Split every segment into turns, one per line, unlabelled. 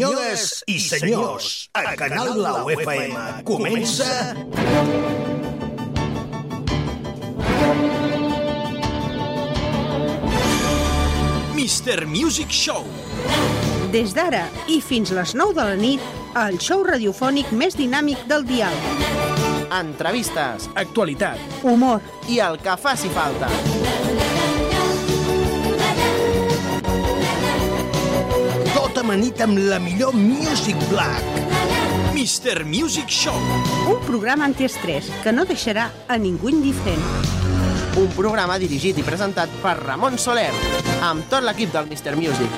Senyores i senyors, a Canal Blau FM comença...
Mr. Music Show.
Des d'ara i fins les 9 de la nit, el show radiofònic més dinàmic del dial.
entrevistes
Actualitat.
Humor,
i el que faci falta.
Tot amanit amb la millor Music Black.
Mr. Music Show.
un programa antiestrès que no deixarà a ningú indiferent.
Un programa dirigit i presentat per Ramon Soler, amb tot l'equip del Mr. Music.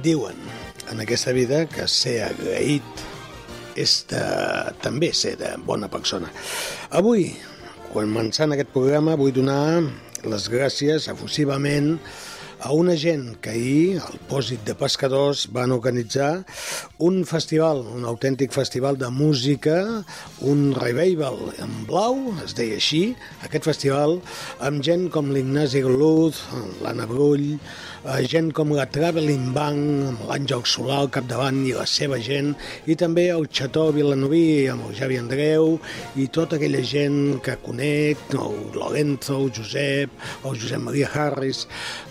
Diuen en aquesta vida que ser agraït és de... també ser de bona persona. Avui, començant aquest programa, vull donar les gràcies efusivament a una gent que ahir, al Pòsit de Pescadors, van organitzar un festival, un autèntic festival de música, un revival en blau, es deia així, aquest festival, amb gent com l'Ignasi Gluz, l'Anna Brull, eh, gent com la Traveling Bank, amb l'Àngel Solà al capdavant i la seva gent, i també el Xató Vilanoví, amb el Javi Andreu, i tota aquella gent que conec, el Lorenzo, el Josep, el Josep Maria Harris,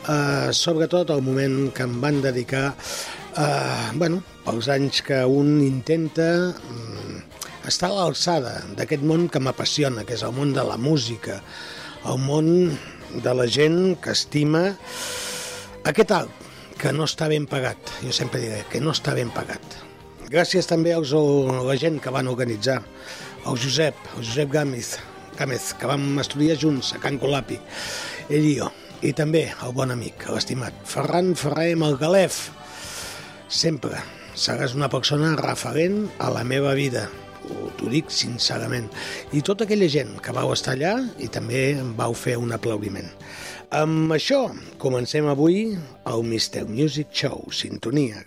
eh, sobretot el moment que em van dedicar eh, bueno, pels anys que un intenta mm, estar a l'alçada d'aquest món que m'apassiona, que és el món de la música, el món de la gent que estima aquest alt, que no està ben pagat, jo sempre diré que no està ben pagat. Gràcies també als, a la gent que van organitzar, el Josep, el Josep Gàmez, Gàmez que vam estudiar junts a Can Colapi, ell i jo, i també el bon amic, l'estimat Ferran Ferrer Malgalef. Sempre seràs una persona referent a la meva vida, Ho- t'ho dic sincerament. I tota aquella gent que vau estar allà i també em vau fer un aplaudiment. Amb això comencem avui el Mr. Music Show, sintonia.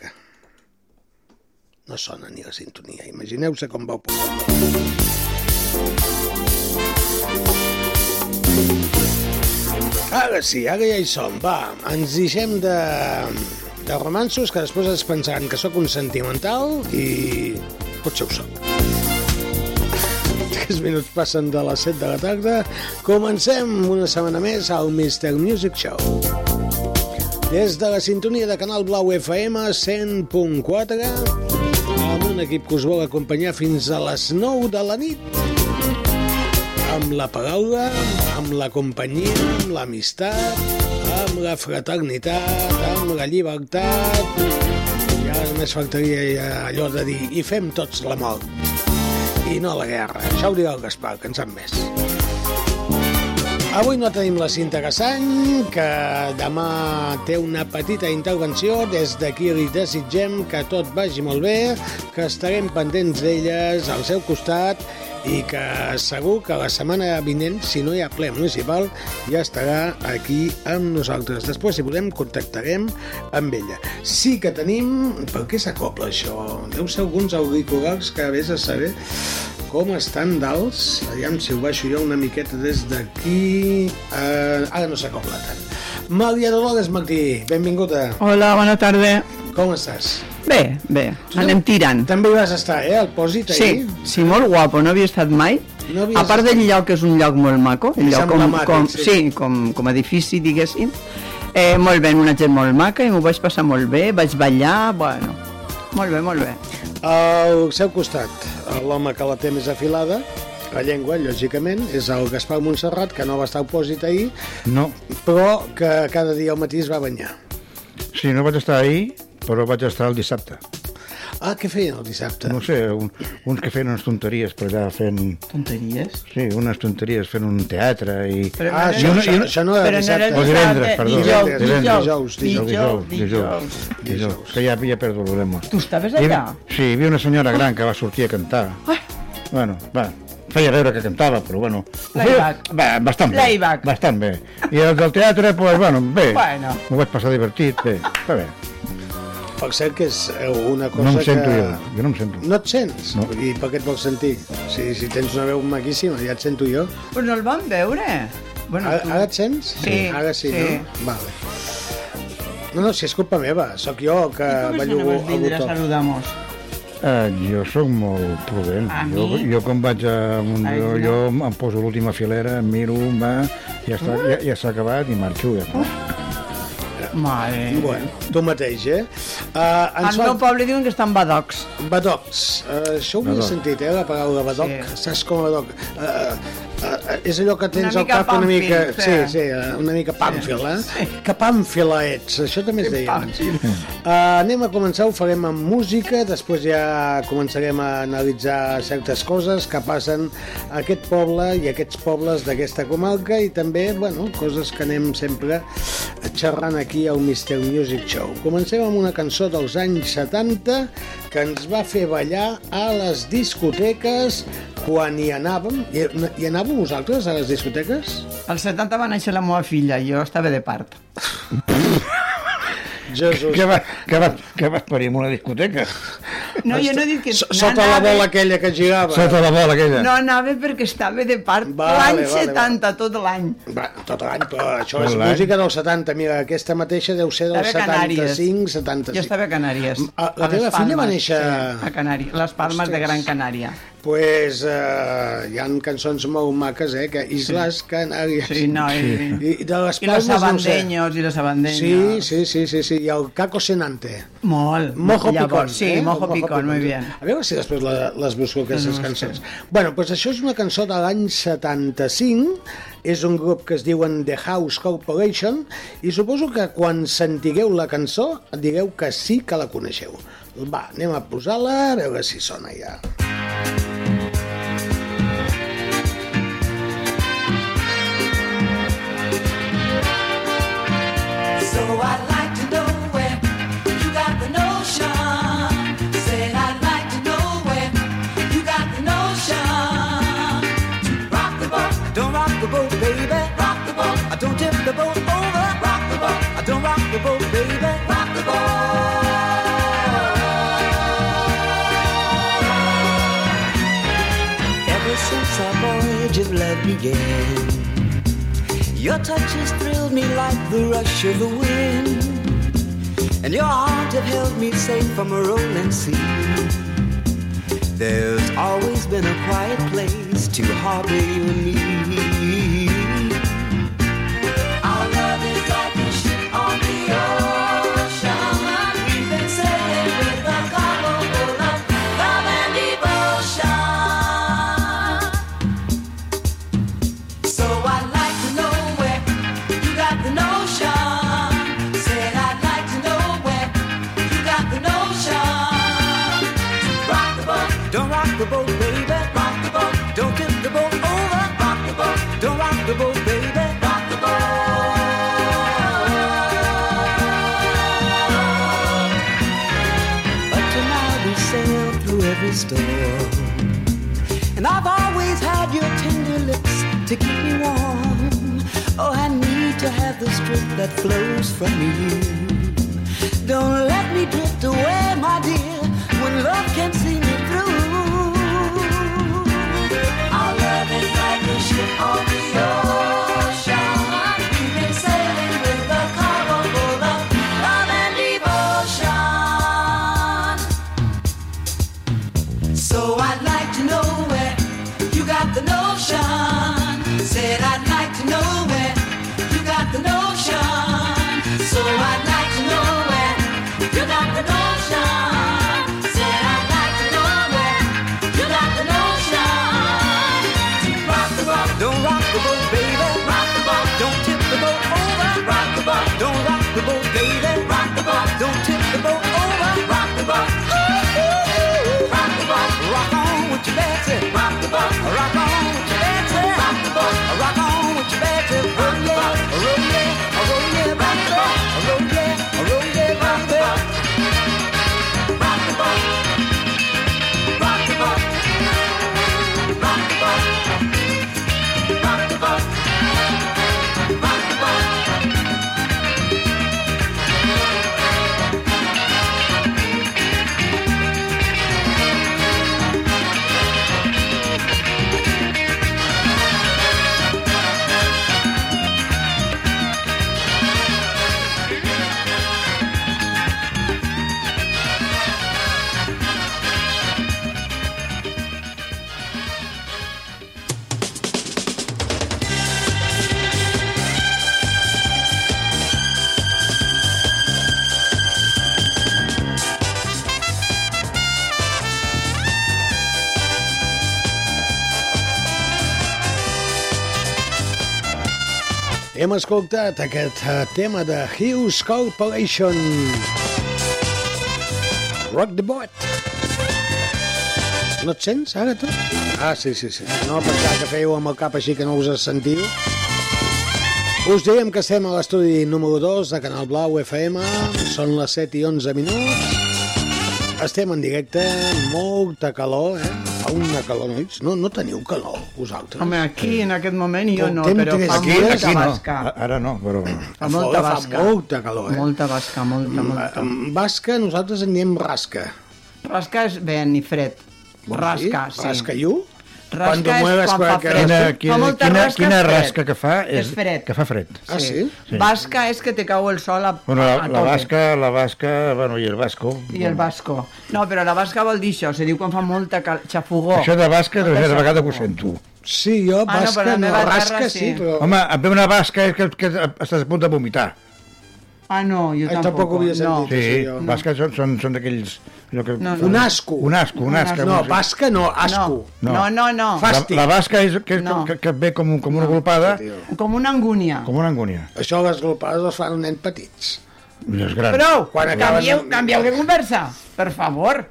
No sona ni la sintonia, imagineu-se com vau posar. Ara sí, ara ja hi som, va, ens deixem de, de romansos que després es pensaran que sóc un sentimental i potser ho sóc. 3 minuts passen de les 7 de la tarda. Comencem una setmana més al Mr. Music Show. Des de la sintonia de Canal Blau FM 100.4 amb un equip que us vol acompanyar fins a les 9 de la nit amb la paraula, amb la companyia, amb l'amistat, amb la fraternitat, amb la llibertat. I ara només faltaria ja allò de dir i fem tots la mort i no la guerra. Això ho dirà el Gaspar, que en sap més. Avui no tenim la Cinta Cassany, que demà té una petita intervenció. Des d'aquí li desitgem que tot vagi molt bé, que estarem pendents d'elles al seu costat i que segur que la setmana vinent, si no hi ha ple municipal, ja estarà aquí amb nosaltres. Després, si podem, contactarem amb ella. Sí que tenim... Per què s'acopla això? Deu ser alguns auriculars que vés a saber com estan d'alts. Aviam si ho baixo jo una miqueta des d'aquí. Uh, ara no s'acopla tant. Maria Dolores Martí, benvinguda.
Hola, bona tarda.
Com estàs?
Bé, bé, anem tirant.
També hi vas estar, eh, al pòsit,
Sí, sí, molt guapo, no havia estat mai.
No havies
a part del lloc, que és un lloc molt maco, el
És
lloc com,
emblemàtic,
com,
sí.
sí. com, com a edifici, diguéssim, eh, molt bé, una gent molt maca, i m'ho vaig passar molt bé, vaig ballar, bueno, molt bé, molt bé.
Al seu costat, l'home que la té més afilada, la llengua, lògicament, és el Gaspar Montserrat, que no va estar al pòsit ahir,
No,
però que cada dia al matí es va banyar.
sí, no vaig estar ahir, però vaig estar el dissabte.
Ah, què feien el dissabte?
No sé, un, uns que feien unes tonteries per allà fent...
Tonteries.
Sí, unes tonteries fent un teatre i...
Però
Ah,
no
això,
era-
això, això no era
però no era
dissabte.
O divendres,
dissabte,
perdó.
dijous,
divendres,
dijous,
dijous,
dijous,
dijous, dijous,
dijous.
dijous, que ja, ja perdo l'oremo.
Tu estaves
Hi-
allà?
Sí, hi havia una senyora gran que va sortir a cantar.
Ah.
Bueno, va, feia veure que cantava, però bueno... ho feia-
Playback.
Va, bastant bé.
Playback.
Bastant bé. I el del teatre, doncs, bueno, bé.
Bueno.
M'ho vaig passar divertit, bé. Està bé.
Per cert que és eh, una cosa
No em sento
que...
jo, jo no em sento.
No et sents?
No.
I per què et vols sentir? Si, si tens una veu maquíssima, ja et sento jo.
Però no el vam veure. Bueno,
Ara,
tu-
ara et sents?
Sí,
Ara sí,
sí.
no? Vale. No, no, si és culpa meva, sóc jo que bellugo a botó.
saludamos?
Eh, jo sóc molt prudent.
A
Jo,
mi?
jo quan vaig a un...
Ai,
Jo,
no.
jo em poso l'última filera, em miro, em va, ja està- ja- ja s'ha acabat i marxo. Ja. està.
Mare.
Bueno, tu mateix, eh? Uh,
Al
ens
meu
fa...
poble diuen que estan badocs.
Badocs. Uh, això ho havia
Badoc.
sentit, eh, la paraula badoc. Sí. Saps com badoc? Uh, uh, uh, és allò que tens
Una
al
mica
cap una
pàmfil,
mica...
sí.
Sí, sí, eh, una mica pàmfil, eh? Que pàmfila ets, això també es deia. abans. Uh, anem a començar, ho farem amb música, després ja començarem a analitzar certes coses que passen a aquest poble i a aquests pobles d'aquesta comarca i també, bueno, coses que anem sempre xerrant aquí al Mister Music Show. Comencem amb una cançó dels anys 70 que ens va fer ballar a les discoteques quan hi anàvem. Hi, hi anàveu vosaltres a les discoteques?
Al 70 va néixer la meva filla, jo estava de part.
Jesús.
Que, va, que, va, que vas parir en una discoteca?
No, jo no he dit que...
So-
no
Sota la
anava-
bola aquella que girava.
Sota la bola aquella.
No anava perquè estava de part
Vale,
l'any
vale, vale.
70, tot l'any.
Va, tot l'any, però això
Tot
és
l'any.
música del 70. Mira, aquesta mateixa deu ser del
Estava a Canàries.
75, 75.
Jo estava a Canàries.
A- la
a Les
teva filla va
Palmes,
néixer-
Sí, a Canàries, les Palmes de Gran Canària.
pues, eh, hi han cançons molt maques, eh? Que Islas Canàries.
Sí, no, i,
I, i de les
i los
Palmes, no ho sé.
abandeños, i los abandeños.
Sí, sí, sí, sí, sí, i el Caco Senante.
Molt.
Mojo Picón.
Sí,
eh?
mojo, picón, muy bien. Mm,
A veure si després la, les busco, aquestes cançons. Bueno, doncs això és una cançó de l'any 75, és un grup que es diuen The House Corporation, i suposo que quan sentigueu la cançó digueu que sí que la coneixeu. Va, anem a posar-la, a veure si sona ja.
So I'd like to know where you got the notion. Said I'd like to know where you got the notion. To rock the boat,
Don't rock the boat, baby.
rock the boat,
I don't tip the boat over.
rock the boat,
I don't rock the boat, baby.
rock the boat.
Ever since our voyage of love began, your touch has thrilled me like the rush of the wind. And your arms have held me safe from a rolling sea. There's always been a quiet place to harbor you and me.
Our love is like a ship on the ocean. We've been sailing with a cargo full of love and devotion. So I'd like to know where you got the notion. Said I'd like to know where you got the notion. Rock the boat,
Don't rock the boat, baby.
rock the boat,
Don't tip the boat over.
rock the boat,
Don't rock the boat, baby.
rock the boat.
But tonight we sail through every storm. And I've always had your tender lips to keep me warm. Oh, I need to have the strength that flows from you. Don't let me drift away, my dear, when love can see me through.
Our love is like a ship on the ocean. We've been sailing with a cargo full of love and devotion. So I'd like to know where you got the notion. Said I'd like to know where you got the notion. So I'd like
Hem escoltat aquest eh, tema de Hughes Corporation. Rock the boat. No et sents, ara, tu? Ah, sí, sí, sí. No pensava que fèieu amb el cap així que no us sentiu. Us dèiem que estem a l'estudi número 2 de Canal Blau FM. Són les 7 i 11 minuts. Estem en directe, molta calor, eh? Fa una calor, nois. No, no teniu calor, vosaltres?
Home, aquí, en aquest moment, jo no,
Portem
però
tres
fa
dies-
molta
Aquí
no,
basca.
a- ara no, però...
Fa
fora
molta
fa
basca.
molta calor, eh?
Molta basca, molta, molta.
Em Basca, nosaltres en diem rasca.
Rasca és vent i fred. Rasca, sí.
Rascallú?
Rasca
Cuando
és
mueves
quan fa
cualquier-
fred.
Quina,
Fa
quina,
molta
quina,
rasca,
quina
és fred.
rasca que fa és,
És fred.
que fa fred.
Ah, sí?
Sí.
Basca és que te cau el sol a,
Bueno,
a
la, la
tope.
basca, la basca, bueno, i el basco.
I el basco. No, però la basca vol dir això, se diu quan fa molta cal... xafogó.
Això de basca, de
Molta
cada vegada que ho
xafogó.
sento.
Sí, jo
Oh. Ah, no,
basca,
però la
no,
meva terra
rasca sí,
sí.
però...
Home, et ve una basca és que, que estàs a punt de vomitar.
Ah, no, jo
Ai, tampoc
tampoc.
ho havia
no.
sentit.
Sí,
Sí,
sí
jo-
basques són, són, són d'aquells... allò que-
No, no.
Un asco.
Un asco, un asco.
No, basca no, asco.
No, no, no. no.
Fa-
La,
Fàstic.
la basca és, que, és,
No.
que, que et ve com, un- com una golpada,
Com una angúnia.
com una angúnia.
Això les glopades les fan nens petits.
I és gran.
Prou!
Quan
Quan
acaben-
canvieu, canvieu de conversa, per favor.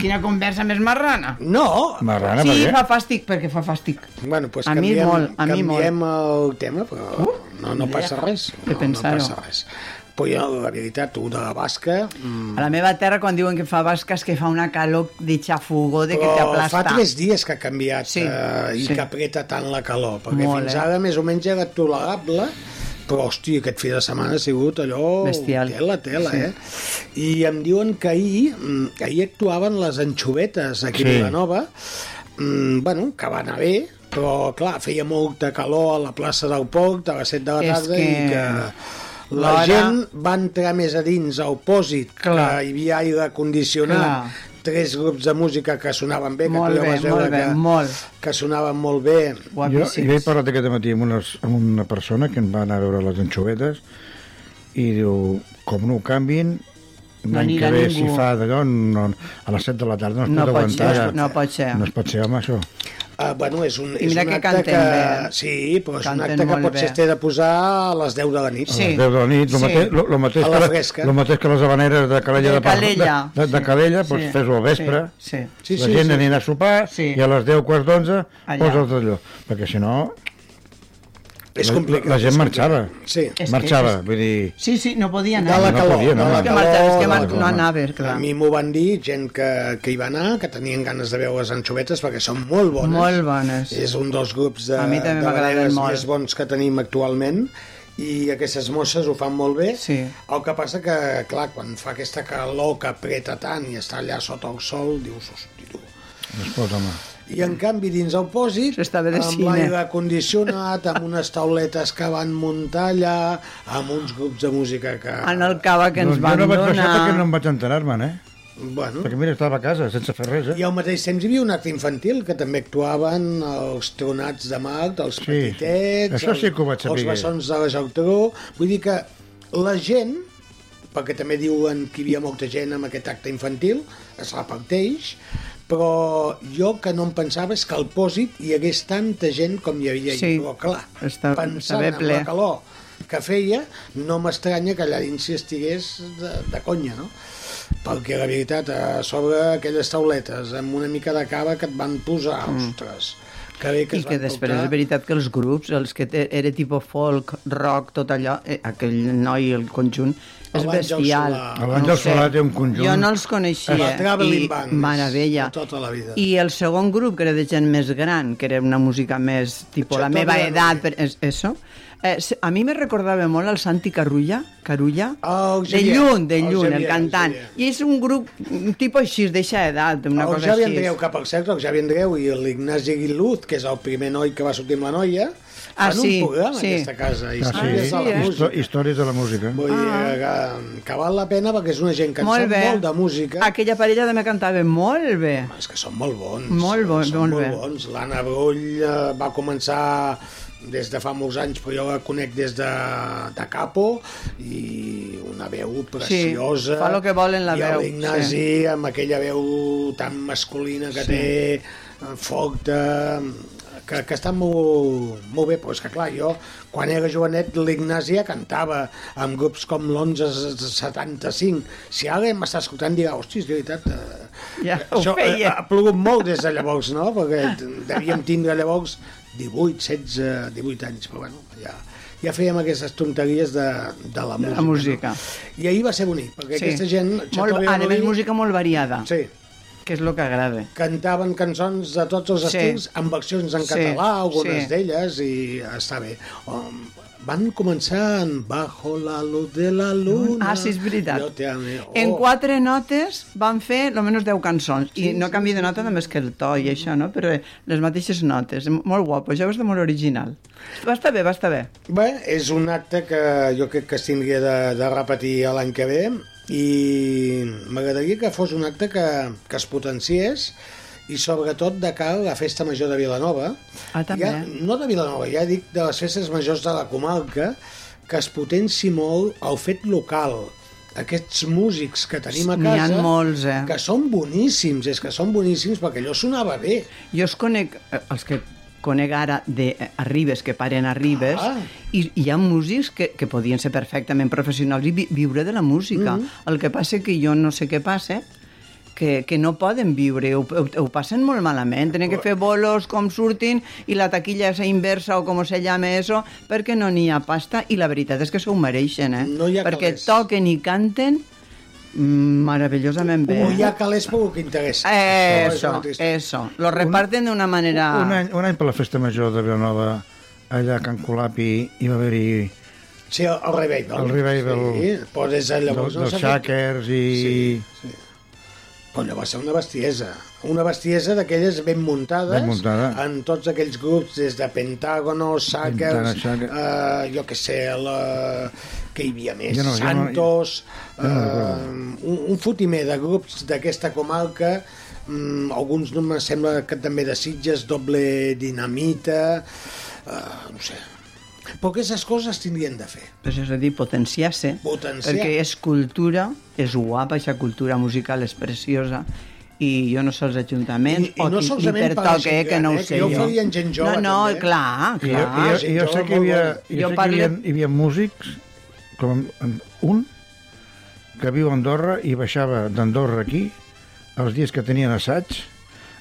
Quina conversa més marrana.
No!
Marrana,
sí,
per què?
fa fàstic, perquè fa fàstic.
Bueno, doncs
A mi
canviem,
molt, Uh! a mi
canviem molt. el tema, però no, no passa res. No,
de
no
pensar-ho.
passa res. Però jo, la veritat, tu de la basca... mm,
A la meva terra, quan diuen que fa basca, és que fa una calor de xafogó, de que
Però
t'aplasta.
Oh, fa tres dies que ha canviat
Sí,
sí, eh, i
sí.
sí. que apreta tant la calor, perquè
Molt,
Molt, fins
eh?
ara més o menys era tolerable, però, hòstia, aquest fi de setmana ha sigut allò...
Bestial.
Tela, tela,
Sí.
sí. eh? I em diuen que ahir, mm, ahir actuaven les anxovetes aquí
Sí.
a Vilanova, mm, bueno, que va anar bé, però, clar, feia molta calor a la plaça del Porc a les 7 de la
És
tarda
que
i que la
l'hora-
gent va entrar més a dins al pòsit,
Clar.
que hi havia aire condicionat,
Clar.
tres grups de música que sonaven bé, que
Molt
tu ja
bé,
vas veure
molt bé,
que,
molt.
que sonaven molt bé.
Jo,
Guapíssims.
jo he parlat aquest matí amb, unes, amb una persona que em va anar a veure les anxovetes i diu, com no ho canvin, l'any
anirà
que ve,
ningú.
si fa d'allò, no, a les 7 de la tarda no es
No
pot
pot
aguantar.
ser, no pot ser.
No es pot ser, home, això.
Uh, bueno, és un,
I
és
mira
un
que
acte
canten
que...
bé, eh?
Sí, però és un
Canten
acte que
molt
potser
bé.
es té de posar a les 10 de la nit.
Sí.
A les 10 de la nit, el
Sí.
mateix, lo, lo mateix,
A la
que,
fresca.
lo mateix que les habaneres de Calella
De
de, Pam-
Calella,
De, de, de
sí.
Calella, doncs
Sí.
fes-ho al vespre.
Sí, sí.
Sí,
la
sí,
gent
sí.
anirà a sopar
Sí.
i a les 10, quarts d'11
Allà.
posa'ls d'allò. Perquè si no,
És
la-
complicat.
la gent
és
marxava.
complicat. Sí.
És que-
marxava.
és-
Vull dir,
Sí, sí, no podia anar.
De la
No
calor,
podia, no,
de la
És que
calor.
marxa, és que
de la
marxa, no
calor.
anava, clar.
A mi m'ho van dir gent que, que hi va anar, que tenien ganes de veure les anxovetes perquè són molt bones.
Molt bones.
És un dels grups de,
A mi també
de
m'agraden
balenes
molt.
més bons que tenim actualment i aquestes mosses ho fan molt bé.
Sí.
El que passa que, clar, quan fa aquesta calor que apreta tant i està allà sota el sol, dius, hosti, tu,
no es pot, home.
i en canvi dins el pòsit
Això està bé de
amb
cine.
l'aire condicionat amb unes tauletes que van muntar allà amb uns grups de música que...
En el cava que ens
doncs
van
jo no vaig baixar perquè no
donar...
em vaig enterar-me'n, eh?
Bueno,
Perquè mira, estava a casa, sense fer res,
i
eh?
al mateix temps hi havia un acte infantil que també actuaven els tronats de mag, els
Sí,
petitets,
això sí que ho vaig
els
saber.
bessons de la Geltrú. Vull dir que la gent, perquè també diuen que hi havia molta gent amb aquest acte infantil, es reparteix, però jo que no em pensava és que al pòsit hi hagués tanta gent com hi havia
Sí.
ahir. Però clar,
Està-
pensant
estava
en
ple.
la calor que feia, no m'estranya que allà dins s'hi estigués de, de conya, no? Perquè la veritat, a sobre aquelles tauletes, amb una mica de cava que et van posar,
Mm.
ostres, que bé que
I
es
que
van
després és
portar.
veritat que els grups, els que te- era tipus folk, rock, tot allò, eh, aquell noi, el conjunt, és
L'Àngel
bestial.
Solà.
L'Àngel Solà té un conjunt.
Jo no els coneixia.
La Traveling
i-
Bands,
Meravella.
de tota la vida.
I el segon grup, que era de gent més gran, que era una música més tipus
Això
la meva
també era noi.
edat, per, és, eso, eh, s- a mi me recordava molt el Santi Carulla, Carulla
Ah, El
de
Xavier,
Lluny, de
el
Lluny, el,
Xavier, el
cantant.
Xavier.
I és un grup mm, tipus així, d'eixa edat, una
Ah, el
cosa
Xavi
així.
Andreu, cap al cert, el Xavi Andreu i l'Ignasi Guillut, que és el primer noi que va sortir amb la noia,
Ah,
fan
sí,
un programa
sí.
en aquesta casa, i
sí,
històries de
sí,
la
eh?
música.
Histo- Històries de la música.
Vull dir eh, que, que val la pena perquè és una gent que en
molt
sap
bé.
molt de música.
Aquella parella també cantava molt bé.
És que són molt bons.
Molt bons,
són
molt
molt
bé.
bons. L'Anna Brull eh, va començar des de fa molts anys, però jo la conec des de, de Capo, i una veu preciosa.
fa lo que vol en la
I
veu,
l'Ignasi, amb aquella veu tan masculina que té, eh, forta, que, que està molt, molt bé, però és que clar, jo quan era jovenet l'Ignasi ja cantava amb grups com l'1175 si ara m'està escoltant dirà, hòstia, és veritat eh,
Ja ho
això eh,
feia.
ha plogut molt des de llavors, no? perquè devíem tindre llavors 18, 16, 18 anys però bueno, ja, ja fèiem aquestes tonteries de, de la música,
la música.
No? i ahir va ser bonic perquè sí. aquesta gent
Molt,
Chateau
a més,
Gaudí,
música molt variada, sí.
sí,
que és el que agrada.
cantaven cançons de tots els
Sí.
estils amb versions en
Sí,
català, algunes
sí.
d'elles, i està bé. Um, van començar en Bajo la luz de la luna.
Ah, sí, és veritat.
Yo te amé. Oh,
En quatre notes van fer almenys 10 cançons. I no canvi de nota només que el to i això, no? Però les mateixes notes. Molt guapo, ja veus de molt original. Va estar bé, va estar bé.
Bé, és un acte que jo crec que s'hauria de, de repetir a l'any que ve i m'agradaria que fos un acte que, que es potenciés i sobretot de cara a la festa major de Vilanova.
Ah, també.
Ja, no de Vilanova, ja dic de les festes majors de la comarca, que es potenci molt el fet local. Aquests músics que tenim a
N'hi
casa...
ha molts, eh?
Que són boníssims, és que són boníssims perquè allò sonava bé.
Jo els conec, eh, els que conec ara de eh, a Ribes, que paren a Ribes,
Ah.
i hi ha músics que, que podien ser perfectament professionals i vi viure de la música.
Mm.
El que passa que jo no sé què passa, que, que no poden viure, ho, ho, ho passen molt malament, tenen que fer bolos com surtin i la taquilla és a inversa o com se llama eso, perquè no n'hi ha pasta i la veritat és que s'ho mereixen, eh?
No hi ha
perquè
calés.
toquen i canten mm, meravellosament bé.
O hi ha calés pel que interessa. Això és
Eso,
molt trist.
eso. Lo reparten de una manera...
Un, any, un any per la festa major de Vilanova, allà a Can Colapi hi va haver-hi
Sí, el, el revival.
El revival.
Doncs, Sí, però des de
del,
llavors no
dels
s'ha fet...
xàquers i...
Sí, Però allò va ser una bestiesa. Una bestiesa d'aquelles ben muntades,
Ben muntada.
en tots aquells grups, des de Pentágono,
Pentàgono,
Sackers,
Sackers.
eh, jo que sé, la... que hi havia més,
Jo no- jo no-
Santos,
jo no
eh, un, un fotimer de grups d'aquesta comarca, mm, alguns no me sembla que també de Sitges, doble dinamita, eh, no sé. Però aquestes coses tindrien de fer.
Pues és a dir, potenciar-se.
Potenciar.
Perquè és cultura, és guapa, aquesta cultura musical és preciosa, i jo no sé els ajuntaments,
I- i
o
no
qui- qui
solament per la
pertoque,
gent
que no
gran,
ho
eh,
sé
que
jo.
ja ho feien gent jove,
No, no,
també.
clar,
I, jo, i,
clar.
jo, Eh, i jo
sí,
sé
jove,
que hi havia,
molt
jo
Jo
sé
parlo-
que hi havia, hi havia músics, com en- un, que viu a Andorra i baixava d'Andorra aquí, els dies que tenien assaig,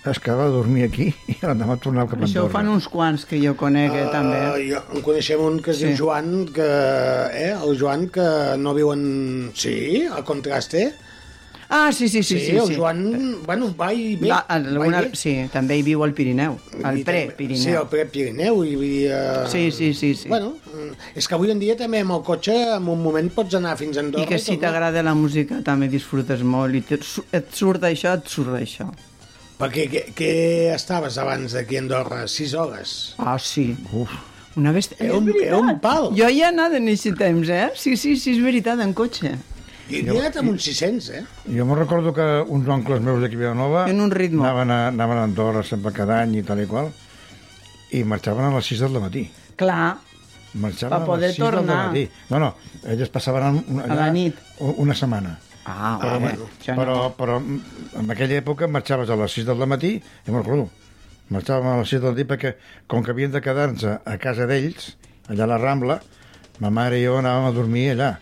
es quedava a dormir aquí i l'endemà tornava cap a
Això ho
Andorra.
fan uns quants que jo conec, eh, també.
Ah, jo, en coneixem un que es
Sí.
sí. diu Joan, que, eh, el Joan que no viuen... Sí, a contraste.
Ah, sí, sí, sí.
Sí,
sí,
el
sí.
Joan, bueno, va i ve.
Va, alguna...
va i ve.
Sí, també hi viu al Pirineu, al
I també-
pre-Pirineu.
Sí, al pre-Pirineu. I, i, uh...
Sí, sí, sí, sí.
Bueno, mm, és que avui en dia també amb el cotxe en un moment pots anar fins a Andorra.
I que si
tornar.
t'agrada la música també disfrutes molt i et, su- et surt això, et surt això.
Perquè què, què estaves abans d'aquí a Andorra? 6 hores.
Ah, sí. Uf. Una bèstia.
Era un, era un pal.
Jo hi he anat en aquest temps, eh? Sí, sí, sí, és veritat, en cotxe.
I havia anat amb uns 600, eh?
Jo me'n recordo que uns oncles meus d'aquí a Vilanova
En un ritmo.
anaven, a, anaven a Andorra sempre cada any i tal i qual i marxaven a les 6 del matí.
Clar,
Marxaven
Per
a
poder
les 6 tornar. del
tornar.
matí. No, no, ells passaven un- allà
la nit.
u- una setmana.
Ah,
Però,
vale. Això no.
però, però en aquella època marxaves a les 6 del matí, jo me'n recordo, marxàvem a les 6 del matí perquè com que havíem de quedar-nos a casa d'ells, allà a la Rambla, ma mare i jo anàvem a dormir allà.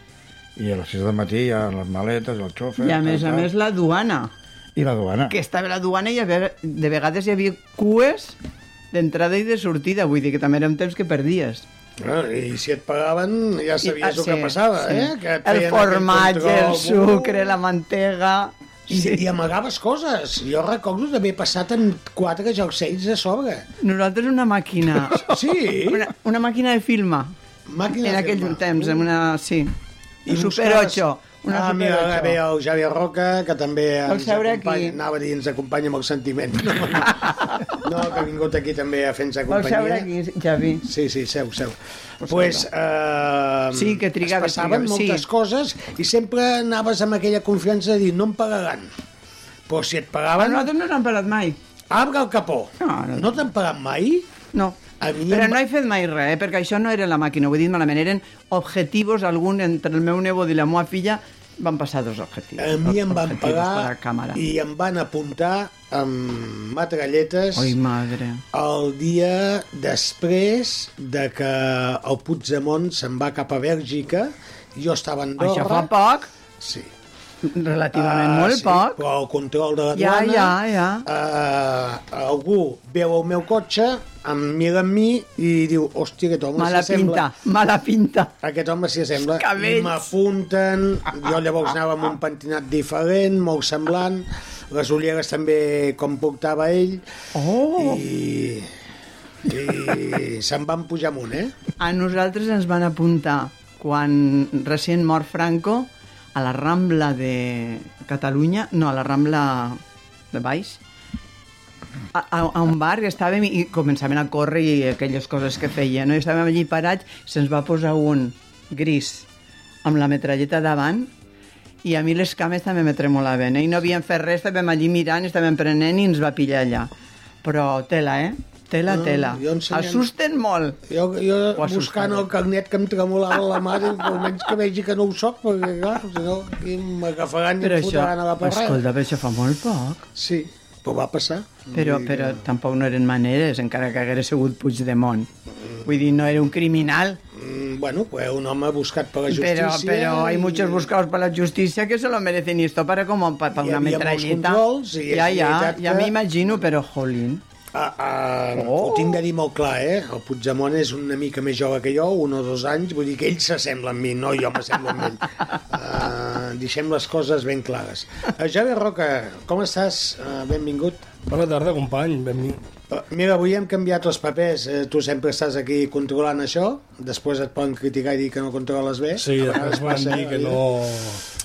I a les 6 del matí hi ha les maletes, el xofer...
I a més a
tal,
més la duana,
tal, I la duana.
que estava la duana i a veure, de vegades hi havia cues d'entrada i de sortida, vull dir que també era un temps que perdies.
Ah, I si et pagaven ja sabies
I- ah,
el que
sí,
passava,
sí.
eh? Que et feien
el
aquell
formatge, el
control.
sucre, la mantega...
I, I amagaves coses. Jo recordo d'haver passat amb quatre jerseis a sobre.
Nosaltres una màquina,
Sí,
una, una màquina de filma.
màquina
En
de
aquell
firmar.
temps, en una... Sí. I Super
buscaves-
8. Una
ah,
Super
mira, ara
8.
ve el Javier Roca, que també
El
ens
sabrà
acompanya,
aquí.
anava a dir, ens acompanya amb el sentiment. No, no que ha vingut aquí també a fer-nos
Vol
companyia.
seure aquí, Javi?
Sí, sí, seu, seu. pues, eh,
Sí, que trigava,
es passaven
trigava, sí.
moltes coses i sempre anaves amb aquella confiança de dir no em pagaran. Però si et
Però
pagaven,
nosaltres no n'hem parlat mai.
abre el capó.
No, no.
no t'han pagat mai?
No.
A mi
Però
em-
no he fet mai res, eh? perquè això no era la màquina, ho he dit malament, eren objectius, algun entre el meu nebot i la meva filla, Van passar dos objectius.
A mi em van
objectius per a
pagar
càmera.
i em van apuntar amb matralletes
Ai, madre.
el dia després de que el Puigdemont se'n va cap a Bèlgica. Jo estava a Andorra.
Això fa poc,
Sí.
relativament
Ah,
molt
sí,
poc.
Però el control de la
Ja,
duana...
ja, ja.
Uh, algú veu el meu cotxe, em mira amb mi i diu, hòstia, aquest home
Mala
s'assembla...
pinta, mala pinta.
Aquest home s'hi assembla.
Cabells.
M'apunten, jo llavors anava amb un pentinat diferent, molt semblant, les ulleres també com portava ell,
Oh!
i, i se'n van pujar amunt, eh?
A nosaltres ens van apuntar, quan recent mort Franco, a la Rambla de Catalunya, no, a la Rambla de Baix, a, a, a un bar i estàvem i començaven a córrer i aquelles coses que feien, no? I estàvem allí parats, se'ns va posar un gris amb la metralleta davant i a mi les cames també me tremolaven, eh? I no havíem fet res, estàvem allí mirant, estàvem prenent i ens va pillar allà. Però tela, eh? Tela,
No,
tela.
jo ensenyant-
Assusten molt.
Jo, jo
Ho ha
buscant
assustat.
el carnet que em tremolava la mà, dic, almenys que vegi que no ho soc, perquè clar, si no, aquí m'agafaran i
Però
em
això,
fotran a la parrada.
escolta, però això fa molt poc.
Sí, però va passar.
Però, però tampoc no eren maneres, encara que haguera sigut Puigdemont. Vull dir, no era un criminal,
Mm, bueno, pues, un home buscat per la
però,
justícia...
però hay
i-
muchos buscados por la justicia que se lo merecen y esto para como para
Hi
una
havia molts
metralleta.
controls i és
ja, ja,
veritat
ja
que-
m'imagino, però jolín.
Ah, ah,
Oh.
Ho tinc de dir molt clar, eh? El Puigdemont és una mica més jove que jo, un o dos anys, vull dir que ell s'assembla a mi, no jo m'assemblo a ell. Uh, deixem les coses ben clares. Uh, Javier Roca, com estàs? Uh, benvingut.
Bona tarda, company. Benvingut.
Uh, mira, avui hem canviat els papers. Uh, tu sempre estàs aquí controlant això, després et poden criticar i dir que no controles bé.
Sí,
A vegades
després van
passa,
dir
eh,
que
la vida.
no...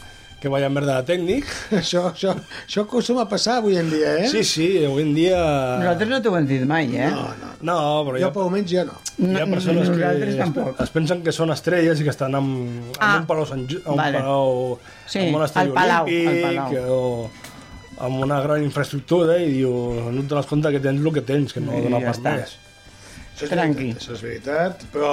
que vaya merda de tècnic.
Això, això, això acostuma a passar avui en dia, eh?
Sí, sí, avui en dia...
Nosaltres no t'ho hem dit mai, eh?
No, no.
No, però hi
Jo,
ha,
per almenys, jo no.
hi ha persones que
nosaltres
es,
tampoc.
es pensen que són estrelles i que estan amb, amb
Ah,
un palau, Sant, Ju- a un
vale.
palau
Sí,
amb un estadi
al palau, al
olímpic
palau.
o amb una gran infraestructura i diu, no te dones compte que tens el que tens, que no
I
dona
ja
pas
està.
més.
Això és
Tranqui.
Veritat, això és veritat, però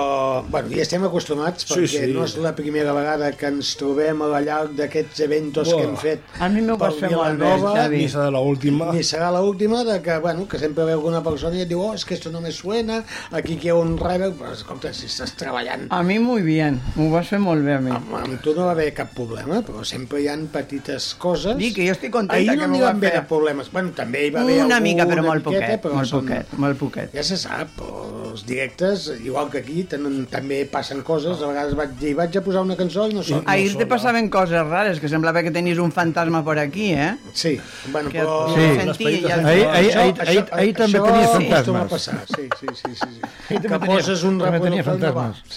bueno, hi estem acostumats perquè sí, sí.
sí.
no és la primera vegada que ens trobem a la llarg d'aquests eventos
Buah.
que hem fet
A mi m'ho
pel
vas fer molt bé,
Vilanova,
Xavi.
Ni serà l'última.
Ni serà l'última de que, bueno, que sempre veu alguna persona i et diu, oh, és que això no me suena, aquí que hi ha un rebel, però escolta, si estàs treballant
A mi molt bé, m'ho vas fer molt bé a mi.
amb, amb tu no va haver cap problema, però sempre hi han petites coses.
Dic que jo estic contenta
Ahir
que
no
m'ho
n'hi van
va fer.
haver problemes. Bueno, també hi va haver
Una mica, però
alguna
molt
miqueta,
poquet,
però
molt
són-
poquet, molt poquet.
Ja se sap, però els directes, igual que aquí, tenen, també passen coses. A vegades vaig dir, vaig a posar una cançó i no sona.
Ahir te passaven coses rares, que semblava que tenies un fantasma per aquí, eh?
Sí, bueno,
Que
però...
sí.
Sí.
sentia, ja...
Ahir, ahir, ahir, ahir, ahir també tenia
Això acostuma a
fantasmes.
passar, sí, sí, sí. sí, sí. Que
tenia-
poses un
també tenia
reproductor i no va.
fantasmes.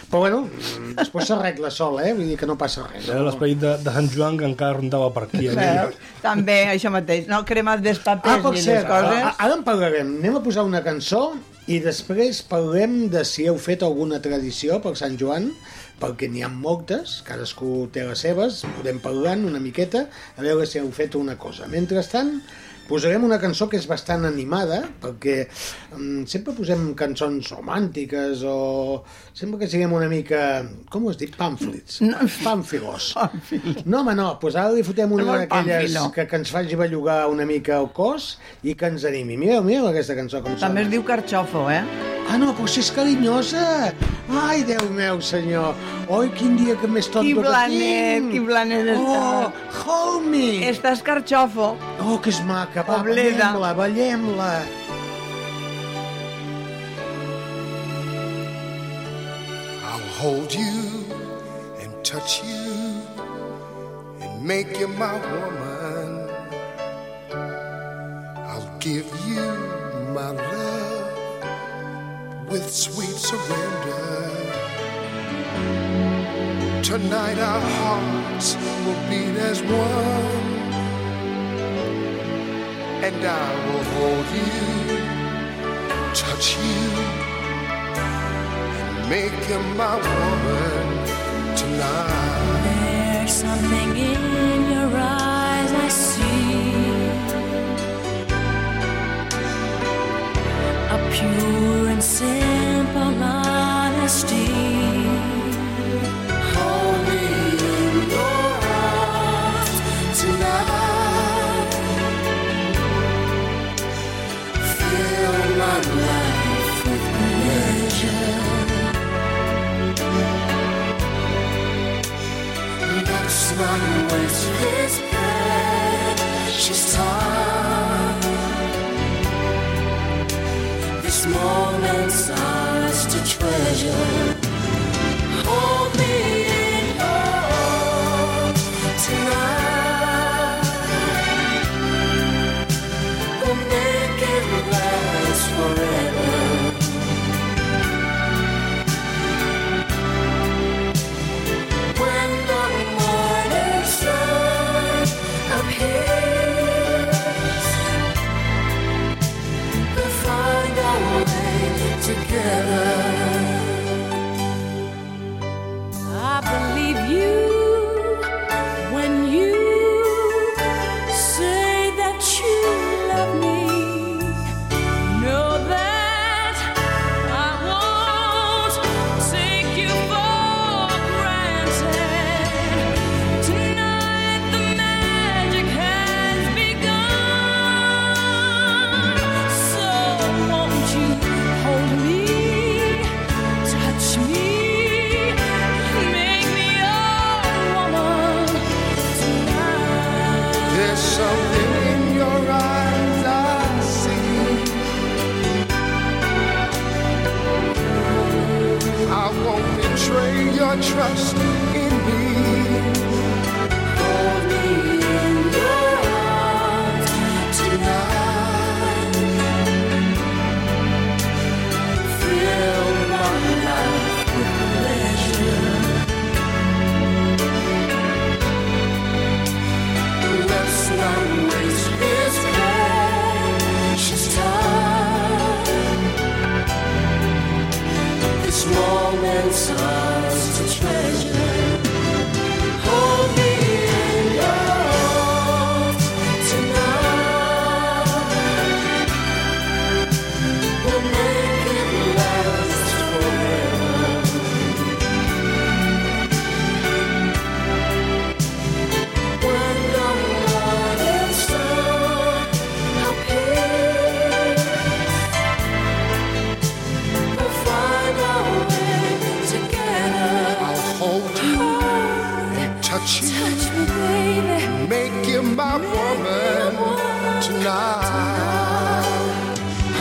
Sí. Però bueno, mm, després s'arregla sol, eh? Vull dir que no passa res.
Era l'esperit de, de Sant Joan que encara rondava per aquí. eh?
Veus? També, això mateix. No cremat dels papers
Ah, per
ni les
cert,
coses.
a- ara en parlarem. Anem a posar una cançó i després parlem de si heu fet alguna tradició per Sant Joan, perquè n'hi ha moltes, cadascú té les seves, podem parlar una miqueta, a veure si heu fet una cosa. Mentrestant, posarem una cançó que és bastant animada, perquè um, sempre posem cançons romàntiques o... Sempre que siguem una mica... Com ho has dit? Pàmflits. No. Pàmfilos. No, home, no, doncs ara li fotem una
Molt
d'aquelles
pàmfilo.
que, que ens faci bellugar una mica el cos i que ens animi. Mireu, mireu aquesta cançó com
També es
sona.
diu carxofo, eh?
Ah, no, però si és carinyosa. Ai, Déu meu, senyor. Oi, quin dia que més tonto
Qui
que
blanet,
tinc.
qui blanet
Oh,
està.
homie.
Estàs carxofo.
Oh, que és maca. Va,
Pobleda.
ballem-la, ballem-la.
I'll hold you and touch you and make you my woman. I'll give you my love with sweet surrender. Tonight our hearts will beat as one, and I will hold you, touch you make you my woman tonight.
There's something in your eyes I see. A pure and simple honesty. Hold me in your anyone who waits this precious time. These moments ours to treasure. Hold me in your arms tonight. We'll make it last forever. When the morning sun appears, we'll find our way together. I believe you when you say that you love me. Know that I won't take you for granted. Tonight the magic has begun. So won't you hold me, touch me, make me your woman tonight.
There's something in your eyes I see. I won't betray your trust in me.
Hold me in your arms tonight. Fill my life with pleasure. Let's not waste this precious time. This moment's ours to treasure. Hold me in your arms tonight. We'll make it last forever. When the morning sun appears, we'll find our way together.
I'll hold you, touch you,
Touch me, baby.
make you my woman tonight.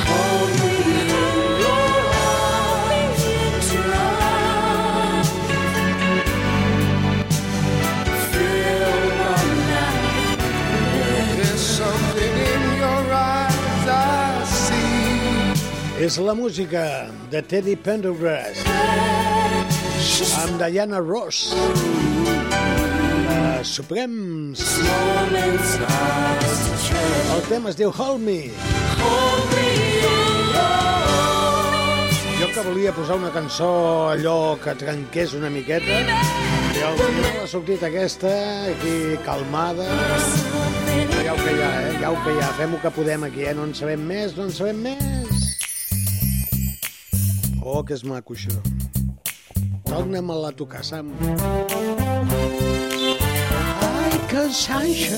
Hold me in your arms tonight. Fill my life
There's something in your eyes I see.
És la música de Teddy Pendergrass amb Diana Ross. Uh, Supremes.
moments ours to treasure.
El tema es diu Hold Me.
Hold me in your arms,
Jo que volia posar una cançó allò que trenqués una miqueta, i al final ha sortit aquesta, aquí calmada.
something
Ja ho que hi ha, eh? Ja ho que hi ha. Fem el que podem aquí, eh? No en sabem més, no en sabem més. Oh, que és maco, això. Torna-me-la a tocar, Sam. Ai, que sanxa.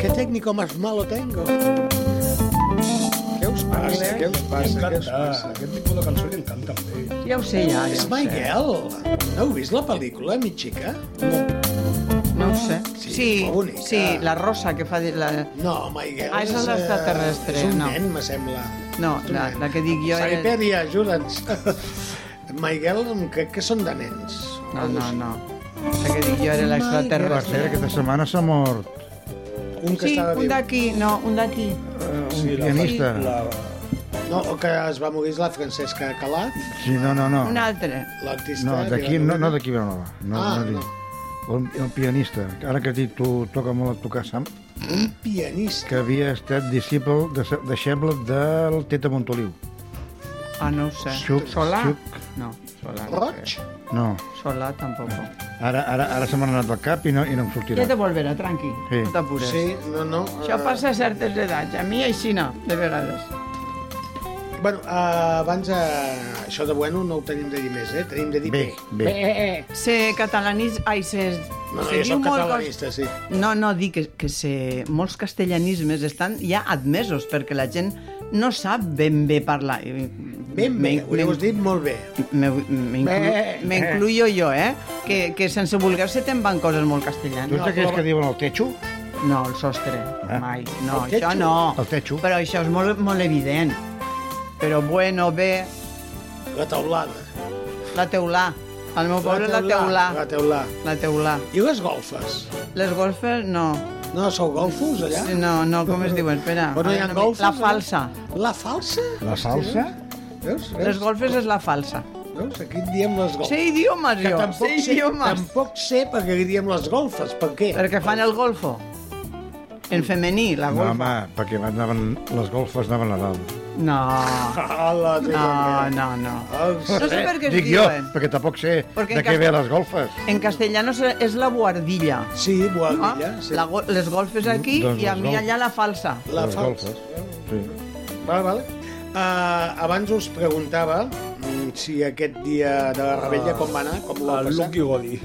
Que tècnico más malo tengo. Què us passa? Què us passa? Què us
Encanta,
passa?
aquest tipus de cançó li encanta també.
Ja ho sé, ja.
És
ja.
Miguel. No heu vist la pel·lícula, mi xica?
No ho sé.
Sí,
Sí,
molt bonica.
sí, la rosa que fa... De la...
No, Miguel.
Ah, és
eh,
l'extraterrestre,
És un
no.
nen, me sembla.
No, la, la que dic jo... Era...
Saipèria, ajuda'ns. Miguel, crec que són de nens.
No, no, no. La que dic jo era
Per
l'extraterrestre.
cert, aquesta setmana s'ha mort
Un que
Sí,
estava
un
viu.
d'aquí, no, un d'aquí.
ah.
un
Sí, la-
pianista.
La,
No, o que es va morir és la Francesca Calat,
Sí, no, no, no.
Un altre.
l'artista...
No, d'aquí, no, no d'aquí Vilanova. No,
Ah,
no, dic. Un, un pianista, ara que has dit tu toca molt a tocar, Sam,
Un pianista.
que havia estat disciple, de, deixeble del Teta Montoliu.
Ah, no ho sé.
Xuc,
Solà?
xuc.
No, Solà. no
Roig?
sé.
No,
Solà tampoc.
ara, ara, ara se m'ha anat del cap i no, i no em
Ja
sortirà.
te volverà, tranqui.
Sí.
No t'apures.
Sí, no, no.
Això
eh,
passa a certes edats. A mi així no, de vegades.
Bueno, eh, abans... Eh, això de Bueno no ho tenim de dir més, eh? Tenim de dir
Bé, bé.
eh, Se catalanitza... Ai, se...
No, no, jo
se diu
sóc
molt
catalanista, sí.
No, no, dic que, que se, molts castellanismes estan ja admesos perquè la gent no sap ben bé parlar. Eh, I-
Ben bé,
m'in-
ho heu dit molt bé.
m'in- m'in- M'incluyo jo, eh? Que, que sense voler se te'n van coses molt
Tu
castellanes.
ets aquells que diuen el techo?
No, el sostre, mai. No,
El
això
techo.
no.
El techo.
Però això és molt, molt evident. Però bueno, bé,
La teulada.
la teulà. Al meu poble la
La
teulà.
teulà.
La teulà.
I les golfes?
Les golfes, no.
No sou golfos, allà?
Sí, No, no, com es diuen? Espera.
Però no hi ha
Ara,
golfes?
La
allà?
falsa.
La falsa?
La salsa?
Veus?
Les
Veus?
golfes és la falsa.
Veus? Aquí en diem les golfes.
Sé idiomes,
Que
jo.
tampoc,
Sé
sé,
idiomes.
tampoc sé per què diem les golfes. Per què?
Perquè fan el golfo. En femení, la
No,
golfa.
home, perquè anaven, les golfes anaven a dalt.
No,
Hola, tu,
no,
també.
no, no.
Els-
No sé per què es
Dic jo,
diuen.
perquè tampoc sé
Perquè
de
en
què
cas-
ve les golfes.
En castellano se- és la guardilla.
Sí,
No?
Boadilla. Sí.
La, go- les golfes aquí
Doncs
i a
les
mi
golfes.
allà la falsa.
La
les
falsa.
golfes. Sí.
Vale, vale. Uh, abans us preguntava mm, si aquest dia de la rebella com va anar, com ho va
El
passar.
Lucky Godi.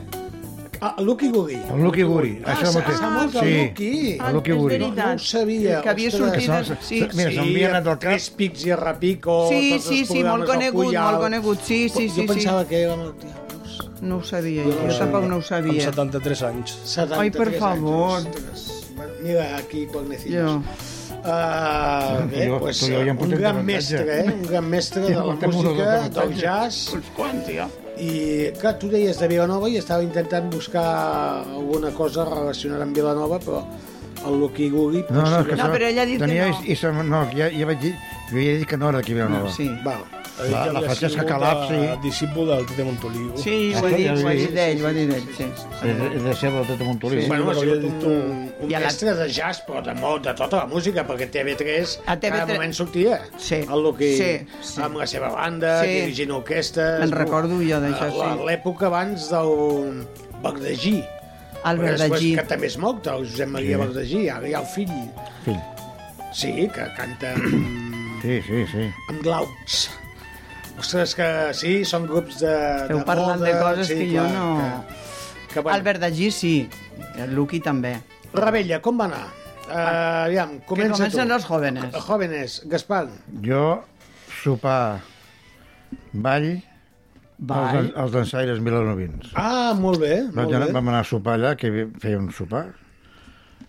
Ah, el Lucky Gugui.
El Lucky Guri, això
s'ha-
mateix.
s'ha mort el
sí,
Lucky.
el Lucky
Ah, és
Guri.
veritat.
No ho sabia.
Que havia
ostres.
sortit...
Que s'ha-
Sí,
Mira,
Sí,
se'n havia anat del
Tres
cap.
pics i a Repico,
sí,
tots els
sí, sí,
programes,
molt
el
conegut,
Puyal.
molt conegut. Sí, sí,
jo
sí, sí.
pensava que era molt... tia, veus?
No ho sabia, jo, jo tampoc no ho
Amb
sabia.
73 anys.
73
Ai, per
anys.
favor.
Ostres, bueno, Mira, aquí
Jo.
Guagnecillos. Uh, bé,
Jo-
pues,
tu i jo ja em
un
portem
gran
avantatge.
mestre, eh? Un gran mestre de
Ja
la
portem un o dos
música, del
avantatges.
jazz. Uns quants, ja. I, clar, tu deies de Vilanova i estava intentant buscar alguna cosa relacionada amb Vilanova, però el Lucky Gugui...
No, no, és que
No,
se-
però ella ha dit que
tenia,
no. Ah,
I, se, no, ja, ja vaig dir, jo ja he dit que no era d'aquí Vilanova.
Sí,
Val.
La- la Francesca Calaf, sí.
eh, Discípul del Tite Montoliu.
sí ho ha dit, ho ha dit ell, ho ha dit ell, sí.
És, és de ser del Tete Montoliu.
Sí.
Bueno, ha
però
sigut
ja
un,
dic tu-
un
I a la-
mestre de jazz, però de, molt, de tota la música, perquè TV3
A TV3
cada moment sortia
Sí.
el Luqui
Sí, sí.
amb la seva banda,
Sí.
dirigint orquestes...
Me'n recordo jo d'això,
A la-
sí.
L'època abans del Bagdagí.
El
Però després,
verdagí.
Que també és molt, el Josep Maria sí. Bagdagí, ara hi ha el fill.
Fill.
Sí, que canta amb,
Sí, sí, sí.
amb glaucs. Ostres, que sí, són grups de...
Esteu parlant de coses que jo no-
Que, que bueno.
El verdagí, sí. El Luqui també.
Rebella, com va anar? Uh, aviam,
Que
comença
comencen
tu.
els jóvenes.
Jóvenes, Gaspar.
Jo, sopar, ball,
Ball.
els, els dansaires milanovins.
Ah, molt bé,
Vam
molt
anar,
bé.
vam anar a sopar allà, que vi- feia un sopar,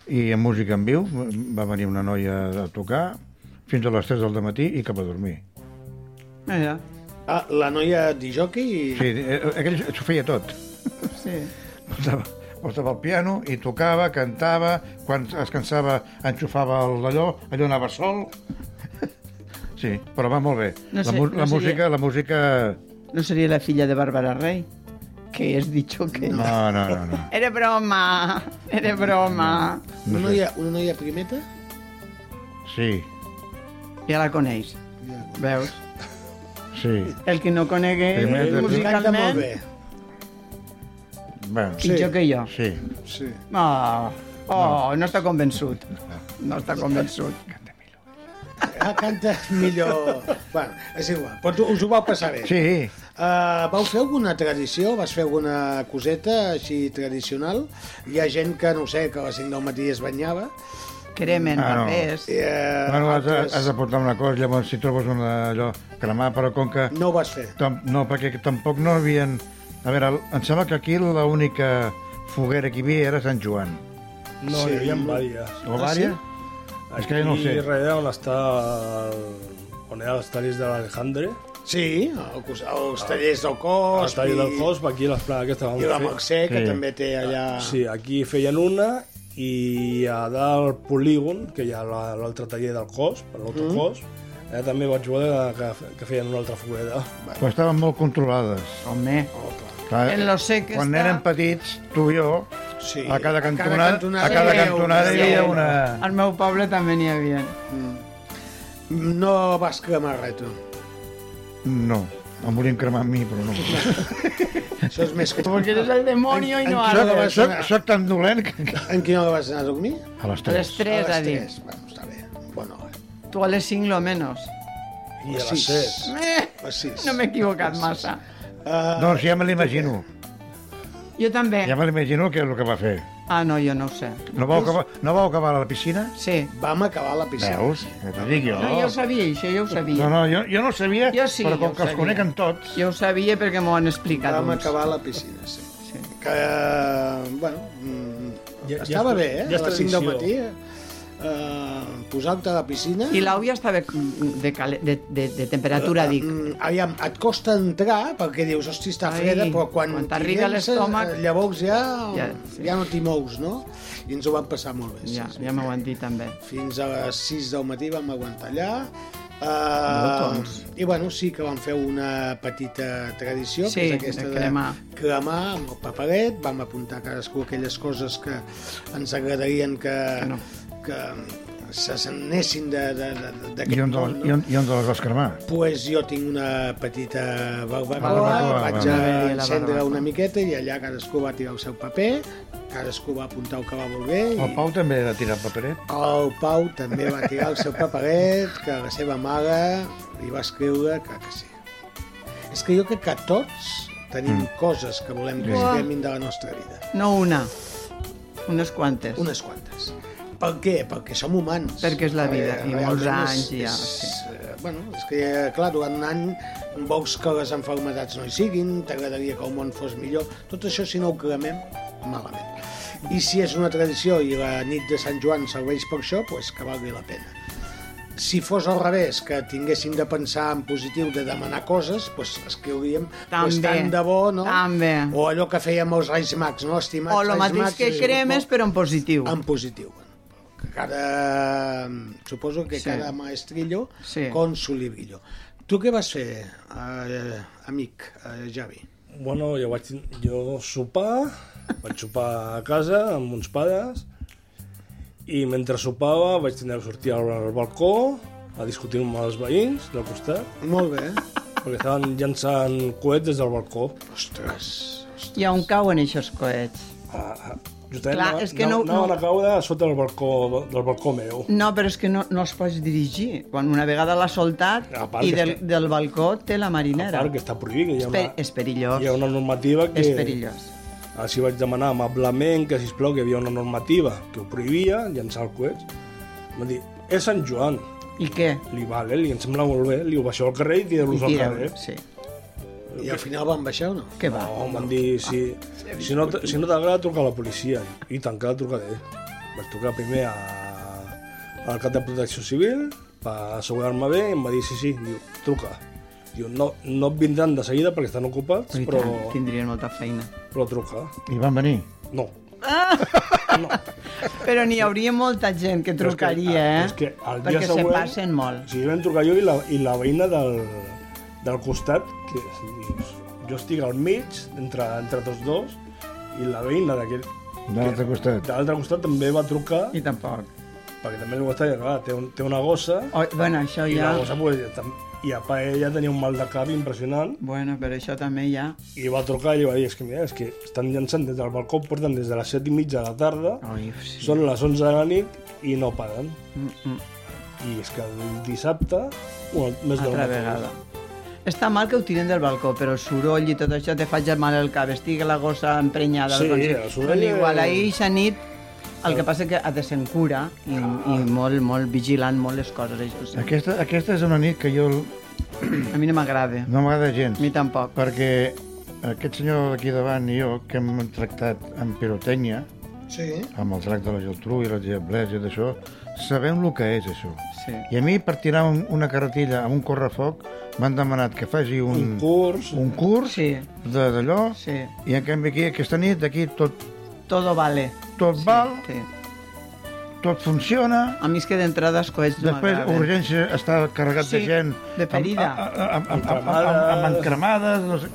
i amb música en viu, va venir una noia a tocar, fins a les 3 del matí i cap a dormir.
Mira,
Ah, la noia disjockey...
Sí, eh, aquell s'ho feia tot.
sí.
Portava, portava el piano i tocava, cantava, quan es cansava enxufava el d'allò, allò anava sol. Sí, però va molt bé.
No sé,
la, mu-
no
la,
sé
música, la música...
No seria la filla de Bàrbara Rey? Que és dicho que...
No, no, no. no.
Era broma, era broma.
Una noia, una noia primeta?
Sí,
Ja la coneix, veus?
sí.
El que no conegui
Primer de-
Canta molt
musicalment,
bé.
Bueno, sí.
pitjor que jo.
sí.
Sí.
Oh, oh, no està convençut. No està convençut.
Ah, canta millor... bueno, és igual, però tu- us ho vau passar bé.
Sí,
Uh, vau fer alguna tradició? Vas fer alguna coseta així tradicional? Hi ha gent que, no ho sé, que a les 5 del matí es banyava.
Cremen,
Ah, no.
papers...
Eh,
Bueno, has, de-
altres
has de portar una cosa, llavors si trobes una allò cremar, però com que...
No ho vas fer.
Tam, no, perquè tampoc no havien... A veure, em sembla que aquí l'única foguera que hi havia era Sant Joan.
No,
Sí.
hi havia vàries. Ah,
O Vària? És que jo no ho
Aquí
sé.
darrere on està el... on hi ha els tallers de l'Alejandre,
Sí, al cos- als tallers del
el
cos...
taller del
i-
Fos, aquí a l'esplanada aquesta
I la
vam fer.
Mercè, que
Sí.
també té allà...
Sí, aquí feien una i a dalt al polígon, que hi ha la- l'altre taller del cos, per l'altre
Mm.
cos, allà també vaig veure que, que feien una altra foguera.
Però estaven molt controlades.
Home,
Oh,
Clar,
En lo sé que
quan
està.
érem petits, tu i jo,
Sí,
a cada cantonada, a cada
hi havia
cantonada hi havia
una.
una...
al meu poble també n'hi havia.
Mm. No vas cremar res, tu.
No, em volien cremar a mi, però no.
Això és més que...
Perquè eres el demoni i no
en-
ara.
en-
Soc, soc tan dolent que...
En quina hora vas anar a dormir?
A les
A les
3.
3,
a
ha
les
dit.
3. Bueno, està bé. Bona hora.
Tu a les 5 lo menos.
I a
Sí.
les set.
Eh,
A les 6. Ah,
no m'he equivocat massa.
Doncs ja me l'imagino.
Jo també.
Ja me l'imagino que és el que va fer.
Ah, no, jo no ho sé.
No vau acabar, no vau acabar a la piscina?
Sí.
Vam acabar a la piscina.
Veus? Ja T'ho dic jo.
No, jo ho sabia, això jo ho sabia.
No, no, jo, jo no ho sabia,
Jo sí,
però
jo
com
ho
que els
sabia.
conec en tots...
Jo ho sabia perquè m'ho han explicat doncs.
Vam
uns.
acabar a la piscina, sí.
Sí.
Que, bueno, mm,
Ja- ja
estava
és-
bé, eh?
ja és
a les 5 del matí,
tradició.
eh, posar-te a la piscina...
I l'au ja estava de, cale- de, de, de temperatura, dic.
Mm, aviam, et costa entrar perquè dius, hosti, està
Ai,
freda, però quan,
quan
t'hi
t'arribi a
llences,
l'estómac-
eh, Llavors ja, ja,
Ja,
sí.
sí.
ja no t'hi mous, no? I ens ho vam passar molt bé. sí,
Ja,
sí.
ja m'ho han dit també.
Fins a les 6 del matí vam aguantar allà.
Moltons.
Uh, I bueno, sí que vam fer una petita tradició,
Sí,
que és aquesta
de cremar.
de cremar amb el paperet, vam apuntar cadascú aquelles coses que ens agradarien que,
Que no.
que se n'anessin de- de- de- d'aquest
I on, te les, i, on, I on te les vas cremar?
pues jo tinc una petita barbacoa,
Barbacoa,
vaig
va,
va.
a Eh, encendre una miqueta i allà cadascú va tirar el seu paper, cadascú va apuntar el que va voler i
El Pau també va tirar paperet?
el Pau també va tirar el seu paperet, que la seva mare li va escriure que, que sí. És que jo crec que tots tenim mm. coses que volem que es cremin de la nostra vida.
No una, unes quantes.
Unes quantes. Per què? Perquè som humans.
Perquè és la vida, i molts
realment
anys ja,
Eh, És, eh, bueno, és que, eh, clar, durant un any vols que les enfermedades no hi siguin, t'agradaria que el món fos millor. Tot això, si no ho cremem, malament. I si és una tradició i la nit de Sant Joan serveix per això, doncs que valgui la pena. Si fos al revés, que tinguéssim de pensar en positiu, de demanar coses, doncs escriuríem doncs,
També,
tant de bo, no?
també.
O allò que fèiem els Reis Mags, no? Estimats
O el
Reis
mateix
Mags,
que
és
cremes,
bo
però en positiu.
en positiu. Que Cada, suposo que
Sí.
cada maestrillo
Sí.
con su librillo. Tu què vas fer, eh, amic eh, Javi?
Bueno, jo vaig jo sopar, vaig sopar a casa amb uns pares i mentre sopava vaig tindre que sortir al balcó a discutir amb els veïns del costat
Molt bé.
perquè estaven llançant coets des del balcó.
Ostres.
I on cauen aquests coets?
Ah, Justament
Clar,
anava-
és que no-
anava- anaven
no-
a caure a sota del balcó, del balcó meu.
No, però és que no, no els pots dirigir. Quan una vegada l'ha soltat
A part
i
que
del,
està-
del balcó té la
A
marinera.
part Ah, que està prohibit, que hi ha
És,
una,
per, és perillós.
hi ha una normativa que...
És perillós.
Així vaig demanar amablement que, sisplau, que hi havia una normativa que ho prohibia, llançar coets. M'ha dit, és Sant Joan.
I què?
Li vale, li em sembla molt bé, li ho baixeu al carrer i tireu-los al
tira-
carrer.
Sí.
I al final van baixar o no?
Què va?
No, em van dir, si, si no, t- si no t'agrada, truca a la policia. I tant, que la trucaré. Vaig trucar primer a, al cap de protecció civil per assegurar-me bé i em va dir, sí, sí, diu, truca. Diu, no, no et vindran de seguida perquè estan ocupats,
I
però,
tant, tindrien molta feina.
però truca.
I van venir.
No.
Però n'hi hauria molta gent que
Però és que- ah,
trucaria, eh?
és que el dia
Perquè
següent-
se passen
O
molt.
sigui, vam trucar jo i la, i la veïna del, del costat, que dius, jo estic al mig, entre, entre tots dos, i la veïna d'aquell
De l'altre costat.
de l'altre costat també va trucar,
I tampoc.
perquè també li va estar clar, té, un, té una gossa,
O, bueno, això
i
ja...
la gossa, pues, tam- i a part ella tenia un mal de cap impressionant,
Bueno, però això també ja...
i va trucar i li va dir, és que mira, és que estan llançant des del balcó, porten des de les 7 i mitja de la tarda,
Ai, sí.
Són les 11 de la nit i no paren. I és que el dissabte, o el- més del
Altra
mateix.
vegada. Està mal que ho tiren del balcó, però el soroll i tot això te fa mal el cap. Estigui la gossa emprenyada.
Sí,
al balcó.
el soroll
Però igual,
és-
ahir aquesta nit el que passa que ha de ser en cura i,
Ah.
i molt, molt vigilant molt les coses. Això, sí.
Aquesta, aquesta és una nit que jo
A mi no m'agrada,
no m'agrada gens.
a mi tampoc.
Perquè aquest senyor d'aquí davant i jo, que hem tractat amb pirotècnia,
Sí.
amb el drac de la Geltrú i les Diablets i d'això, sabem el que és això.
Sí.
I a mi, per tirar un, una carretilla amb un correfoc, m'han demanat que faci un,
Un curs,
un curs
Sí,
de- d'allò,
sí.
i en canvi aquí, aquesta nit, aquí tot,
Todo vale.
tot val,
Sí.
tot funciona,
A mi és que d'entrada els coets no
Després,
m'agraden.
urgència, està carregat de
Sí,
gent...
de ferida.
Ah,
Amb, amb, amb, amb, amb, amb, amb encremades... No sé.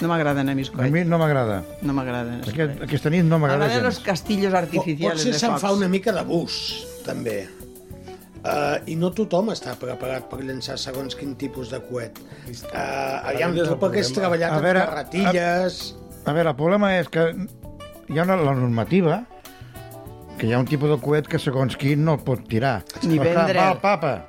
No m'agraden a mi els
A
coets.
mi no m'agrada.
No m'agraden. els
Aquest,
coets.
aquesta nit no m'agrada
M'agraden els
gens.
castillos artificials
Potser
de
se'n
focs.
fa una mica d'abús, també. Uh, I no tothom està preparat per llançar segons quin tipus de coet. Uh, aviam,
Aquest és
tu
el
perquè
problema.
has treballat
A
amb
veure,
carretilles...
A veure, el problema és que hi ha una, la normativa que hi ha un tipus de coet que segons qui no el pot tirar.
Ni
Per tant,
vendre'l.
Va al papa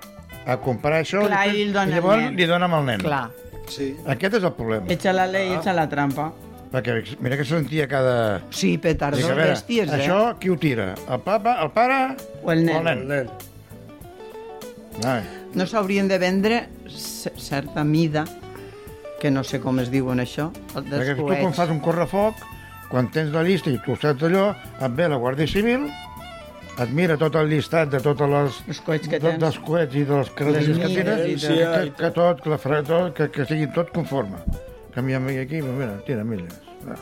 a comprar això
Clar,
després-
i el dona
llavors
ah.
al nen.
li dona amb el nen.
Clar.
Sí.
Aquest és el problema.
Echa la ley, echa la trampa.
Perquè mira que sentia cada...
Eh. Sí, petardos
Dic, a veure,
bèsties, eh?
això qui ho tira? El papa, el pare
O el nen.
O el nen.
Nen,
Ai,
No s'haurien de vendre ce- certa mida, que no sé com es diuen això, el dels
perquè tu quan
coets.
fas un correfoc, quan tens la llista i tu saps allò, et ve la Guàrdia Civil, et mira tot el llistat de totes les...
Els coets que
de-
tens.
dels coets i de les carretilles que
mides
tenen,
i
que,
de-
que, que tot, que la farà tot, que, que sigui tot conforme. Canviem aquí, doncs mira, tira milles. Ah.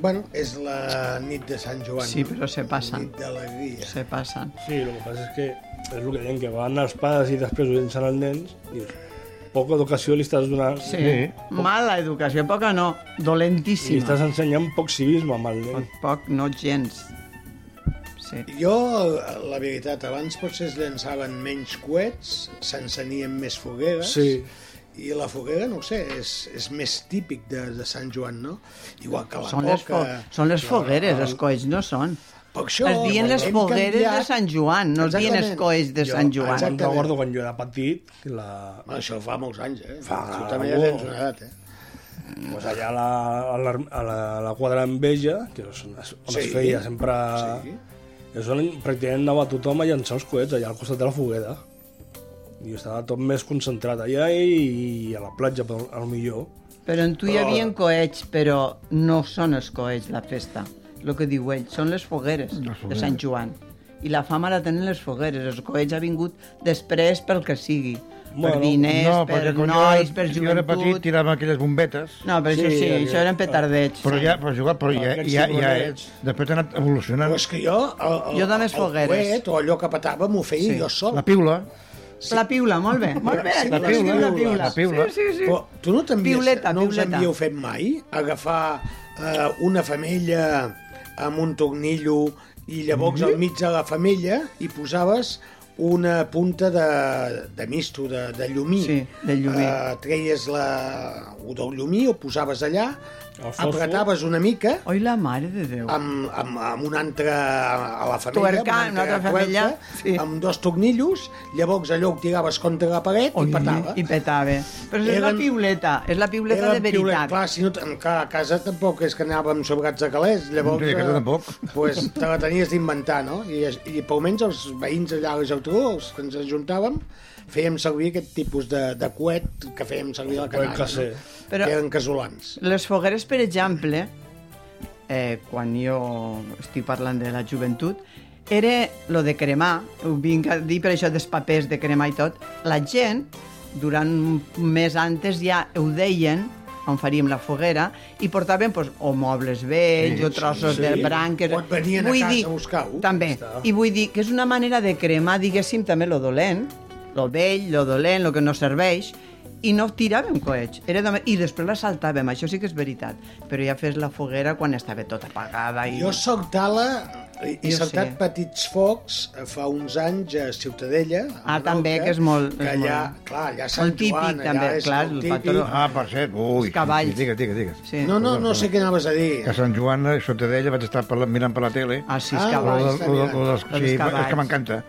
Bueno, és la nit de Sant Joan.
Sí, però se passen.
Nit d'alegria.
Se passen.
sí, el que passa és que és el que deien, que van els pares i després ho llencen als nens, dius, poca educació li estàs donant
Sí.
Sí.
Mala educació, poca no,
i
dolentíssima.
estàs ensenyant poc civisme amb el nen.
Poc, no gens. Sí.
Jo, la veritat, abans potser es llançaven menys coets, s'encenien més fogueres,
Sí.
i la foguera, no ho sé, és, és més típic de, de Sant Joan, no? Igual que la
Són les, fo
coca...
són les fogueres, els colls no són.
Per això,
Es diuen les
hem
fogueres de
canviat-
Sant Joan, no es diuen els
Exactament.
colls de
Jo,
Sant Joan.
Me'n
Exactament.
recordo quan jo era petit, la,
Bueno, això fa molts anys, eh? Fa... Tu
Ah,
també ja
bo.
tens una edat, eh?
pues allà a la, a la, a la, a la quadra enveja, que és on, es, on sí.
Sí.
es feia sempre...
Sí.
Sí. És on pràcticament anava tothom a llançar els coets allà al costat de la foguera. I estava tot més concentrat allà i, i a la platja, per, al millor.
Però en tu hi
Però-
havia coets, però no són els coets la festa, el que diu ell, són les fogueres de Sant Joan. I la fama la tenen les fogueres, els coets ha vingut després pel que sigui, per
Bueno,
diners,
no, perquè
per
quan
nois,
jo,
per
jo era petit
joventut...
tiràvem aquelles bombetes,
No, però això
Sí,
sí,
havia-
això eren petardets.
però
sí.
ja, però jugar, però ja,
Aquests
ja, ja,
xiulets.
després ha anat evolucionant.
Però és que jo... El, el,
Jo també les fogueres.
El coet o allò que petava m'ho feia
Sí.
jo sol.
La piula,
La piula, molt bé. Molt bé,
Sí, la
la piula, la
piula,
piula.
la piula.
Sí, sí, sí.
Però tu no t'havies,
Piuleta,
no us
piuleta.
havíeu fet mai agafar eh, una femella amb un tornillo i llavors
Mm.
al mig de la femella hi posaves una punta de, de misto, de, de llumí.
Sí, de llumí.
Eh, treies la, o del llumí, ho posaves allà,
El fòsfor.
apretaves una mica
Oi, la mare de Déu.
amb, amb, amb un altre a la femella,
Tuercant,
amb un altre
una altra femella,
tuerca,
sí.
amb dos tornillos, llavors allò ho tiraves contra la paret
Oi,
i petava.
I petava. Però és la
Eren-
piuleta, és la piuleta de
Era piulet,
veritat.
Clar, si no, t- clar, a casa tampoc és que anàvem sobrats de calés, llavors...
Sí, a casa
eh,
tampoc.
Pues, te la tenies d'inventar, no? I, es- I per almenys els veïns allà a la Geltrú, els que ens ajuntàvem, fèiem servir aquest tipus de, de coet que fèiem servir a la
Coet
canalla,
cacer.
no?
Però-
que eren casolans.
Les fogueres, per exemple, eh, quan jo estic parlant de la joventut, era lo de cremar, ho vinc a dir per això dels papers de cremar i tot, la gent, durant un mes antes ja ho deien, on faríem la foguera, i portaven pues, o mobles vells, sí, o trossos sí, de branques...
O et venien a casa a buscar-ho.
També. I vull dir que és una manera de cremar, diguéssim, també lo dolent, lo vell, lo dolent, lo que no serveix, i no tiràvem coets. Era de... I després la saltàvem, això sí que és veritat. Però ja fes la foguera quan estava tota apagada. I...
Jo saltava i, i
Jo
saltat
sí.
petits focs eh, fa uns anys a Ciutadella. a
Ah,
Menorca,
també, que és molt-
Que
és
allà,
molt-
clar, allà a Sant
molt típic,
Joan, allà
també,
és
clar,
molt
el
típic.
patró.
Ah, per cert, ui.
Els cavalls.
Digues, digues, digues.
Sí.
No, no, no sé què anaves a dir.
Que a Sant Joan, eh, sota d'ella, vaig estar parlant, mirant per la tele.
Ah, sí,
Ah,
els
Lo
cavalls.
del- lo del- lo dels-
Els
sí,
cavalls.
és que m'encanta.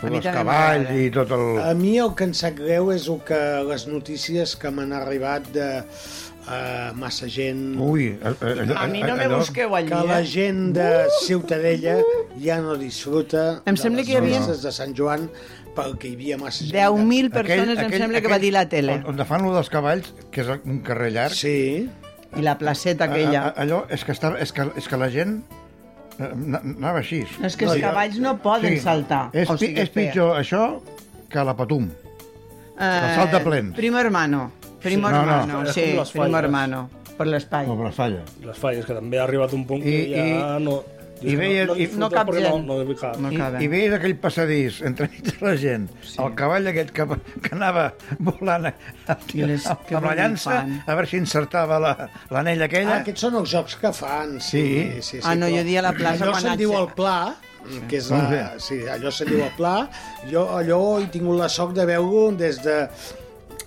A mi
Els
també
cavalls
m'agrada.
i tot el...
A mi el que em sap greu és el que les notícies que m'han arribat de uh, massa gent...
Ui, eh, a, a, a,
A mi no me
allò-
busqueu allí,
que la
eh?
gent de Ciutadella ja no disfruta
Em
de
sembla
les
que hi havia-
notícies de Sant Joan perquè hi havia massa gent.
10.000 persones, em sembla que va dir la tele.
On, on fan lo dels cavalls, que és un carrer llarg,
Sí,
I la placeta
aquella. A,
aquella.
a, allò és que, estava, és que, és que la gent eh, na- anava així.
No, és que els cavalls no poden saltar,
És,
o
pi,
sigui,
és
fer.
pitjor això que la patum.
Eh,
salta plens.
Primo hermano. Primo
Sí. No, no.
hermano,
És
sí,
com les
primo
falles.
hermano. Per l'espai.
Ah. No, però falla.
Les falles, que també ha arribat un punt que
I-
ja
i-
no...
i veia-
no,
i-
disfruta
No cap
perquè
gent.
No, no, cap.
No
I,
caben.
I veies aquell passadís entre mig de la gent, sí. el cavall aquell que, que anava volant a, a,
I les-
amb
que
la
bon
llança,
infant.
a veure si encertava la- l'anella aquella.
Ah, aquests són els jocs que fan, sí.
Sí.
sí, sí
Ah, no, jo dia a la plaça
allò
quan
se'n
haig-
diu el pla, que és
Com
la,
que?
sí, allò se'n diu el pla. Jo allò he tingut la sort de veure-ho des de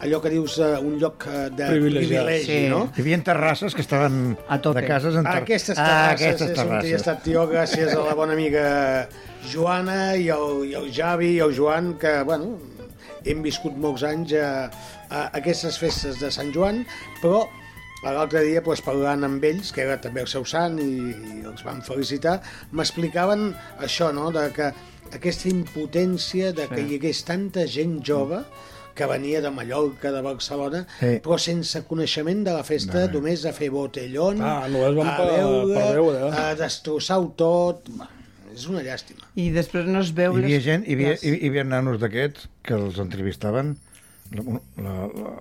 allò que dius eh, un lloc eh, de
Privilegiat.
privilegi,
Sí.
no?
Hi havia terrasses que estaven
A tope.
de cases en
Ah,
ter...
Aquestes
Ah,
terrasses,
aquestes
és on hi he
terrasses.
estat jo gràcies a la bona amiga Joana i el, i el Javi i el Joan, que, bueno, hem viscut molts anys a, a aquestes festes de Sant Joan, però L'altre dia, doncs, parlant amb ells, que era també el seu sant i, i els van felicitar, m'explicaven això, no?, de que aquesta impotència de que hi hagués tanta gent jove que venia de Mallorca, de Barcelona,
Sí.
però sense coneixement de la festa,
No.
només a fer botellón,
Ah, només van per- eh? per veure.
a eh, destrossar-ho tot... Bah, És una llàstima.
I després no es veu...
Hi havia
les-
gent, hi havia,
les-
hi, hi havia nanos d'aquests que els entrevistaven, la, la, la,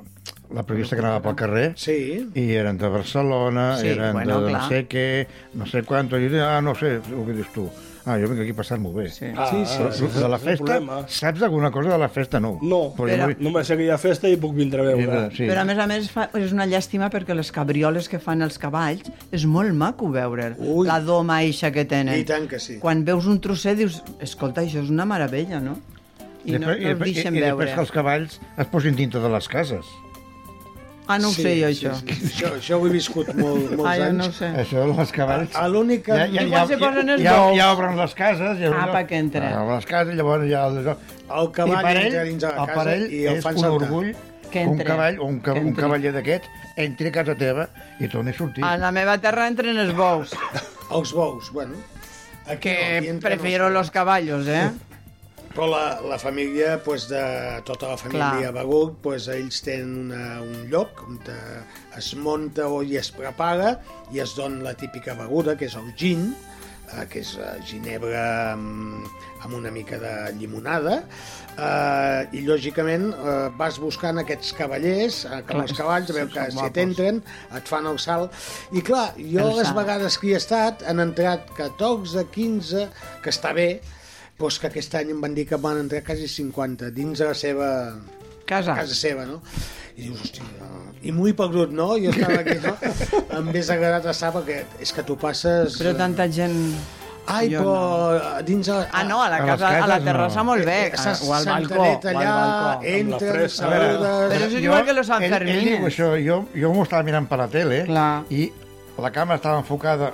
la prevista que anava pel carrer,
Sí,
i eren de Barcelona,
Sí,
eren
bueno,
de, de no
clar.
sé què, no sé quanto, i jo deia, ah, no sé, el que dius tu. Ah, jo vinc aquí a passar-m'ho bé.
Sí.
Ah, sí,
Però, de la festa, saps alguna cosa de la festa? No.
No,
Però jo vull...
només sé que hi ha festa i puc vindre a veure.
Sí.
Però a més a més fa, és una llàstima perquè les cabrioles que fan els cavalls és molt maco veure
Ui.
la doma eixa que tenen.
I tant que sí.
Quan veus un trosset dius, escolta, això és una meravella, no? I no, no els deixen
i, i
veure.
després que els cavalls es posin dintre de les cases.
Ah, no ho
Sí,
sé jo,
sí,
això.
sí. Això, això ho he viscut molt, molts
Ah, jo
anys.
no ho sé.
Això, els cavalls...
A l'únic que...
Igual se posen els
ja,
dos.
ja obren les cases... Ja,
Apa, que Ah, entra.
Ja obren les cases, llavors ja...
El cavall
I per ell,
entra dins de la casa
per ell
i el
és
fan
un
saltar.
orgull
Que
que un
entri.
cavall o un, ca
Que
un
entri.
cavaller d'aquest entri a casa teva i torni a sortir.
A la meva terra entren els bous,
Els bous, bueno. Aquí no, aquí
que
entren
prefiero
els-
los caballos, eh?
Però la, la família, pues, de tota la família
Clar.
Baguc, pues, ells tenen una, un lloc on te, es monta o hi es prepara i es dona la típica beguda, que és el gin, eh, que és eh, ginebra amb, amb una mica de llimonada, eh, i lògicament eh, vas buscant aquests cavallers, eh, que
Clar,
els cavalls, a veure
són
que si
guapos.
t'entren, et fan el salt. I clar, jo
El
les
salt.
vegades que hi he estat han entrat 14, 15, que està bé, però és que aquest any em van dir que van entrar quasi 50 dins de la seva
Casa.
casa seva, no? I dius, hòstia, i muy perdut, no? Jo estava aquí, no? em hauria agradat estar perquè és que tu passes... eh,
Però tanta gent...
Ai,
jo
però eh, dins... de-
Ah, no, a la
A les
casa, a la
cases, no.
terrassa molt bé,
Eh, eh,
o al balcó,
Santanet
o al
allà,
balcó.
Amb la
entra,
fresa.
saludes...
Però això és igual que los
ell, ell diu
Sanfermines.
això, jo, jo m'ho estava mirant per la tele
Clar.
i la càmera estava enfocada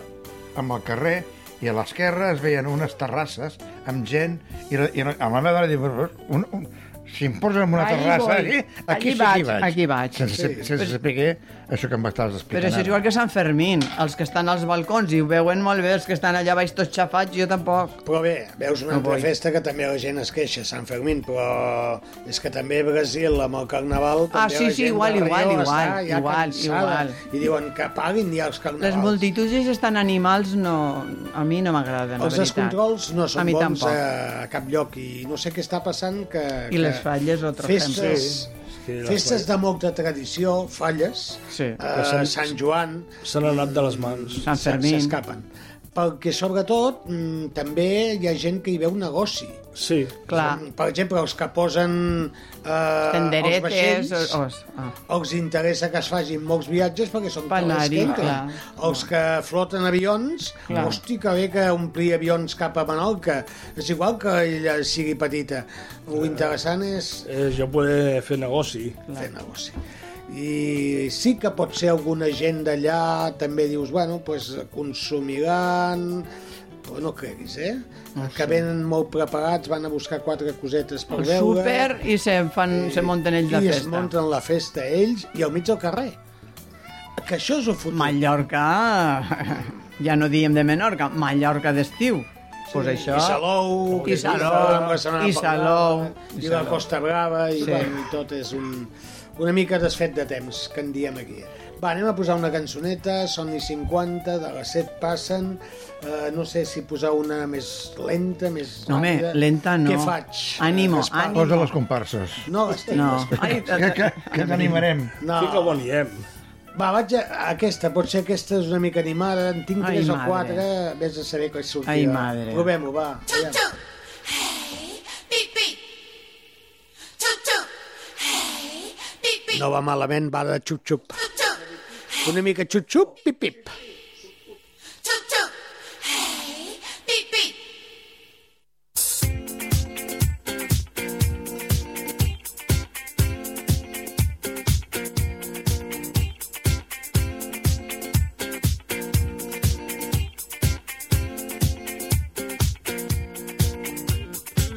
amb el carrer i a l'esquerra es veien unes terrasses amb gent i, la- i la- amb la meva dona diu un, un, si em posen en una
Allí
terrassa
voy.
aquí, aquí,
Allí
sí
vaig,
que hi vaig.
aquí vaig.
Sense,
Sí.
sí. sense saber això que em estaves explicant.
Però això és igual que Sant Fermín, els que estan als balcons i ho veuen molt bé, els que estan allà baix tots xafats, jo tampoc.
Però bé, veus una
No
altra
vull.
festa que també la gent es queixa, Sant Fermín, però és que també a Brasil, amb el carnaval...
Ah,
també
sí,
la
sí,
gent
igual,
de
igual,
Rio
igual,
està ja
igual,
cansada.
igual.
I diuen que paguin ja els carnavals.
Les multituds i estan animals no... a mi no m'agraden, la
Els
veritat.
descontrols no
a
són
mi
bons eh?
tampoc.
a, a cap lloc i no sé què està passant que... que
I les falles, otro
festes,
Sí, les
festes
falles.
de molta tradició, falles,
Sí.
eh,
Sant-
Sant Joan,
S'han anat de les mans.
Sant
se-
Fermín.
s'escapen. Perquè, sobretot, mm, també hi ha gent que hi veu negoci.
Sí.
Clar,
Són, Per exemple, els que posen eh, els
tenderetes...
vaixells,
Os, os, ah.
els interessa que es facin molts viatges perquè són
Per
calés que
anar-hi,
entren.
clar.
Els que floten avions,
Clar.
hosti, que bé que omplir avions cap a Menorca. És igual que ella sigui petita. Lo interessant és
Eh, jo poder fer negoci.
fer negoci. I sí que pot ser alguna gent d'allà, també dius, bueno, pues, consumiran... Però no creguis, eh?
Ah,
que venen molt preparats, van a buscar quatre cosetes per
El
veure...
súper i se, fan, se munten ells la
eh? I es
festa.
munten la festa ells i al mig del carrer. Que això és el futur.
Mallorca, ja no diem de Menorca, Mallorca d'estiu. Doncs pues això...
I Salou,
I
que
Salou,
estàvem la setmana
i
passada,
Salou, i
i la
Salou.
Costa Brava, i,
Sí.
bueno, i tot és un, una mica desfet de temps, que en diem aquí. Va, anem a posar una cançoneta, són i 50, de les 7 passen, eh, no sé si posar una més lenta, més
No, home,
ràpida.
lenta no.
Què faig?
Ànimo,
Gaspar?
ànimo.
Posa les comparses.
No, les tinc,
No.
les-
Ai,
Que, que, que t'animarem.
no.
Fica bon iem.
Va, vaig a aquesta, potser aquesta és una mica animada, en tinc
Ai,
3 o
madre.
4, vés a saber què sortirà.
Ai, madre.
Provem-ho, va. aviam. No va malament, va de xup-xup. Una mica xup-xup, pip-pip.
Choo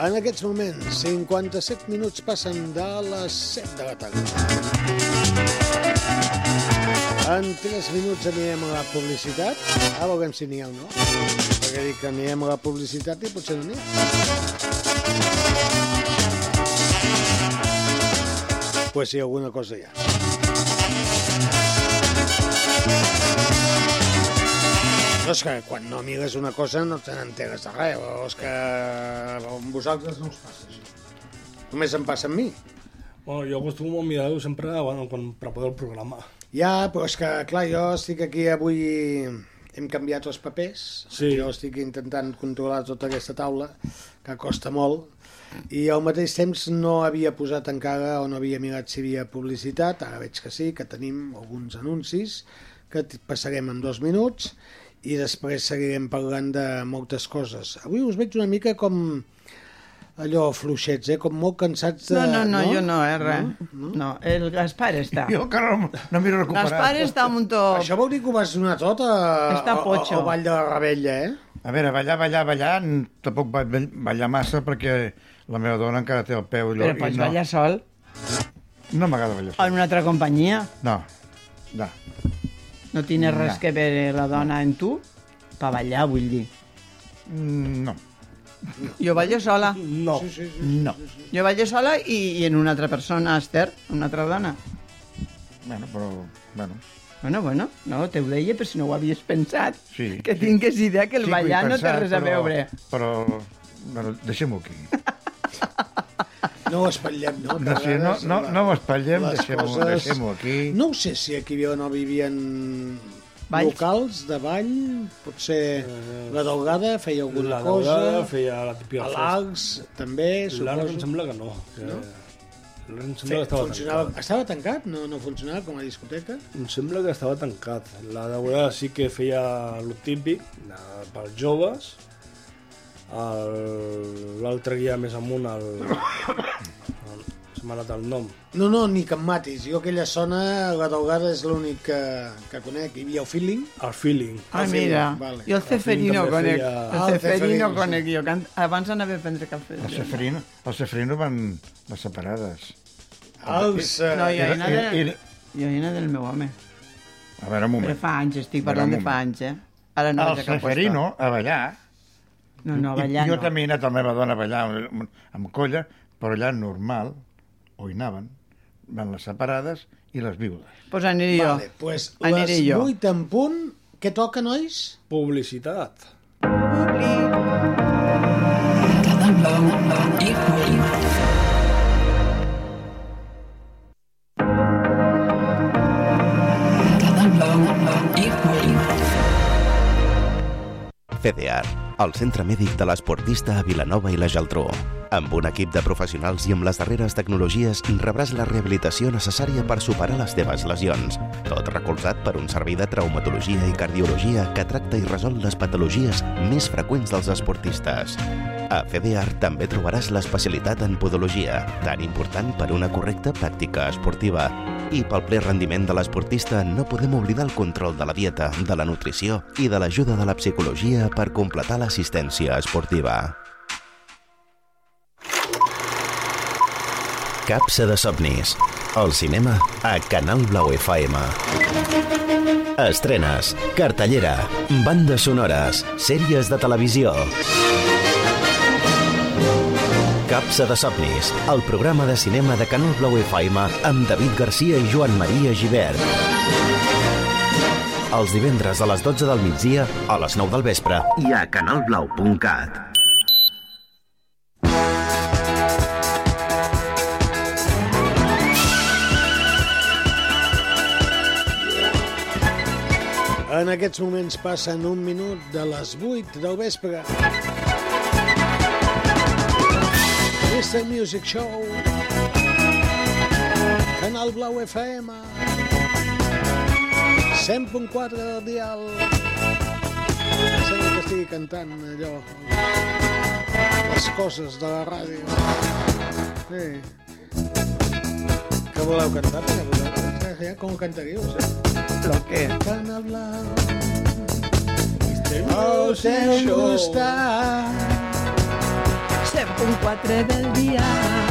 En aquests moments, 57 minuts passen de les 7 de la tarda. En 3 minuts anirem a la publicitat. A veurem si n'hi ha o no. Perquè dic que anirem a la publicitat i potser no n'hi ha. Pues sí, alguna cosa hi ha. No, és que quan no mires una cosa no te n'enteres de res. O és que amb vosaltres no us passa això. Només em passa a mi.
Bueno, jo acostumo a mirar-ho sempre bueno, quan preparo el programa.
Ja, però és que, clar, jo estic aquí avui... Hem canviat els papers.
Sí.
Jo estic intentant controlar tota aquesta taula, que costa molt. I al mateix temps no havia posat encara o no havia mirat si hi havia publicitat. Ara veig que sí, que tenim alguns anuncis que t- passarem en dos minuts i després seguirem parlant de moltes coses. Avui us veig una mica com allò fluixets, eh? com molt cansats de...
No, no, no, jo no, eh, res. No, no. el Gaspar està.
Jo encara no, no m'he recuperat.
Gaspar està amb un top.
Això vol dir que ho vas donar tot a,
Està
a- a,
potxo.
a Vall de la Rebella, eh?
A veure, ballar, ballar, ballar, n- tampoc vaig ball- ballar massa perquè la meva dona encara té el peu allò.
Però
i
pots
no,
ballar sol
No m'agrada ballar. sol.
en una altra companyia.
No, no.
No tienes res
No.
que veure la dona en tu per ballar, vull dir.
Mm, No,
Jo ballo sola.
No,
no.
Jo ballo sola i, i en una altra persona, Esther, una altra dona.
Bueno, però... Bueno.
Bueno, bueno, no, te ho deia, però si no ho havies pensat.
Sí,
que
sí.
tingues idea que el
Sí,
ballar
vull
no té
pensar,
res a
però-
veure.
Però... Bueno, deixem-ho aquí.
No ho espatllem, no?
No, sí, no, no, no ho espatllem,
Les
deixem-ho
coses-
deixem aquí.
No ho sé si aquí viuen o vivien
Valls.
locals de ball, potser la Daugada feia alguna
Eh, la
cosa,
daurada feia la típica
a
festa.
l'Arcs també,
L'Arc em
suposo.
sembla que no. Que... No? Em sembla que Eh, estava
Funcionava,
tancat.
estava tancat? No, no funcionava com a discoteca?
Em sembla que estava tancat. La daurada sí que feia el típic, la- pels joves, El- l'altre guia més amunt, el... el... se m'ha anat el nom.
No, no, ni que em matis. Jo aquella zona, la Daugada és l'únic que, que conec. Hi havia el feeling.
El feeling.
Ah,
sí,
mira,
vale.
jo el Ceferino
també
conec.
feia-
Ah,
El
el Ceferino,
Ceferino
sí.
conec jo, que an- abans anava a prendre cafè.
El Sefrino, el Sefrino van les separades.
Els...
No,
Eh,
jo era,
Era- era-
del, jo era del meu home.
A veure, un
Però
moment.
fa anys, estic parlant
Era
de
un
fa anys, eh? Ara no
El
vaig a cap
Seferino, a ballar,
lloc. No, no,
i-
ballar
jo
no.
també he anat amb la meva dona a ballar amb, amb colla, però allà normal, o hi anaven, van les separades i les viudes.
Pues aniré jo.
Vale, pues les
Aniré jo.
8 en punt, què toca, nois?
Publicitat.
CDR, el centre mèdic de l'esportista a Vilanova i la Geltrú. Amb un equip de professionals i amb les darreres tecnologies rebràs la rehabilitació necessària per superar les teves lesions, tot recolzat per un servei de traumatologia i cardiologia que tracta i resol les patologies més freqüents dels esportistes. A CDR també trobaràs l'especialitat en podologia, tan important per una correcta pràctica esportiva. I pel ple rendiment de l'esportista no podem oblidar el control de la dieta, de la nutrició i de l'ajuda de la psicologia per completar l'assistència esportiva. Capsa de somnis. El cinema a Canal Blau FM. Estrenes, cartellera, bandes sonores, sèries de televisió. Capsa de somnis, el programa de cinema de Canal Blau FM amb David Garcia i Joan Maria Givert. Els divendres a les 12 del migdia, a les 9 del vespre i a canalblau.cat.
En aquests moments passen un minut de les 8 del vespre. Mr. Music Show. Canal Blau FM. 100.4 del dial. Sembla que estigui cantant allò. Les coses de la ràdio. Sí. Que voleu cantar? Perquè vosaltres, eh, ja com ho cantaríeu? Sí.
Lo que...
Tan hablado. Oh, Os gusta.
Se Estem.
un 4 del dia.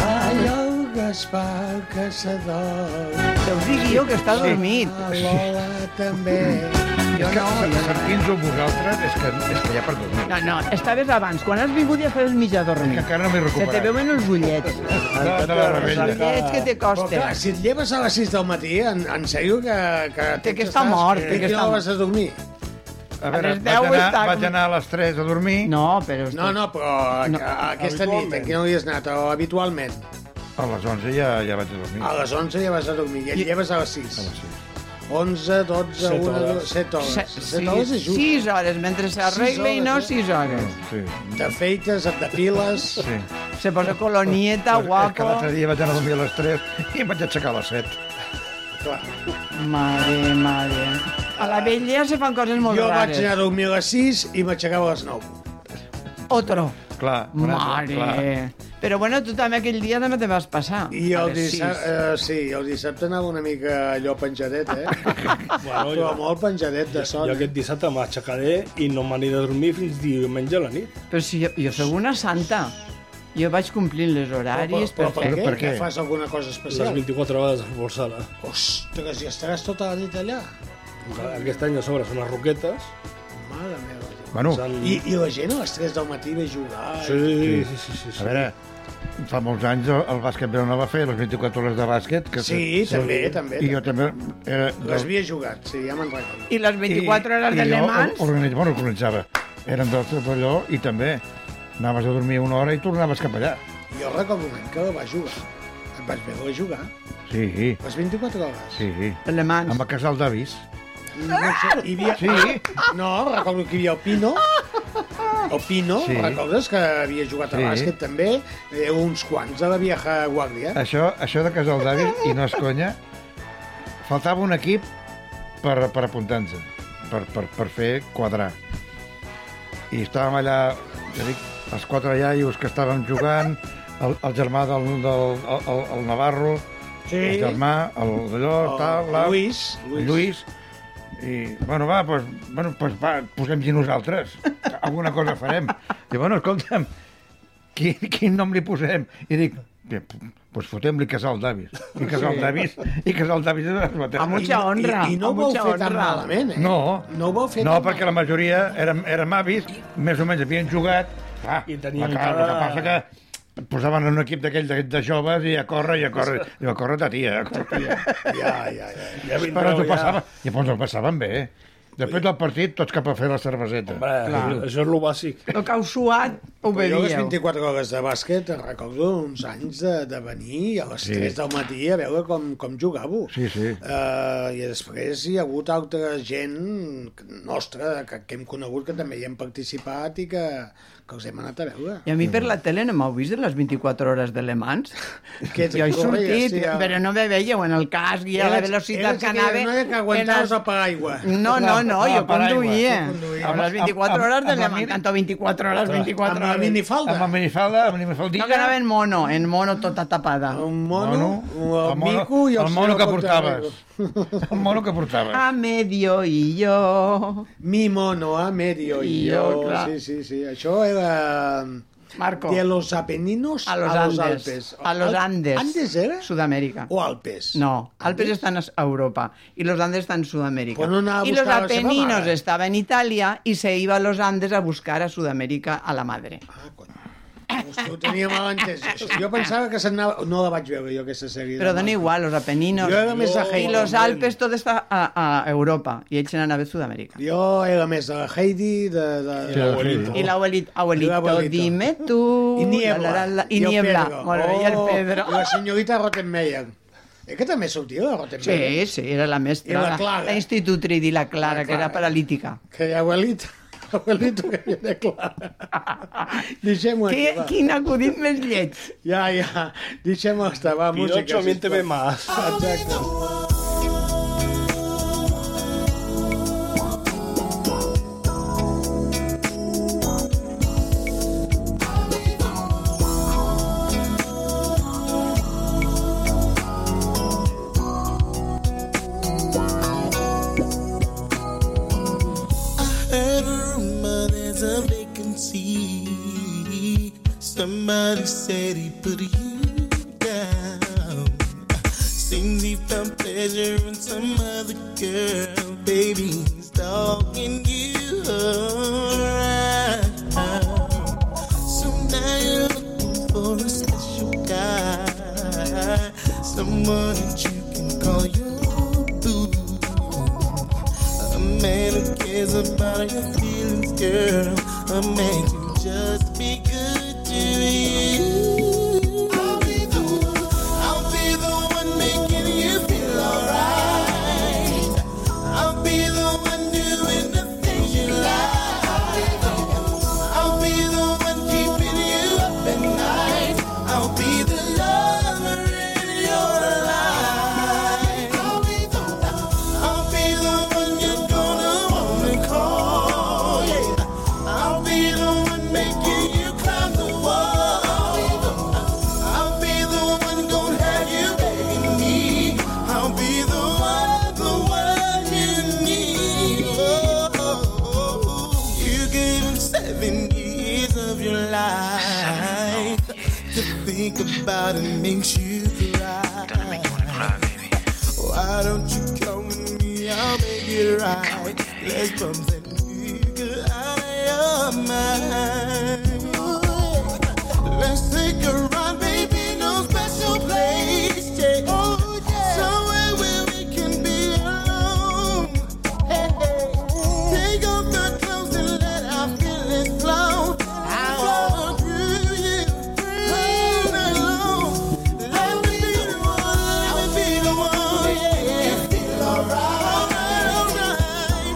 Allò Gaspar Casador,
Que us digui jo que està dormit.
la Lola també.
Jo no, jo no.
Sentint-ho amb vosaltres és que, és que ja per dormir.
No, no, estaves abans. Quan has vingut ja fas mitjà
Que
dormir.
encara no m'he
Se te
recuperat.
veuen els ullets.
De, de la rebella.
Ullets que te
Però clar,
costen.
si et lleves a les 6 del matí, en, en sèrio que... que
Té que
tens
estar
estàs-
mort, té que
A quina
estar
hora vas a dormir?
A veure,
A les deu
vaig anar,
està-
vaig anar a les 3 a dormir.
No, però... hosti,
No, no, però a,
No.
a, a aquesta nit, en quina hora hi has anat? O habitualment?
A les 11 ja, ja vaig a dormir.
A les 11 ja vas a dormir i et lleves a les 6.
A les sis.
11, 12,
Set
1,
hores.
7 hores.
se-
7 hores és
sis,
just.
sis hores, mentre s'arregla i
hores,
no
eh?
sis hores.
Sí,
T'afeites, et depiles...
sí.
Se posa colonieta,
És que
guapo.
l'altre dia vaig anar a dormir a les 3 i em vaig aixecar a les 7.
Clar.
Mare, mare. A la vella se fan coses molt
Jo vaig
rares.
anar a dormir a les 6 i m'aixecava a les 9.
Otro.
Clar, un altre, clar.
Mare. Però bueno, tu també aquell dia també te vas passar.
I
A
el
les sis.
dissabte, eh, sí, el dissabte anava una mica allò penjadet, eh?
Ah,
Bueno,
Però
jo,
molt penjadet de son.
jo aquest dissabte m'aixecaré i no m'aniré a dormir fins diumenge a la nit.
Però si jo, jo sóc una santa. Jo vaig complint les horaris,
però, per,
perfecte.
què?
per què?
Que fas alguna cosa
Les
especial?
24 hores esforçada.
Ostres, i estaràs tota la nit allà?
Aquest any a sobre són les roquetes.
Mare meva.
Bueno,
Se'n-
I, I la gent a les 3 del matí ve a jugar. eh?
Sí, sí, sí, sí, sí,
a veure, fa molts anys el, el bàsquet no va fer, les 24 hores de bàsquet. Que
Sí, també, també.
I jo també... eh, Era,
Les havia jugat, sí, ja me'n recordo.
I les 24 hores de Le Mans?
Organitz, bueno, organitzava. Eren del tot allò i també anaves a dormir una hora i tornaves cap allà.
Jo recordo un any que la va jugar. Et vaig veure jugar.
Sí, sí.
Les 24 hores.
Sí, sí.
Le Mans.
Amb el casal d'avis.
No sé, hi havia...
Sí.
No, recordo que hi havia el Pino. El Pino,
Sí.
sí. recordes que havia jugat
Sí.
a sí. bàsquet també? Eh, uns quants de la vieja guàrdia.
Això, això de casal d'avis, i no és conya, faltava un equip per, per apuntar-nos, per, per, per fer quadrar. I estàvem allà, ja dic, els quatre iaios que estàvem jugant, el, el germà del, del el, el, el Navarro,
Sí.
el germà, el d'allò, tal, la...
Lluís.
Lluís. Lluís. I, bueno, va, pues, bueno, pues, va posem-hi nosaltres. Alguna cosa farem. I, bueno, escolta'm, quin, quin nom li posem? I dic, bé, pues fotem-li Casal Davis. I Casal sí. Davis, i Casal Davis de les
A
maternes.
mucha honra.
I, i no
a
ho vau
mucha
fer tan
honra.
malament, eh?
No,
No ho vau fer
no
tan
perquè la majoria érem, érem avis, més o menys havien jugat, clar,
I tenien
la cara, el que
cara-
passa que et posaven en un equip d'aquell de, de joves i a córrer, i a córrer, i a córrer ta tia, a córrer.
Ja, ja, ja.
Ja
Però
vindreu,
t'ho passava, llavors ho passaven bé. Després del partit, tots cap a fer la cerveseta.
Hombre, això és el bàsic.
El que heu suat,
Però
ho
jo a les
veieu.
24 hores de bàsquet recordo uns anys de, de venir a les
Sí.
sí. 3 del matí a veure com, com jugàveu.
Sí, sí.
Uh, I després hi ha hagut altra gent nostra que, que hem conegut que també hi hem participat i que, que els hem anat a veure.
I a mi per la tele no m'heu vist de les 24 hores de Le Mans?
Que
Jo he
correies,
sortit,
sí, a-
però no me veieu en el casc i a la velocitat
eres
que anava.
Eres aquella noia que aguantaves el paraigua.
No, no, no,
Ah,
jo
paraigua,
conduïa.
tu conduïes.
Amb les 24
Amb-
hores
amb-
de Le
amb la
Mans.
mini-
Tanto 24 hores, 24
Amb la
hores.
minifalda.
Amb la minifalda, amb la minifaldilla.
No, que anava en mono, en mono tota tapada.
Un mono, el, mico i el,
el mono
senyor
que
Contarrego.
portaves. El mono que portaves.
Ah,
A medio i jo.
Mi mono a medio
I
i
jo,
jo.
clar.
Sí, sí, sí. Això era... mm,
Marco,
De los Apeninos
a los Andes.
Alpes.
A los Andes.
Andes era?
Sud-amèrica.
O Alpes?
No, Alpes estan a Europa y los Andes están en Sudamérica.
Pues no anava a
y los
buscar a la seva
Apeninos
mare.
estaba en Italia y se iba a los Andes a buscar a Sudamérica a la madre.
Ah, cony. Hosti, ho tenia mal entès. Jo pensava que s'anava... No la vaig veure, jo, aquesta sèrie.
Pero dan igual, los Apeninos.
Jo era més de
y
Heidi.
los Alpes todo está a, a Europa y echan a nave Sudamérica.
Jo era més de la Heidi, de... de,
Sí,
de...
l'abuelito.
Y el abuelito, abuelito,
El abuelito.
dime tú.
I
la,
Niebla.
la, la, y
el
niebla.
Pedro. Oh,
Bueno, y el Pedro.
I la senyorita Rottenmeier. Eh, que també sortia la Rottenmeier.
Sí, sí, era la maestra.
I la
la-
Clara.
La institutriz y la
La
Clara, que era
Clara.
paralítica.
Que hi ha abuelito. Abuelito que viene clara. Deixem-ho
Qui,
estar.
quin acudit més lleig.
Ja, ja. Deixem-ho estar. Va, música.
Pirocho, miénteme
sisplau. Ah,
más.
Exacte.
Every rumor there's a vacancy.
Somebody
Somebody
said he put you down. Seems he found pleasure in some other girl. Baby, he's talking you around. So now you're looking for a special guy. Someone that you can call your boo. A man who cares about your feelings, girl. A man can just be good to you. I'll be the one. I'll be the one making you feel alright. I'll be the one doing the things you like. I'll be the one keeping you up at night. I'll be the lover in your life. I'll be the I'll be the one you're gonna wanna call. Yeah. I'll be the one making you climb the wall. I'll be the one gonna have you begging me. I'll be the one, the one you need. Oh, you gave him seven years of your life. To think about it makes you cry. Why don't you come with me? I'll make it right. Let's bump that nigga out of your mind. Let's take a ride, baby. No special place. Yeah. Oh, yeah. Somewhere where we can be alone. Hey, hey. Take off the clothes and let our feelings flow. I'll walk through you, through and alone. I'll be the one, I'll be the one, yeah. You feel alright, alright.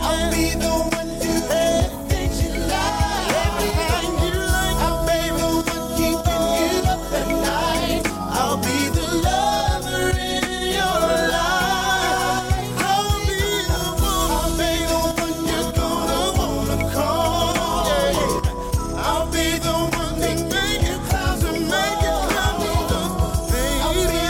I'll be the one to everything you like, everything you like. I'll be the one keeping you up at night. I'll be the lover in your life. I'll be the one, I'll be the one you're gonna wanna call. Yeah. I'll be the one that make you clouds and make you come to the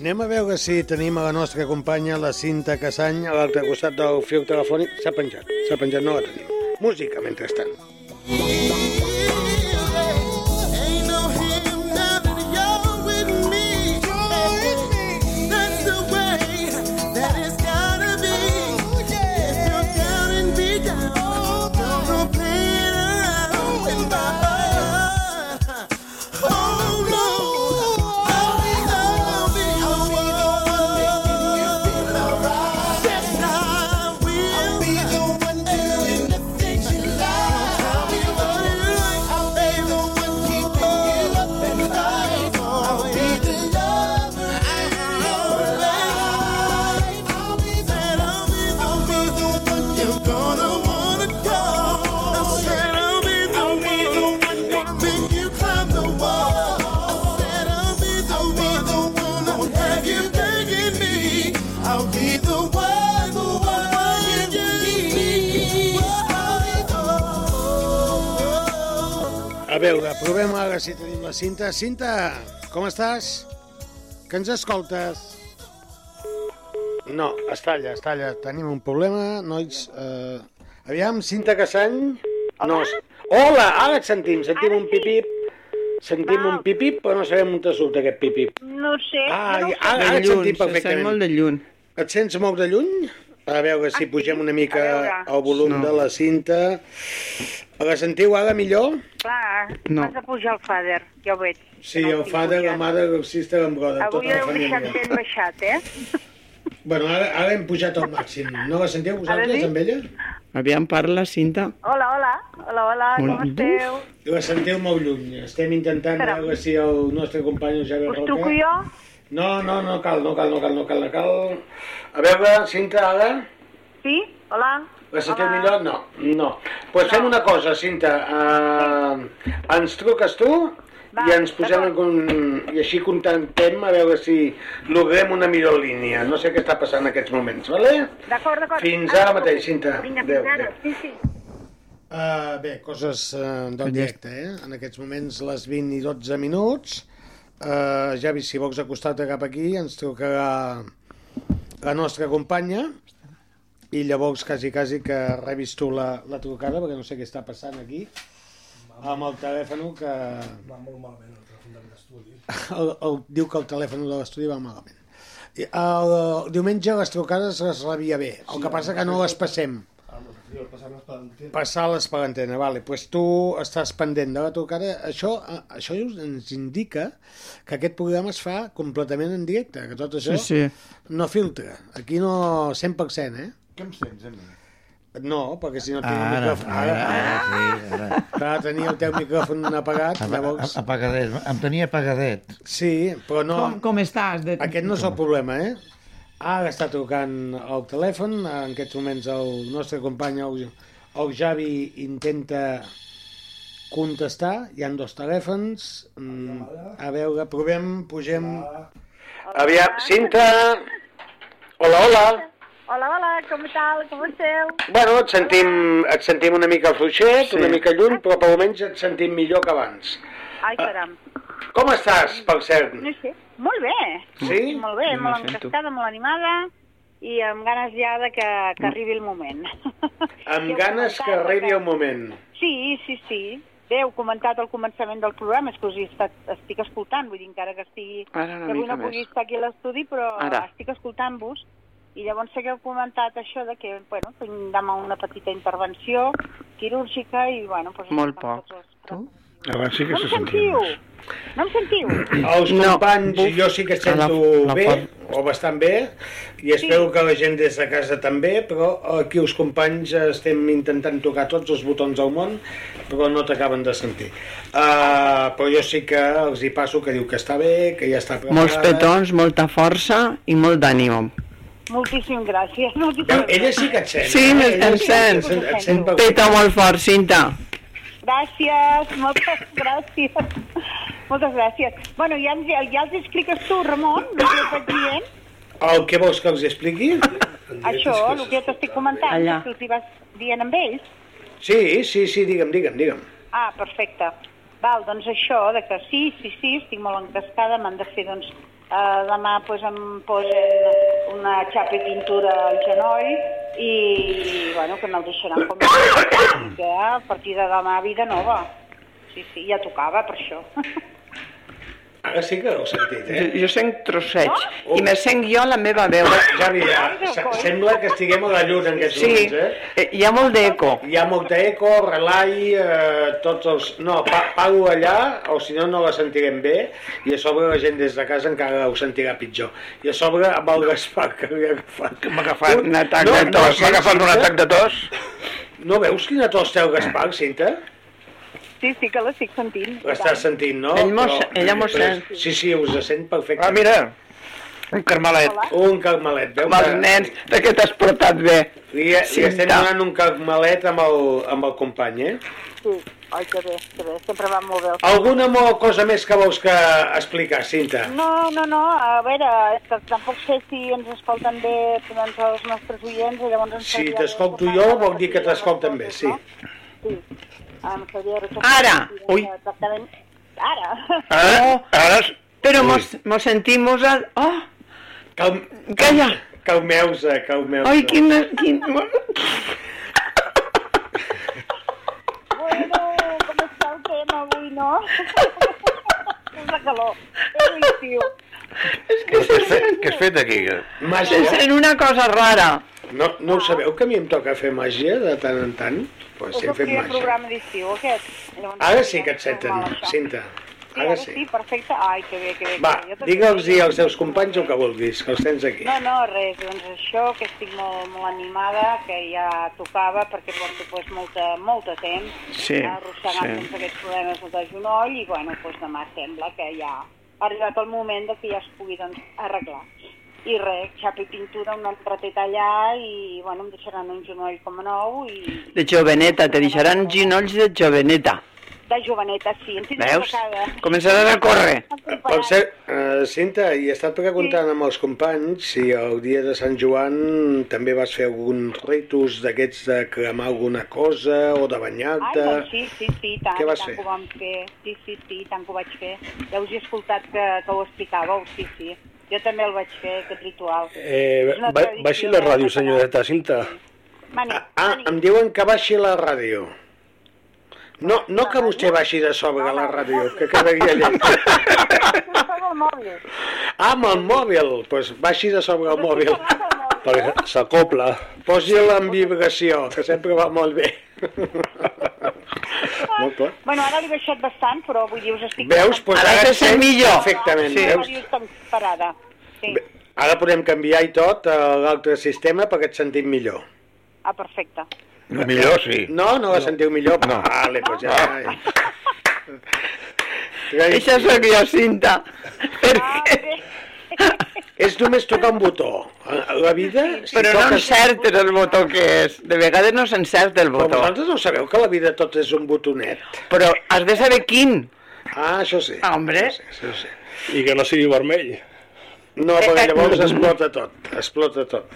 Anem a veure si tenim a la nostra companya, la Cinta Casany, a l'altre costat del fil telefònic. S'ha penjat, s'ha penjat, no la tenim. Música, mentrestant.
I'll be the one, the one you need.
A veure, provem ara si tenim la Cinta. Cinta, com estàs? Que ens escoltes? No, es talla, es talla. Tenim un problema, nois. Eh... Aviam, Cinta Cassany. No, es- Hola, ara et sentim. Sentim un pipip. Sentim un pipip, però no sabem on te surt aquest pipip.
Eh, No sé.
Ah,
jo no ho
i-
sé.
ara, ara et sentim perfectament.
molt de lluny.
Et sents molt de lluny? A veure si pugem una mica
Ah, veure.
el volum
No.
de la cinta. La sentiu ara millor?
Clar,
No.
no. has de pujar el fader, ja ho veig.
Sí, el Fader, la mare, el sister, en Broda,
Avui
tota la
heu deixat
família.
ben baixat, eh?
Bueno, ara, ara hem pujat al màxim. No la sentiu
Ara
vosaltres,
sí?
amb ella?
Aviam, parla, Cinta.
Hola, hola, hola, hola,
Molt
Ah, com
bé.
esteu?
La sentiu molt lluny. Estem intentant
Però-
veure si el nostre company Josep
Us
Roca...
truco jo?
No, no, no cal, no cal, no cal, no cal, no cal. A veure, Cinta, ara...
Sí? Hola?
La sentiu millor? No, no. Doncs pues fem una cosa, Cinta. Uh, ens truques tu
Va,
i ens posem en con... i així contentem a veure si logrem una millor línia. No sé què està passant en aquests moments, vale?
D'acord, d'acord.
Fins
Ara
ara
us truco.
mateix, Cinta.
Vinga,
Adéu,
fins ara.
adéu.
Sí, sí.
Uh, bé, coses uh, del
Conyest.
directe, eh? En aquests moments les 20 i 12 minuts. Uh, Javi, si vols acostar-te cap aquí, ens trucarà la nostra companya i llavors quasi, quasi que rebis tu la, la trucada, perquè no sé què està passant aquí amb el telèfon que...
Va molt malament el telèfon de l'estudi.
El, el, diu que el telèfon de l'estudi va malament. I el, el diumenge les trucades les rebia bé, el que passa que no les passem.
Jo, passant-les per l'entén.
Passar-les per l'antena, vale. pues tu estàs pendent de la trucada. Això, eh, això us- ens indica que aquest programa es fa completament en directe, que tot això
Sí, sí.
no filtra. Aquí no 100%, eh?
Què em sents, a mi?
No, perquè
Ah,
si no tinc el
Ara,
micròfon... Ah.
ara, ara, sí,
Clar, tenia el teu micròfon apagat,
ara.
llavors...
Apagadet, em tenia apagadet.
Sí, però no...
Com-
estàs? De... Aquest no és el problema, eh? Ara està trucant el telèfon, en aquests moments el nostre company, el, el Javi, intenta contestar, hi han dos telèfons, mm, a veure, provem, pugem... Aviam, Cinta! Hola, hola!
Hola, hola, com tal? Com esteu?
Bueno, et sentim, et sentim una mica fluixet,
Sí.
sí. una mica lluny, però per almenys et sentim millor que abans. Ah.
Ai, caram.
Com estàs, per cert?
No sé. Molt bé.
Sí?
Molt bé,
No
molt
sento.
encastada, molt animada i amb ganes ja de que, que
Mm.
arribi el moment.
Amb ganes que arribi el moment.
Sí, sí, sí. Bé, heu comentat al començament del programa, és que us he estat, estic escoltant, vull dir, encara que estigui...
Ara una
que avui
mica
no pugui
més.
estar aquí a l'estudi, però
Ara.
estic escoltant-vos, i llavors sé que heu comentat això de que, bueno, tinc demà una petita intervenció quirúrgica i, bueno... Doncs,
Molt poc.
Abans sí
no em sentiu! No em sentiu!
Els companys, jo sí que sento
la
bé,
part-
o bastant bé, i espero que la gent des de casa també, però aquí els companys estem intentant tocar tots els botons del món, però no t'acaben de sentir. Uh, però jo sí que els hi passo que diu que està bé, que ja està preparada.
Molts petons, molta força i molt d'ànimo.
Moltíssimes gràcies. Moltíssimes
Veu, ella sí que et sent.
Sí,
eh? Ella
em
sí que
sents.
Et sent, et sent per-
Peta molt fort, Cinta.
Gràcies, moltes gràcies. Moltes gràcies. Bueno, ja, ens- ja, ja els expliques tu, Ramon, el que estàs dient,
El que vols que els expliqui?
això, el que jo t'estic comentant,
Allà.
que els hi vas dient amb ells.
Sí, sí, sí, digue'm, digue'm, digue'm.
Ah, perfecte. Val, doncs això, de que sí, sí, sí, estic molt encascada, m'han de fer, doncs, eh, demà pues, em posen una xapa i pintura al genoll i, bueno, que me'l deixaran com és, que a partir de demà vida nova. Sí, sí, ja tocava per això.
Ara sí que heu sentit, eh?
Jo, jo sent trosseig. I me sent jo la meva veu.
Javi, ja, se- sembla que estiguem a la lluna en aquests
Sí.
moments, eh?
Hi ha molt d'eco.
Hi ha molta eco, relai, eh, tots els... No, pa, pago allà, o si no, no la sentirem bé, i a sobre la gent des de casa encara ho sentirà pitjor. I a sobre, amb el Gaspar, que havia agafat... Que m'ha agafat...
Un atac de tos, m'ha agafat un atac
de tos. No veus quina tos té el Gaspar, Cinta?
Sí, sí que l'estic sentint.
L'estàs sentint, no?
Ell mos- ella mos
però-
sent.
Sí, sí, us sent perfecte.
Ah, mira, un carmelet.
Un carmelet, veu?
Amb els nens, de què t'has portat bé?
Li, li estem donant un carmelet amb el, amb el company, eh?
Sí, oi, que bé, que bé, sempre va molt bé. el-
Alguna mo- cosa més que vols que explicar, Cinta?
No, no, no, a veure, és que tampoc sé si ens escolten bé doncs, els nostres oients, i llavors ens
Si
faria bé
t'escolto jo, vol dir que t'escolten bé, sí.
Em sabia que...
Ara!
Ui! Ara!
Ah,
Ara, ara... Però mos, mos sentimos... A... Oh,
Calm...
Calla!
Calmeu-se, calmeu-se.
Ai, quina... Quin...
Bueno, com està el tema avui, no? És la calor, és l'estiu.
Què has fet, què has fet aquí?
Màgia.
Se sent una cosa rara.
No, no ho sabeu, que a mi em toca fer màgia de tant en tant? Pues
És
sí,
el
he fet
primer
màgia.
programa d'estiu, aquest. Llavors,
Ara sí que et senten, Cinta.
Sí,
Ara
sí.
sí.
perfecte. Ai, que bé, que bé.
Va,
que bé. Jo també-
digue'ls-hi als teus companys el que vulguis, que els tens aquí.
No, no, res, doncs això, que estic molt, molt animada, que ja tocava, perquè porto pues, molta, molt de temps
Sí,
arrossegant
sí.
tots aquests problemes de genoll i, bueno, pues, demà sembla que ja ha arribat el moment de que ja es pugui doncs, arreglar. I res, xapa i pintura, un ratet allà i, bueno, em deixaran un genoll com a nou i
De joveneta, te deixaran ginolls de joveneta.
de joveneta, sí. Em tindrà
Veus?
tocada.
Començaran a córrer.
Per cert, eh, Cinta, i he estat preguntant amb els companys si el dia de Sant Joan també vas fer alguns ritus d'aquests de cremar alguna cosa o de
Ai,
banyar-te.
doncs sí, sí, sí, i tant,
Què
i
vas
tant
fer?
que ho vam fer. Sí, sí, sí, i tant que ho vaig fer. Ja us he escoltat que, que ho explicàveu, sí, sí. Jo també el vaig fer, aquest ritual.
Eh,
És una
ba
tradició
baixi la ràdio, senyoreta Cinta.
Mani,
Ah, em diuen que baixi la ràdio. No, no que vostè baixi de sobre la ràdio, que quedaria llet.
el mòbil.
Ah, amb el mòbil. Doncs pues baixi de sobre el mòbil.
Perquè s'acopla.
Posi-la en vibració, que sempre va molt bé. molt clar.
Bueno, ara l'he baixat bastant, però vull dir, us estic...
Veus? Pues ara et sent perfectament,
Sí.
veus?
Ràdio tan parada. Sí.
Ara podem canviar i tot a l'altre sistema perquè et sentim millor.
Ah, perfecte.
Millor, sí.
No, no la sentiu millor? No. Vale, pues ja...
Eixa sóc jo, Cinta.
És només tocar un botó. La vida...
Si Però no
toques-
encertes el botó que és. De vegades no s'encerta el
Però
botó.
vosaltres no sabeu que la vida tot és un botonet.
Però has de saber quin.
Ah, això sí.
Hombre.
Sí, sí.
I que no sigui vermell.
No, perquè llavors explota tot, explota tot.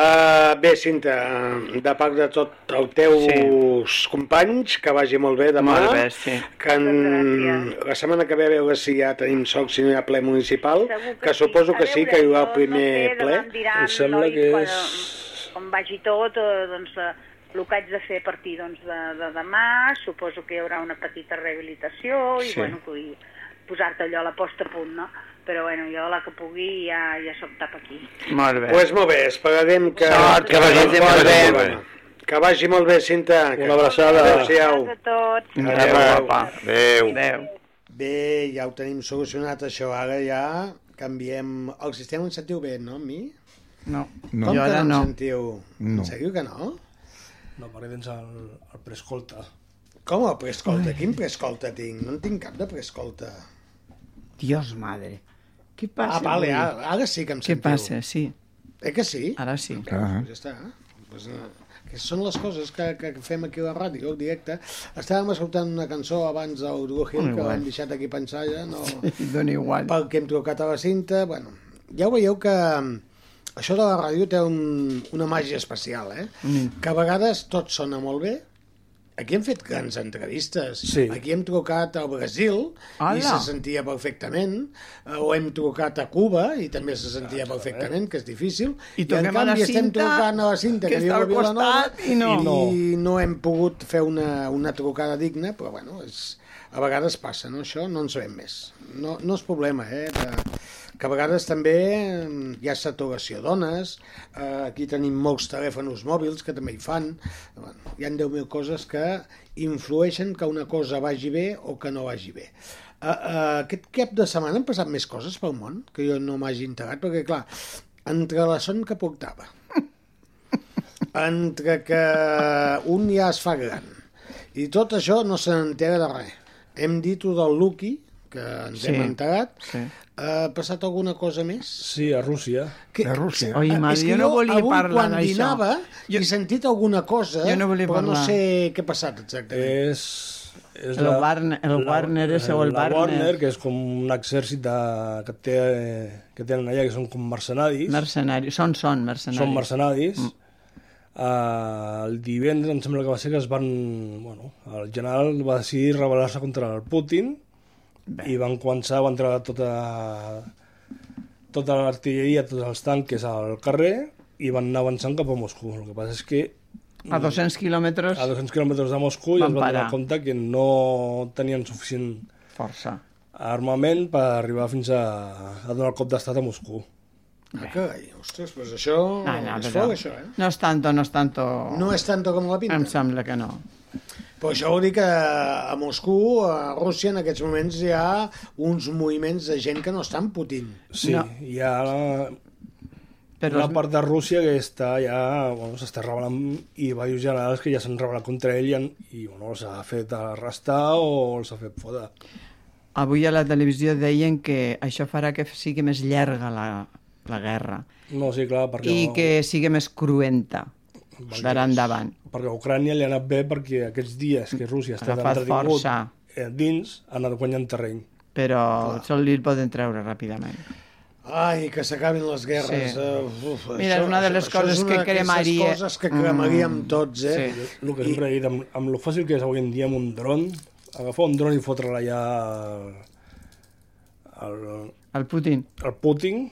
Uh, bé, Cinta, de part de tot els teus sí. companys, que vagi molt bé demà.
Molt bé, sí.
Que en... la setmana que ve a veure si ja tenim soc, si no hi ha ple municipal, que, que suposo que sí, que hi haurà el primer ple.
Diran,
Em sembla
nois,
que
quan,
és-
Com vagi tot, eh, doncs, eh, el que haig de fer a partir doncs, de, de demà, suposo que hi haurà una petita rehabilitació i,
Sí.
sí. bueno, vull posar-te allò a la posta a punt, no? Però, bueno, jo la que pugui ja, ja soc tap aquí.
Molt bé.
Pues molt bé, esperarem que...
Sort, que vagi molt bé.
Que vagi molt bé, Cinta. Una
abraçada.
Adéu-siau.
a tots.
Adéu, guapa.
Adéu.
Adéu.
Bé, ja ho tenim solucionat, això. Ara ja canviem... El sistema em sentiu bé, no, a mi?
No.
No.
Com
Jo
que
ara
no em
no.
sentiu?
No.
En sèrio que no?
No, perquè tens el, el prescolta.
Com el prescolta? Quin prescolta tinc? No en tinc cap de prescolta.
Dios madre. Què passa?
ah, vale,
avui?
ara, ara sí que em
Què
sentiu.
passa? Sí.
Eh que sí?
Ara sí.
Doncs ja està. Pues, eh, que són les coses que, que fem aquí a la ràdio, al directe. Estàvem escoltant una cançó abans del Blue Hill,
Dona
que
igual.
l'hem deixat aquí pensar ja, no...
Dona igual.
Pel que hem trucat a la cinta, bueno, ja veieu que mm, això de la ràdio té un, una màgia especial, eh?
Mm.
Que a vegades tot sona molt bé, Aquí hem fet grans entrevistes.
Sí.
Aquí hem trucat al Brasil
Hola.
i se sentia perfectament. Eh, O hem trucat a Cuba i també se sentia perfectament, que és difícil.
I
en
toquem a la
canvi estem
Cinta,
trucant a la Cinta, que,
que
viu
està
a
al
Vilanova,
costat, i no.
i no hem pogut fer una, una trucada digna, però bueno, és, a vegades passa, no? Això no en sabem més. No, no és problema, eh? De, que a vegades també eh, hi ha saturació d'ones, eh, aquí tenim molts telèfons mòbils que també hi fan, bueno, hi ha 10.000 coses que influeixen que una cosa vagi bé o que no vagi bé. Uh, uh, aquest cap de setmana han passat més coses pel món que jo no m'hagi enterat, perquè clar, entre la son que portava, entre que un ja es fa gran i tot això no se n'entera de res. Hem dit ho del Lucky, que ens
Sí.
hem enterat,
Sí.
ha passat alguna cosa més?
Sí, a Rússia.
Que,
a Rússia.
Oi, mare,
és que
jo no volia
avui,
parlar
quan
d'això.
dinava, jo... he sentit alguna cosa,
Jo no volia
però no
parlar.
sé què ha passat exactament.
És... és
El Warner- el Warner ese o el
la
Warner.
Warner, que és com un exèrcit de, que, té, que tenen allà, que són com mercenaris.
Mercenaris. Són, són mercenaris.
Són mercenaris. Mm. Uh, el divendres em sembla que va ser que es van... Bueno, el general va decidir rebel·lar-se contra el Putin Bé. i van començar, van treure tota, tota l'artilleria, tots els tanques al carrer i van anar avançant cap a Moscou. El que passa és que
A 200 quilòmetres
a 200 quilòmetres de Moscou i
Van
es van donar
parar.
compte que no tenien suficient
força
armament per arribar fins a, a donar el cop d'estat a Moscou.
Ah, carai, ostres, doncs això
Ah, No, no,
és
però-
fort, això, eh?
No és tanto, no és tanto...
No és tanto com la pinta.
Em sembla que no.
Però això vol dir que a Moscou, a Rússia, en aquests moments hi ha uns moviments de gent que no estan Putin.
Sí, no. hi ha la,
Però
Però una
és-
part de Rússia que està ja, bueno, s'està rebel·lant i diversos generals que ja s'han rebel·lat contra ell i, han, i bueno, els ha fet arrestar o els ha fet fotre.
Avui a la televisió deien que això farà que sigui més llarga la, la guerra
No, sí, clar, perquè,
i que sigui més cruenta d'ara endavant.
perquè a Ucrània li ha anat bé perquè aquests dies que Rússia
Ha
està
agafat
entretingut
força.
eh, dins ha anat guanyant terreny.
Però això li el poden treure ràpidament.
Ai, que s'acabin les guerres.
Sí.
Uh, uf,
Mira, és una de les coses
és una
que
d'aquestes
cremaria.
coses que cremaríem mm. tots, eh?
Sí. El que sempre he dit, amb, amb lo fàcil que és avui en dia amb un dron, agafar un dron i fotre-la allà al,
El Putin
al Putin,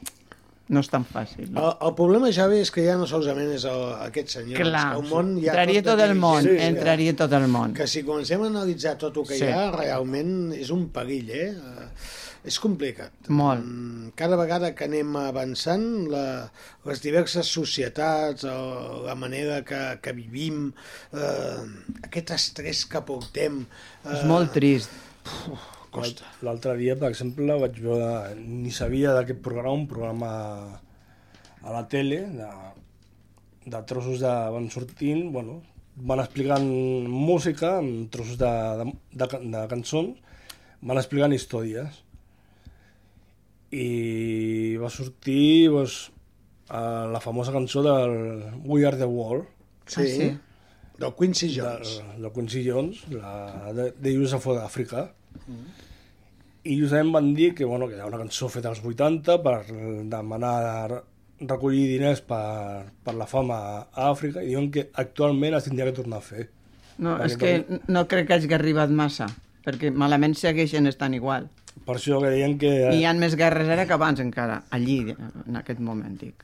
no és tan fàcil.
Ah,
El, el problema, Xavi, és que ja no solament és el, aquest senyor,
Clar,
és que el món ja...
entraria tot el
dirigit.
món, entraria tot el món.
Que si comencem a analitzar tot el que
Sí.
sí. hi ha, realment és un perill, eh? Eh, És complicat.
Molt.
Mm, Cada vegada que anem avançant, la, les diverses societats, el, la manera que, que vivim, eh, aquest estrès que portem... Eh,
És
Ah.
molt trist.
Costa.
L'altre dia, per exemple, vaig veure, ni sabia d'aquest programa, un programa a la tele, de, de trossos de... van sortint, bueno, van explicant música, amb trossos de, de, de, can- de cançons, van explicant històries. I va sortir doncs, eh, la famosa cançó del We Are The World.
Sí. Ah, sí. Del Quincy Jones.
Del, del Quincy Jones, la, de, de Youth of Africa. I justament van dir que, bueno, que era una cançó feta als 80 per demanar re- recollir diners per, per la fama a Àfrica i diuen que actualment es tindria que tornar a fer.
No,
Perquè
és que
com-
no crec que hagi arribat massa, perquè malament segueixen estant igual.
Per això que deien que...
I hi ha més guerres ara que abans encara, allí, en aquest moment, dic.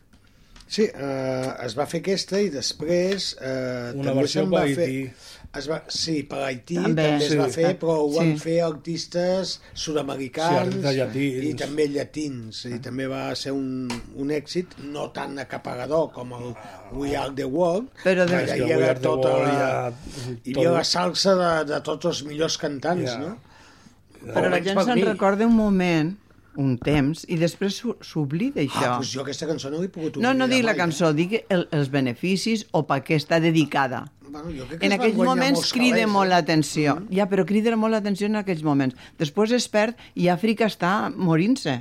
Sí, eh, es va fer aquesta i després eh,
Una
també
versió
se'n va
per
fer...
Haití.
Es va, sí, per Haití
També.
també, també sí.
Sí.
es va fer, però ho van
Sí.
fer artistes sud-americans
Sí, artistes llatins.
i també llatins. I també va ser un, un èxit no tan acaparador com el We Are The World,
Però de-
que
És
ja hi
que We
era
Are The
tota
World
la...
ja-
Hi havia
tot-
la salsa de, de tots els millors cantants,
Ja.
no?
Però la gent se'n recorda un moment, un temps, i després s'ho- s'oblida això.
Ah, doncs jo aquesta cançó no l'he pogut
No, no
oblidar
dic la
mai.
cançó, dic el, els beneficis o per què està dedicada.
Bueno, jo crec que es
En
van
aquells
guanyar
moments
molts
crida
calés, eh?
molt l'atenció. Ja, però crida molt l'atenció en aquells moments. Després es perd i Àfrica està morint-se.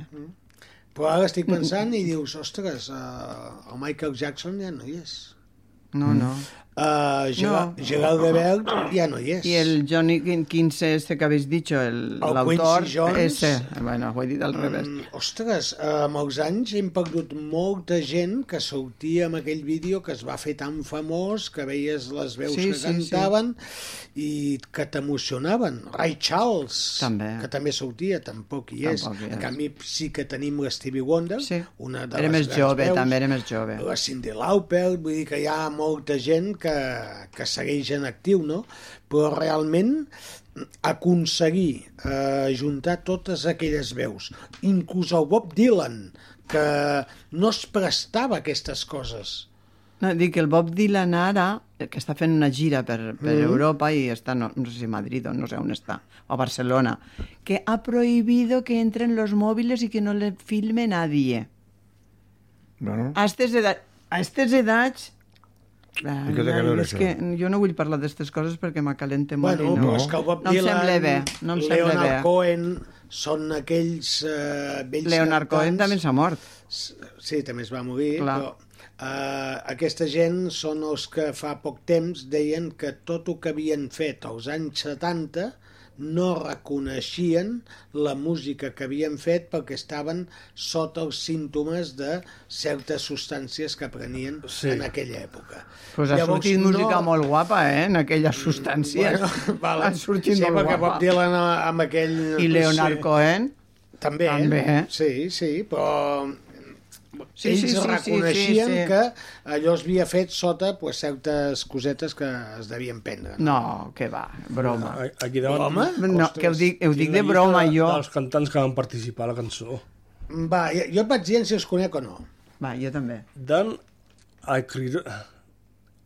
Però ara estic pensant i dius, ostres, uh, el Michael Jackson ja no hi és.
No, no.
Uh, Gerard, no. Gerard Bebel ja no hi és.
I el Johnny 15, este que habéis dicho, el-
El
l'autor...
Quincy Jones.
Ese, bueno, ho he dit al revés.
Mm, ostres, eh, amb els anys hem perdut molta gent que sortia amb aquell vídeo que es va fer tan famós, que veies les veus
Sí,
que
sí,
cantaven i que t'emocionaven. Ray Charles, també. que també sortia, tampoc hi és.
Tampoc hi
en
és.
canvi, sí que tenim la Stevie Wonder, sí. una de
Era
les
més
grans
jove,
veus.
també, era més jove.
La Cindy Lauper, vull dir que hi ha molta gent que, que segueix en actiu, no? Però realment aconseguir eh, juntar totes aquelles veus, inclús el Bob Dylan, que no es prestava a aquestes coses.
No, dic que el Bob Dylan ara, que està fent una gira per, per
Mhm.
Europa i està, no, no sé si a Madrid o no sé on està, o a Barcelona, que ha prohibido que entren los móviles y que no le filme nadie.
Bueno,
A estes, edat, a estes edats... Ah,
I què té a veure
és
això?
que jo no vull parlar d'aquestes coses perquè m'acalente molt
Bueno,
i
no.
no,
però és que el Bob
no em
Dylan,
sembla bé. No em sembla
Leonard
bé.
Cohen, són aquells eh, vells
Leonard Cohen també s'ha mort.
Sí, també es va morir,
Clar.
però eh, aquesta gent són els que fa poc temps deien que tot el que havien fet als anys 70 no reconeixien la música que havien fet perquè estaven sota els símptomes de certes substàncies que prenien sí. en aquella època.
Pues ha
Llavors,
sortit música
no-
molt guapa, eh, en aquelles substàncies.
Bueno, vale.
Han sortit
sí,
molt
perquè
guapa.
Bob Dylan eh, amb aquell...
I Leonard Cohen.
També, eh?
També.
sí, sí, però
Sí,
sí, ells
sí, sí, sí,
reconeixien sí,
sí, sí.
sí, que allò es havia fet sota pues, certes cosetes que es devien prendre.
No, que va, broma.
A- Aquí davant...
Broma?
No, que ho dic, ho dic de broma, jo.
Els cantants que van participar a la cançó.
Va, jo, jo et vaig dir si els conec o no.
Va, jo també.
Dan Aykroyd.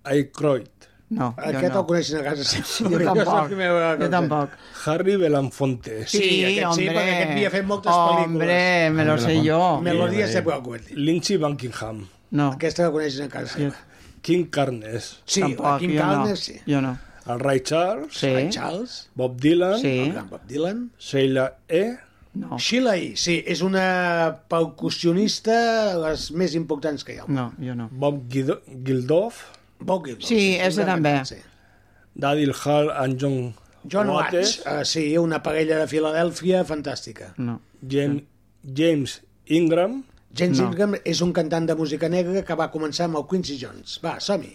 Aykroyd.
No,
Aquest el coneixen a casa seva. perquè és la primera vegada que el sé.
Harry Belafonte.
Sí, aquest sí, perquè aquest havia fet moltes pel·lícules. Melodies de Broadway.
Lynch i Buckingham.
No.
Aquesta la coneixen a casa seva.
King Carnes.
Sí, Tampoc, King jo no. Carnes, sí.
Jo no.
El Ray Charles.
Sí. Ray
Charles.
Bob Dylan.
Sí. El gran Bob Dylan.
Sheila E.
No.
Sheila E, sí, és una percussionista de les més importants que hi ha.
No, jo no.
Bob Guido Gildoff.
Bob Gildoff.
Sí, ese també.
Sí.
Dadil Hall and John
John Watts.
Watts.
Uh, sí, una parella de Filadèlfia fantàstica.
No.
James, James Ingram.
James Ingram és un cantant de música negra que va començar amb el Quincy Jones. Va, som-hi.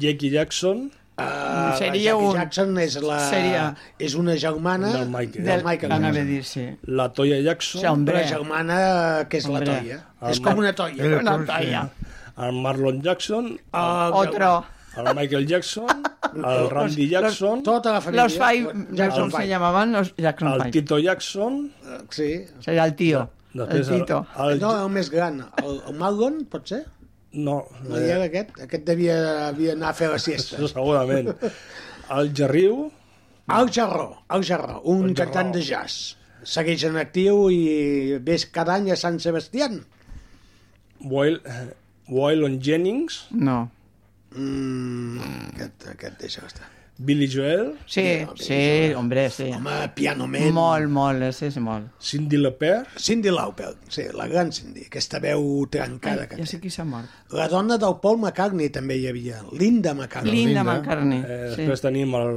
Jackie Jackson.
Uh,
Mm, Seria
Jackie
un-
Jackson és, la,
seria-
és una germana
Del Michael.
Del Michael.
Anava a dir, sí.
La Toya Jackson.
Sí, hombre. La germana que és la Hombre. Toya. És com una Toya. Era Una com- Toya.
Eh, El Marlon Jackson.
Ah, Otro.
El Michael Jackson. El
Los-
Randy
los-
Jackson.
tota la
Los Five, Jackson se llamaban los Jackson
El
Five.
Tito Jackson.
Eh, Sí.
Seria el tio, el
Després el-
Tito.
el-
No, el més gran. El, el Malgon, pot ser?
No. eh.
No hi era aquest? Aquest devia, devia anar a fer la siesta.
Segurament. El Jarriu.
El Jarró, el Jarró, un cantant de jazz. Segueix en actiu i ves cada any a Sant Sebastià.
Waylon Jennings.
No.
Mm, aquest, aquest deixa estar.
Billy Joel.
Sí, sí, hombre, sí.
Home, Piano Man.
Molt, molt, és, és molt.
Cindy Lauper.
Cindy Lauper, sí, la gran Cindy, aquesta veu trencada que
Ja sé qui s'ha mort.
La dona del Paul McCartney també hi havia, Linda McCartney.
Eh, després tenim el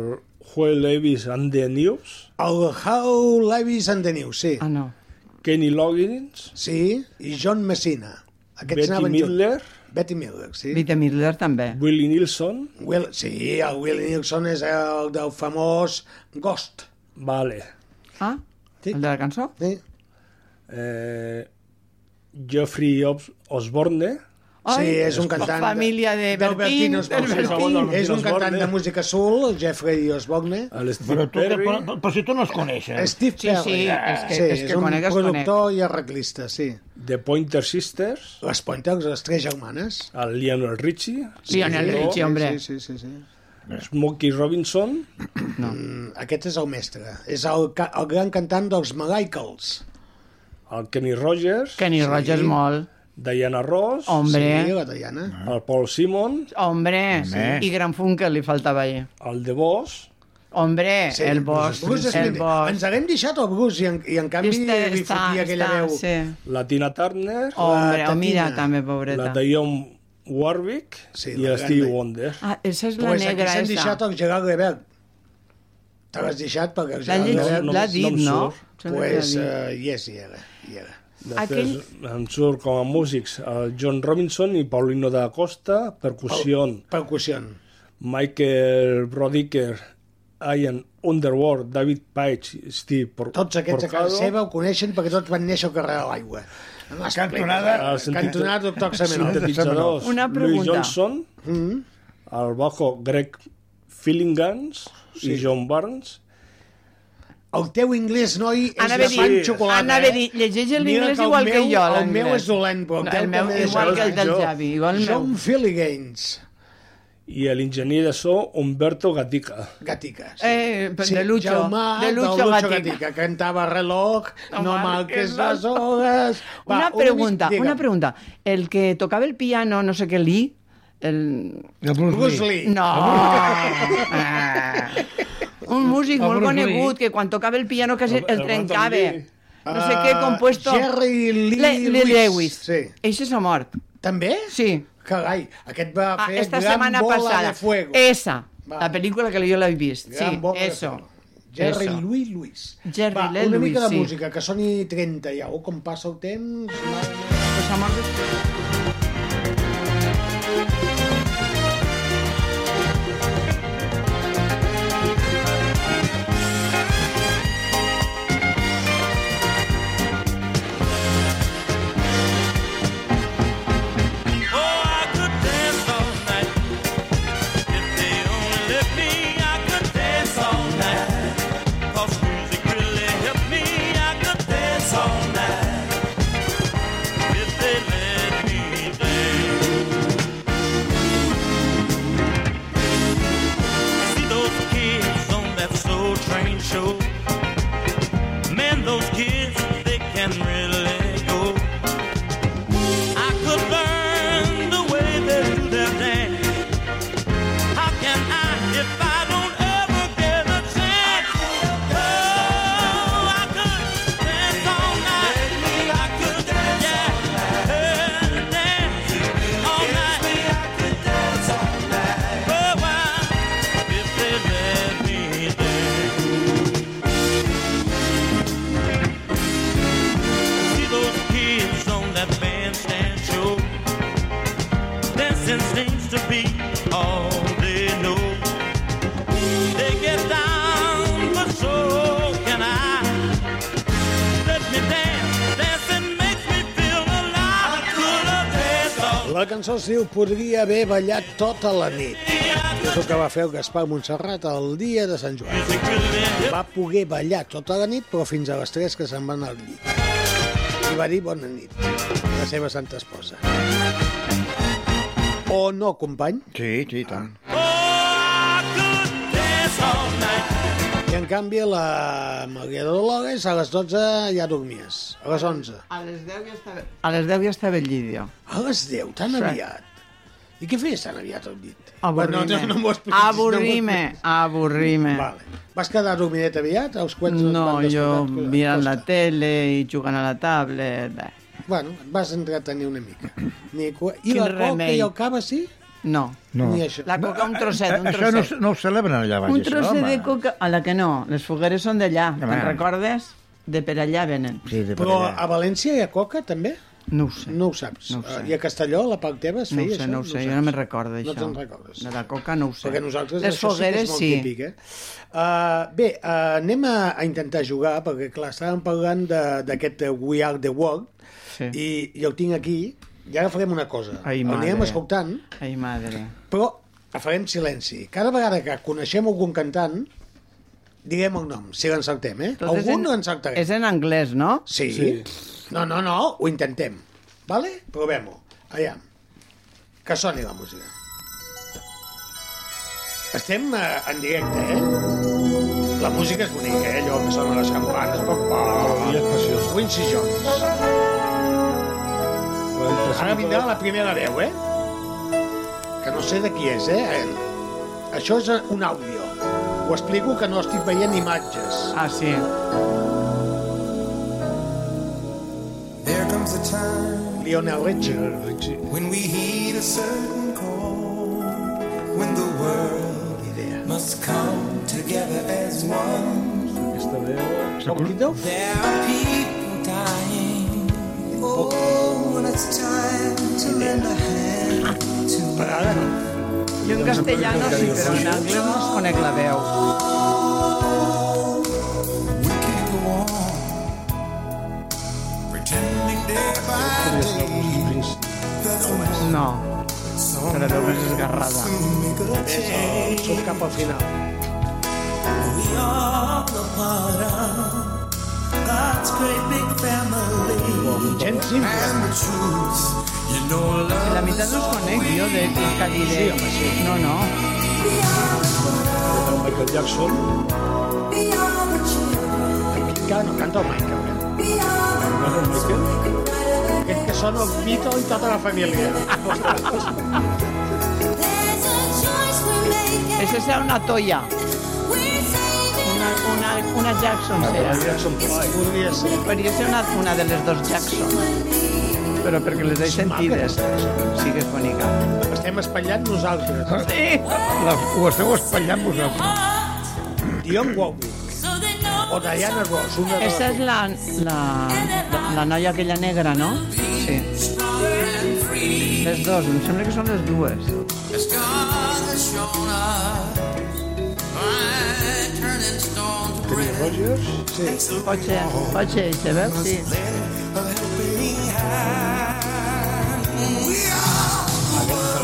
Joel Levis and the News.
El How Levis and the News, sí. Ah,
no.
Kenny Loggins.
Sí, i John Messina. Aquests
Betty
anaven
Midler.
Junts. Betty Midler, sí.
Vita Midler també.
Willie Nilsson.
Will, sí, el Willie Nilsson és el del famós Ghost.
Vale.
Ah,
sí.
el de la cançó?
Sí.
Eh, Geoffrey Os- Osborne.
Ai, sí, és un cantant... d'Albertine Osborne. És un cantant de música soul, el Jeffrey Osborne.
El Steve
Però
tu- Perry. però- però- però si tu no els coneixes.
Steve
Sí,
Perry.
sí, és que-
sí,
és que
un
conec, es
productor i arreglista, sí.
The Pointer Sisters.
Les Pointers, les tres germanes.
El Lionel Richie.
Sí, sí,
No.
Sí, sí, sí. sí.
Smokey Robinson.
No.
Aquest és el mestre. És el, ca- el gran cantant dels Malaicals.
El Kenny Rogers.
Kenny Rogers molt.
Diana Ross.
Hombre. Sí,
la Diana.
El Paul Simon.
Hombre,
Home.
i Gran Funkel li faltava allà.
El de Bosch.
Hombre, sí, el Bosch,
Bruce
el
Springsteen.
Bosch.
Ens haguem deixat el Bruce i en, i en canvi
Està-
li
està-
fotia aquella
està,
veu.
sí.
La Tina Turner.
Hombre,
la
oh, mira,
Tatina,
també, pobreta.
La Dionne Warwick i
la
el
gran
Stevie
Dionne.
Wonder.
Ah, esa és la
pues
negra,
aquí s'han
esa.
deixat el Gerard Levert. Te l'has deixat perquè el
L'ha
Gerard
llegit-
Levert...
l'ha dit,
em
no?
surt.
Sembla que
Pues,
l'ha
uh,
dit.
yes, hi era. Hi era.
Aquell... En surt com a músics el John Robinson i Paulino da Costa, percussió.
Percussió.
Michael Brodicker, Ian Underworld, David Page, Steve Por
Tots aquests a casa seva ho coneixen perquè tots van néixer al carrer de l'aigua.
Ah,
No m'explica.
El sintet-
Cantonada doctor Mm-hmm.
Sintetitzadors.
Xamenov.
Una
Louis
pregunta.
Johnson, el bajo Greg Fillingans i John Barnes.
El teu inglès, noi, és
Anava a
de
dir-
pan xocolata.
anava a
eh?
dir, llegeix el
Mira
inglès
el
igual que
meu-
jo,
El meu
l'anglès.
és dolent, però
No,
teu
el meu
també és
igual que el del
pitjor.
Javi, igual el
John
meu.
Filigans.
I l'enginyer de so Humberto Gatica.
Gatica.
Eh,
Sí,
de Lucho,
Jaumà,
de
del
Lucho,
Lucho
Gatica.
Gatica, que cantava reloj, no,
No
marques
marques
les
les
hores... Va,
una pregunta,
digue'm.
una pregunta. El que tocava el piano, no sé què, Lee, el...
El Bruce,
Bruce Lee. Lee.
No! Ah. Un músic
El
molt
Bruce
conegut
Lee.
que quan tocava el piano que el, el trencava. No sé
Ah,
què, compuesto...
Jerry Lee
Lee
Lewis.
Lewis.
Sí.
Eixe s'ha mort.
També?
Sí.
Carai, aquest va
Ah,
fer
esta
gran
setmana
bola
passada.
de fuego.
Esa. La pel·lícula que jo l'he vist.
Gran
sí,
bola de
eso.
Jerry
Eso.
Louis Lewis.
Jerry
Va,
Lee
una
Lewis,
mica de
sí.
música, que soni 30 ja, o com passa el temps...
Oh, All night, if they let me
La cançó es diu Podria haver ballat tota la nit. És el que va fer el Gaspar Montserrat el dia de Sant Joan. Va poder ballar tota la nit, però fins a les 3 que se'n va anar al llit. I va dir bona nit, la seva santa esposa. O no, company?
Sí, sí, tant.
I en canvi la Maria Dolores a les 12 ja dormies. A les 11.
A les 10 ja estava... A les 10 ja estava al Llídia.
A les 10, tan
Sí.
aviat. I què feies tan aviat al llit?
Avorrime.
Bueno, no, no m'ho expliquis,
avorrime, avorrime.
Vale. Vas quedar dormidet aviat? Els quets
No, jo mirant la tele i jugant a la tablet... eh.
Bueno, et vas entretenir una mica. Ni cua... I
Quin
la coca
remei.
i el cava, sí?
No.
No. Eh,
Ni això.
La coca, un trosset, un
Això no,
trosset.
no ho celebren allà baix,
Un
això,
trosset
home.
de coca... A la que no, les fogueres són d'allà, te'n
Home.
recordes? De per allà venen.
Sí, de
Però a València hi ha coca, també?
eh. No ho sé.
No ho saps. Ah,
No ho sé.
I a Castelló, a la part teva, es
No
feia
ho sé,
això?
no ho sé, jo no me'n recordo
No
d'això.
te'n recordes.
De la coca no ho sé.
Perquè nosaltres
Les
això sí que
fogueres
és molt
sí.
típic, eh? Uh, bé, uh, anem a, a intentar jugar, perquè clar, estàvem parlant de- d'aquest eh, We Are The World,
sí.
i, i el tinc aquí, i ara farem una cosa.
Ai,
el
madre.
anirem escoltant,
Ai, madre.
però farem silenci. Cada vegada que coneixem algun cantant, diguem el nom, si l'encertem, eh?
Tot és
algun
en-
no encertarem.
És en anglès, no?
Sí. No, no, no, ho intentem. Vale? Provem-ho. Aviam. Que soni la música. Estem eh, en directe, eh? La música és bonica, eh? Allò que sona les campanes. Pa, pa. I és preciós. Quincy Jones. Ara vindrà la primera veu, eh? Que no sé de qui és, eh? Eh, Això és eh, un àudio. Ho explico que no estic veient imatges.
Ah, sí.
There comes a time
Lionel Richie.
when we heed a certain call, when the world must come together as one. There are people dying. Oh, when it's time to lend a hand to
Jo en castellano sí, però en anglès no es conec la veu. No, que la veu més esgarrada.
Surt cap al final.
We are a part of God's great big family.
Gent
And the truth, you know
Si la
love is
meitat no us conec jo de que diré. No, no.
Michael Jackson.
Encara no canta el Michael.
Bueno, Michael.
Aquest que sona el Vito i tota la família.
Això serà una toia. Una, una, una Jackson serà.
Jackson Podria ser.
Podria ser una, una de les dos Jackson. Però perquè les he sentides. Sí que és bonica.
Estem espatllant nosaltres.
Sí.
Ah, La, ho esteu espatllant vosaltres.
Dion Warwick. O Diana Ross. Una de
Aquesta
les...
és la, la, la noia aquella negra, no? Sí. Les dues, em sembla que són les dues.
as God has shown us. By turning stones
Tenia Rogers? Sí.
Pot ser, pot ser, se veu? Sí.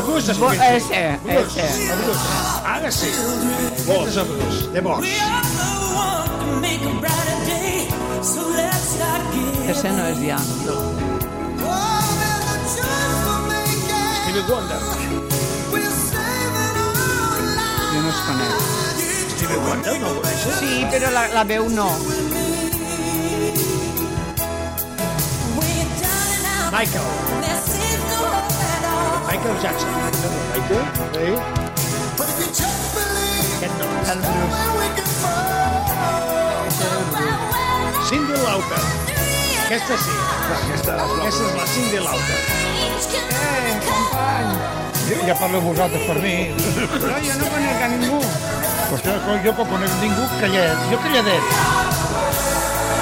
Bruce
Bo,
Springsteen.
ese,
Bruce,
ese.
el Bruce. Ara sí. eh, Aquest és el Bruce. De Bosch.
Ese no és ja.
Stevie Wonder.
Jo no es conec.
Stevie Wonder no ho coneixes?
Sí, però la, la veu no.
Michael. Michael Jackson. Michael? Sí. Aquest no.
El Bruce.
Cindy Lauper. Aquesta sí. Aquesta, aquesta és la Cindy Lauper.
Jo- Ja parleu vosaltres per mi.
No, jo no conec a ningú.
Vostè, jo que conec ningú, callet. Jo calladet.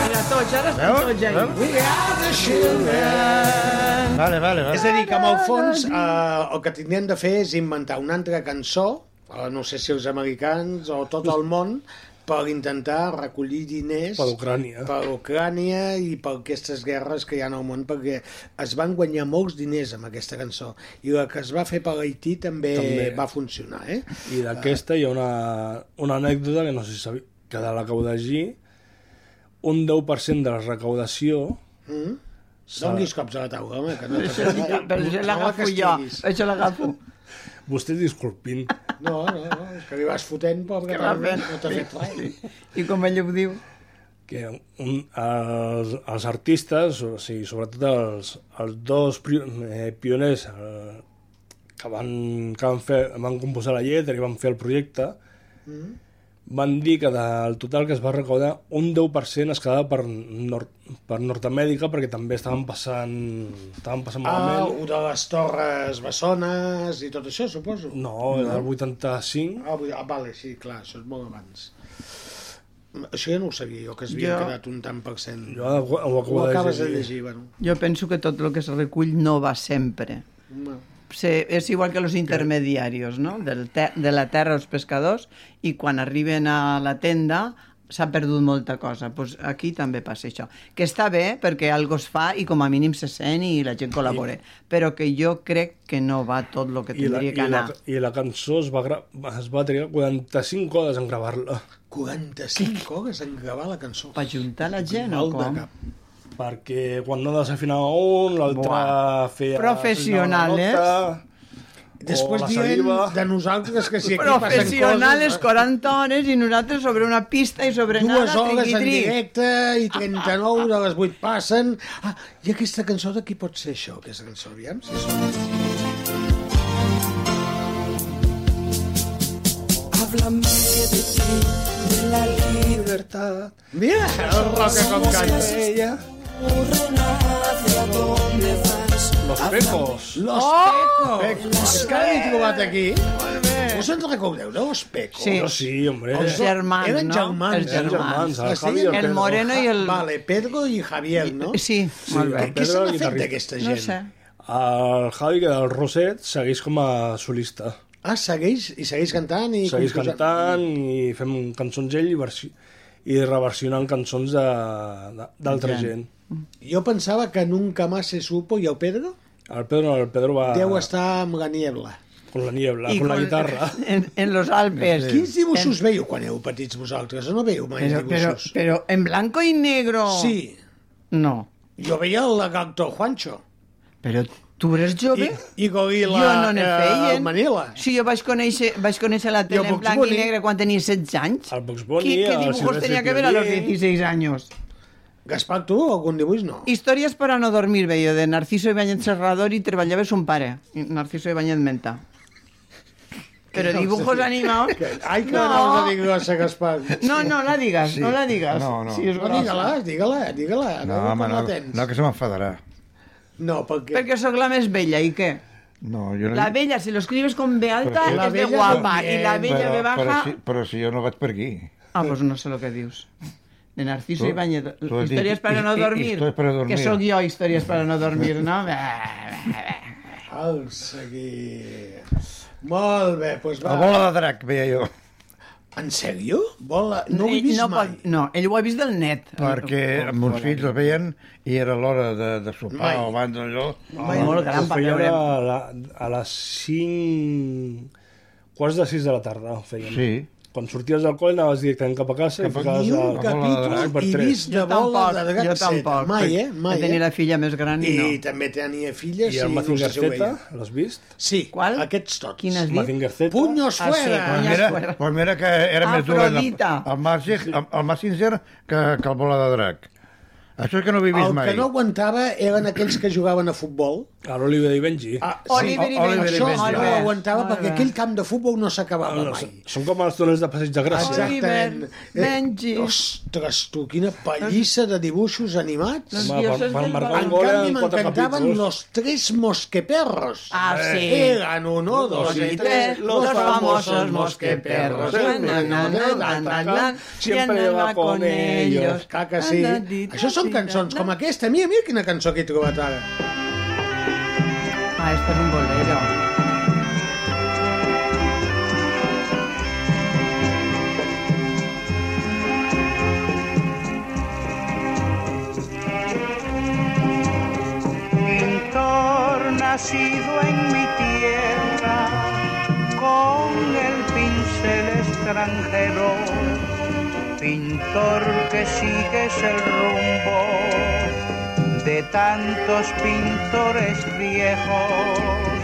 Mira, tots, ara estan
Veus?
tots ja.
Veus?
We are the children.
Vale, vale, vale.
És a dir, que amb el fons eh, el que tindrem de fer és inventar una altra cançó, eh, no sé si els americans o tot el món, per intentar recollir diners
Per Ucrània.
per Ucrània i per aquestes guerres que hi ha al món, perquè es van guanyar molts diners amb aquesta cançó. I la que es va fer per Haití també, també.
També.
va funcionar, eh?
I d'aquesta hi ha una, una anècdota que no sé si sabia, que de recaudació un 10% de la recaudació
Mm?
S'ha-
Donis cops a la taula, home, que no
Sí, sí, sí, però jo l'agafo jo,
això l'agafo.
Vostè disculpin.
No, no, no, és que li vas fotent, pobre,
Que
que
va
no,
fent.
no t'ha fet res.
I com ell ho diu?
que un, els, els artistes, o sigui, sobretot els, els dos pri- eh, pioners eh, que, van, que van, fer, van composar la lletra i van fer el projecte,
Mm.
van dir que del total que es va recaudar un 10% es quedava per, nord, per Nord-Amèrica perquè també estaven passant, estaven passant
Ah,
malament.
o de les torres bessones i tot això, suposo.
No, Oh, el 85.
Ah, vull- ah, vale, sí, clar, això és molt abans. Això ja no ho sabia jo, que es havia
Jo-
quedat un tant per cent.
Jo ho,
ho acabes de llegir, bueno.
Jo penso que tot el que es recull no va sempre.
No.
Se, és igual que los intermediarios, no? Del te, de la terra als pescadors i quan arriben a la tenda s'ha perdut molta cosa. Pues aquí també passa això. Que està bé perquè algo es fa i com a mínim se sent i la gent col·labora, però que jo crec que no va tot el que
I la,
tindria
i,
que
la,
anar.
I la cançó es va, gra- es va trigar 45 hores en gravar-la.
45 hores en gravar la cançó.
Per juntar la gent
Mal
o
de
com?
Perquè quan no desafinava un, l'altre
Buah.
feia...
Professional, eh?
Després
la
dient
saliva.
de nosaltres que si aquí passen
Professionals,
coses...
40 hores i nosaltres sobre una pista i sobre
Dues
nada,
hores en
triqui-tri.
directe i 39 de les 8 passen. Ah, i aquesta cançó de qui pot ser això? Aquesta cançó, aviam, si
Háblame de ti, de la libertad.
Mira, el rock com canta.
ella. ¿Hacia dónde vas?
Los pecos.
Los
Oh!
Pecos.
Los
Els que l'he trobat aquí. Us en recordeu, no? Els Pecos.
Sí.
Jo Oh, sí, hombre.
Els germans,
Eren
no?
germans.
Els
eren
germans.
El
Es
Javi i
deien
el
el
Pedro.
Moreno i el-
Vale,
Pedro i Javier, no?
Sí,
Sí, molt bé.
Què se n'ha
Pedro,
fet
guitarrista.
d'aquesta gent?
No sé.
El Javi, que del Roset, segueix com a solista.
Ah, segueix, i segueix cantant i...
segueix
composant.
cantant i fem cançons ell i, versi i reversionant cançons de- de- d'altra gent.
Gent. Jo pensava que nunca más se supo i el Pedro
El Pedro, el Pedro va...
deu estar amb la niebla.
Con la niebla, con, la guitarra.
En, en los Alpes.
Quins dibuixos veieu quan heu petits vosaltres? No veieu mai
Pero, pero,
dibuixos?
pero en blanco y negro.
Sí.
No.
Jo veia el Gactor Juancho.
Però tu eres jove?
I, i Gorila
jo no n'hi
eh,
feien.
el Manila.
Sí, jo vaig conèixer, vaig conèixer la tele en
Bugs
blanc
Bunny.
i negre quan tenia 16 anys.
El Bugs
Qui- què dibujos tenia que ver a los 16 años?
Gaspar, tu algun dibuix no?
Històries per a no dormir, veio, de Narciso Ibáñez Serrador i treballava son pare, Narciso Ibáñez Menta. Però
Què
dibujos
vols dir?
animados...
Ai, que no, no dic grossa, Gaspar.
No, no la digas, no la digas.
No, no.
Si és
no
grossa.
digue-la, digue-la, digue-la.
No,
com
home,
la
no,
tens.
no, que se m'enfadarà.
No, perquè...
Perquè sóc la més vella, i què?
No, jo no...
La bella, si lo escribes con B
Però
alta,
si-
es de guapa. Y la bella
però,
B
Però
baja...
si, però si jo no vaig per aquí.
Ah, pues no sé lo que dius. De Narciso
Tu-
Ibáñez.
tu has dit
Històries per a no
hi- hi-
dormir.
històries per a dormir.
Que sóc jo, històries per a no dormir, no? Bé, bé, bé.
Al seguir... Molt bé, doncs va.
La bola de drac, veia jo.
En sèrio? Bola... No ho he vist
no,
mai.
pot- no, ell ho ha vist del net.
Perquè amb uns fills el veien i era l'hora de, de sopar
Mai.
o abans d'allò.
Mai. Molt gran
Ah, Ho
per
feien
veure.
a, la, a les 5... Quarts de 6 de la tarda ho feien.
Sí.
Quan sorties del col·le anaves directament cap a casa i ficaves
Ni
a-
un
a
capítol
Super
he
3.
vist de bola de drac
jo tampoc.
Mai, eh? Mai,
He tenir
eh?
la filla més gran i,
I
no.
també tenia filles
I el Mazinger
si ho
Z,
veia.
l'has vist?
Sí,
Qual?
aquests tots.
Quin has dit?
Mazinger Z.
Punyos
Ah, sí,
fuera!
quan
Quan era, quan mira que era més dolent el,
Afrodita.
el, Mas, el, el Mas Sincer que, que el bola de drac. Això és que no ho he vist
El
mai.
que no aguantava eren aquells que jugaven a futbol.
A l'Oliver i Benji.
Ah,
Oliver i Benji.
Això
Molt
no
bé.
ho aguantava
Molt
perquè
bé.
aquell camp de futbol no s'acabava
Ah, No,
mai.
són- Són com els túnels de passeig de Gràcia.
Exactament. Eh,
Benji.
Ostres, tu, quina
Doncs-
pallissa de dibuixos animats.
Home, per- dioses per del marcar un
en
gol
canvi,
en quatre
m'encantaven
capítols.
los tres mosqueperros.
Ah,
Eh.
sí.
Eran uno, dos,
Dos
y
y
tres,
tres, los famosos mosqueperros. Na, na, na, na, na, na, siempre
Siempre
va
va con
con
ellos.
ellos.
Clar que sí.
Na, na, di,
Això són cançons com aquesta. Mira, mira quina cançó que he trobat ara.
Ah, esto es un bolero.
nacido en mi tierra con el pincel extranjero, pintor que sigues el rumbo de tantos pintores viejos,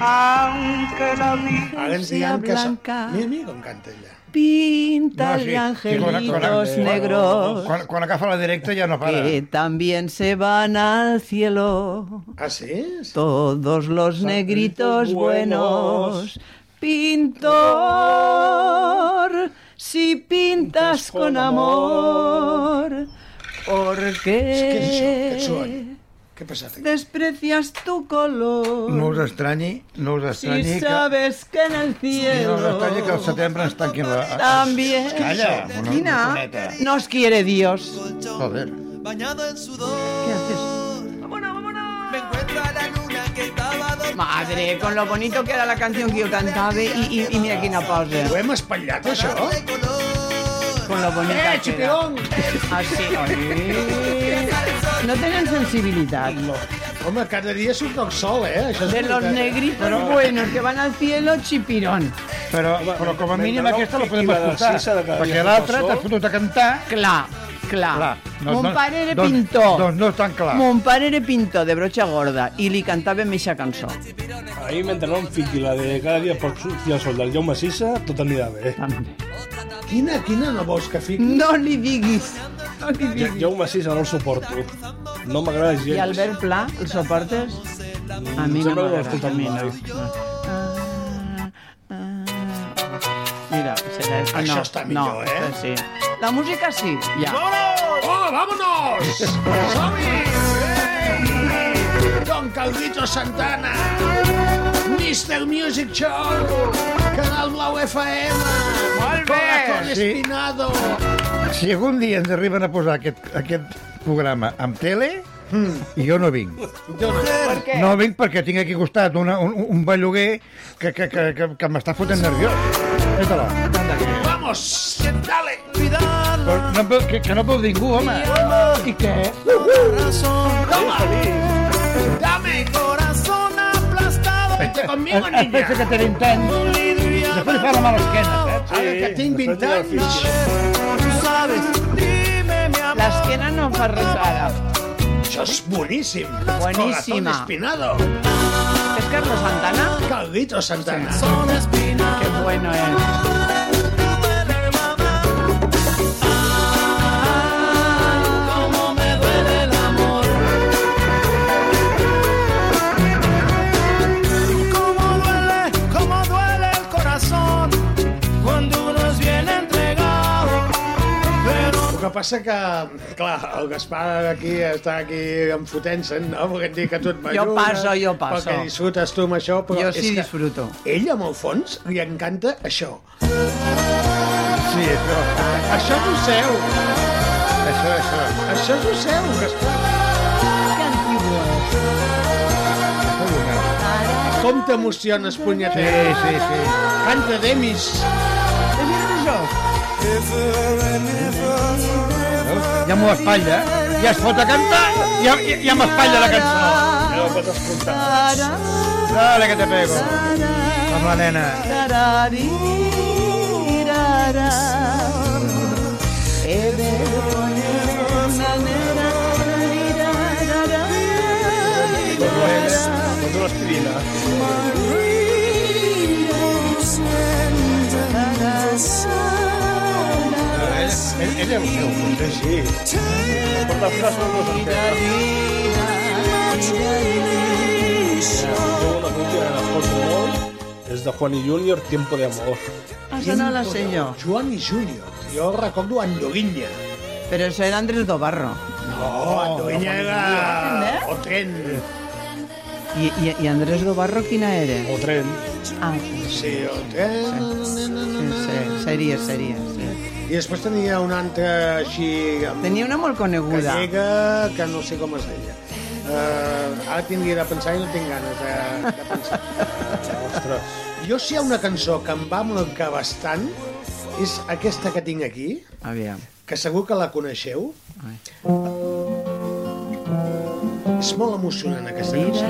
aunque la Virgen sea blanca.
Mira, mira com canta ella.
Pinta de
quan-
angelitos
quan-
negros
Quan, quan agafa la directa ja no para.
que también se van al cielo.
¿Ah, sí?
Todos los negritos buenos.
buenos.
Pintor, si pintas con amor, ¿por
Què és això?
qué
Aquest soroll? Què ha passat aquí?
desprecias tu color?
No us estranyi, no us
Si
estranyi que...
sabes que en el
No
cielo
us estranyi que al setembre ens tanquin la...
también...
Calla, una-
Quina?
una miqueta.
Nos quiere Dios.
Joder.
Bañado en sudor.
¿Qué haces?
Me encuentro a la luna que estaba dormida.
Madre, con lo bonito que era la canción que yo cantaba y, y, y mira quina pausa.
Ho hem espatllat, això?
Con lo bonita
Eh,
que era.
xupiron!
Ah, sí, oi. No tenen sensibilitat. No.
Home, cada dia surt el sol, eh? Això és
De los
veritat.
negritos buenos que van al cielo, chipirón.
Però, però com a mínim aquesta la podem
piqui la del
escoltar.
Sisa de cada dia
Perquè
que
l'altra
fa sol.
t'has fotut a cantar.
Clar, clar.
Clar, no-
Mon
no-
pare era
doncs-
pintor.
doncs no és tan clar.
Mon pare era pintor de brocha gorda i li cantava amb eixa cançó.
Ahir, mentre no em fiqui la de cada dia poc surt i el sol del Jaume Sisa, tot anirà bé.
Quina, quina no vols que fiqui?
No li diguis. No li diguis.
Jaume Sisa no el suporto. No m'agrada gens.
I Albert Pla, el soportes? A mi no
Sembla que l'he
m'agrada.
escoltat
A mi no.
mai.
Mira, serà...
Això
no,
està
no,
millor, eh?
Sí. La música sí, ja.
¡Vámonos! ¡Oh, vámonos! ¡Somi! Don Calvito Santana, Mr. Music Show, Canal Blau FM,
Molt bé.
Corazón
Sí.
Espinado.
Si algun dia ens arriben a posar aquest, aquest programa amb tele, mm. jo no vinc. No vinc perquè tinc aquí al costat una, un, un belluguer que, que, que, que, que m'està fotent nerviós. Feta-la.
¡Vamos! ¡Dale!
Però No, em veu- que, que no veu ningú, home. I què?
Corazón. Dame corazón aplastado.
Vente
conmigo,
Es- es
niña.
pensa que tenim tant. Després li fa la mala esquena, saps?
Ara que tinc 20 anys.
L'esquena no fa res ara.
Això és boníssim.
Bueníssima.
Corazón Espinado.
És Carlos Santana?
Calvito Santana.
Qué bueno es.
Cómo duele, cómo duele el corazón cuando uno es bien entregado.
El que passa que, clar, el Gaspar aquí està aquí en fotent-se, no? Volguem dir que tu et m'ajudes.
Jo passo, jo passo.
Perquè disfrutes tu amb això, però...
Jo
és
sí
que
disfruto.
Ell, amb el fons, li encanta això.
Sí, això.
Això és el seu.
Això, això.
Això és el seu, Gaspar. Com t'emociones, punyeter.
Sí, sí, sí.
Canta Demis.
Ja m'ho espatlla. Ja es fot a cantar, ja, ja, ja m'espatlla la cançó.
No ho pots escoltar.
Dale, que te pego. Amb la nena.
Tararira. He de poner una nena.
Pots una aspirina.
Eh,
Ell, ell és el seu.
Sí, sí. Porta fila sobre dos esquerres. Jo una música que escolto molt és de Juan i Junior, Tiempo de Amor.
Has anat la senyor.
Joan i Júnior. Jo recordo Andovinya.
Però això era Andrés Dobarro.
No, Andovinya era... Ah, O tren.
I, i, i Andrés Dobarro quina era?
O tren.
Ah,
Sí, o tren.
sí, sí, sèrie, sèrie. Sí.
I després tenia una altra així... amb-
Tenia una molt coneguda.
Gallega, que no sé com es deia. Uh, ara tindria de pensar i no tinc ganes de, de pensar.
Ostres.
Jo si hi ha una cançó que em va marcar bastant, és aquesta que tinc aquí,
Aviam.
que segur que la coneixeu. És molt emocionant aquesta cançó.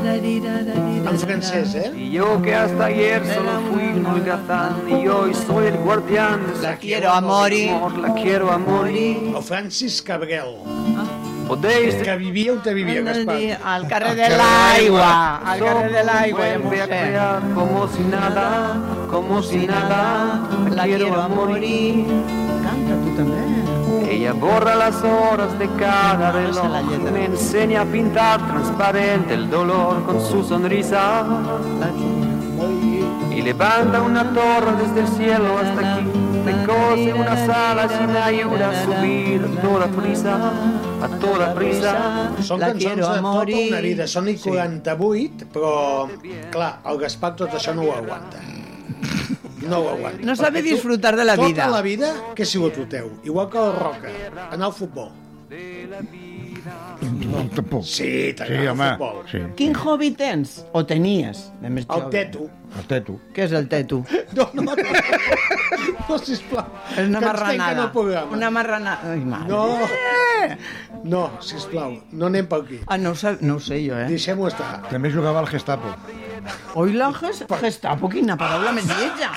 En francès, eh?
Y yo que hasta ayer solo fui un holgazán y hoy soy el guardián de la quiero a morir, la quiero a morir. Ah.
O Francis Cabrel.
Podéis
Que vivia o te vivia, Gaspar?
Al carrer de l'aigua, al carrer de l'aigua, ja m'ho
Voy a crear como si nada, como si nada, la quiero a morir.
Canta tu també.
Ella borra las horas de cada reloj, me enseña a pintar transparente el dolor con su sonrisa. Y levanta una torre desde el cielo hasta aquí, me cose unas alas y me ayuda a subir a toda prisa, a toda prisa.
Són cançons de tota una vida, són i 48, però, clar, el Gaspar tot això no ho aguanta. No ho aguanta.
No sabe
Perquè tu,
disfrutar de la vida.
Tota la vida que ha sigut el teu, igual que el Roca, anar al futbol.
No, tampoc.
Sí, t'agrada el futbol.
Sí.
Quin hobby tens? O tenies? De més
El
jove.
teto.
El teto.
Què és el teto?
No, no, no, no sisplau.
És una
que ens tanquen
marranada.
el programa.
Una marranada. Ai, mare.
No. No, sisplau, no anem per aquí.
Ah, no ho, sab... no ho sé jo, eh?
Deixem-ho estar.
També jugava al Gestapo.
Oi, la ges... Gestapo, quina paraula més lletja.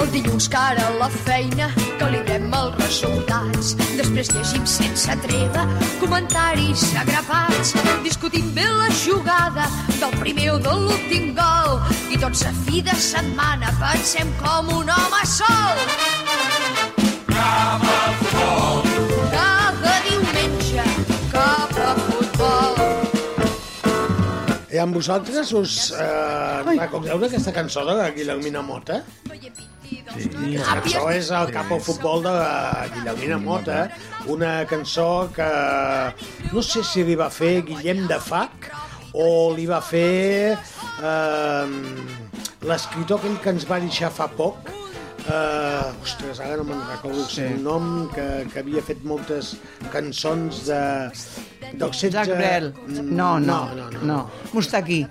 El dilluns cara a la feina, calibrem els resultats. Després llegim sense treva comentaris agrapats. Discutim bé la jugada del primer o de l'últim gol. I tots a fi de setmana pensem com un home sol. Cada diumenge cap a futbol.
I amb vosaltres us eh, recordeu d'aquesta cançó de Guillermina Mota? Sí. La cançó és el cap al futbol de Guillermina Mota, una cançó que no sé si li va fer Guillem de Fac o li va fer eh, l'escriptor aquell que ens va deixar fa poc, Uh, ostres, ara no me'n recordo sí. el seu nom que, que havia fet moltes cançons de... d'Oxetge...
Jacques Brel. No, no,
no, no.
no. Mustaquí.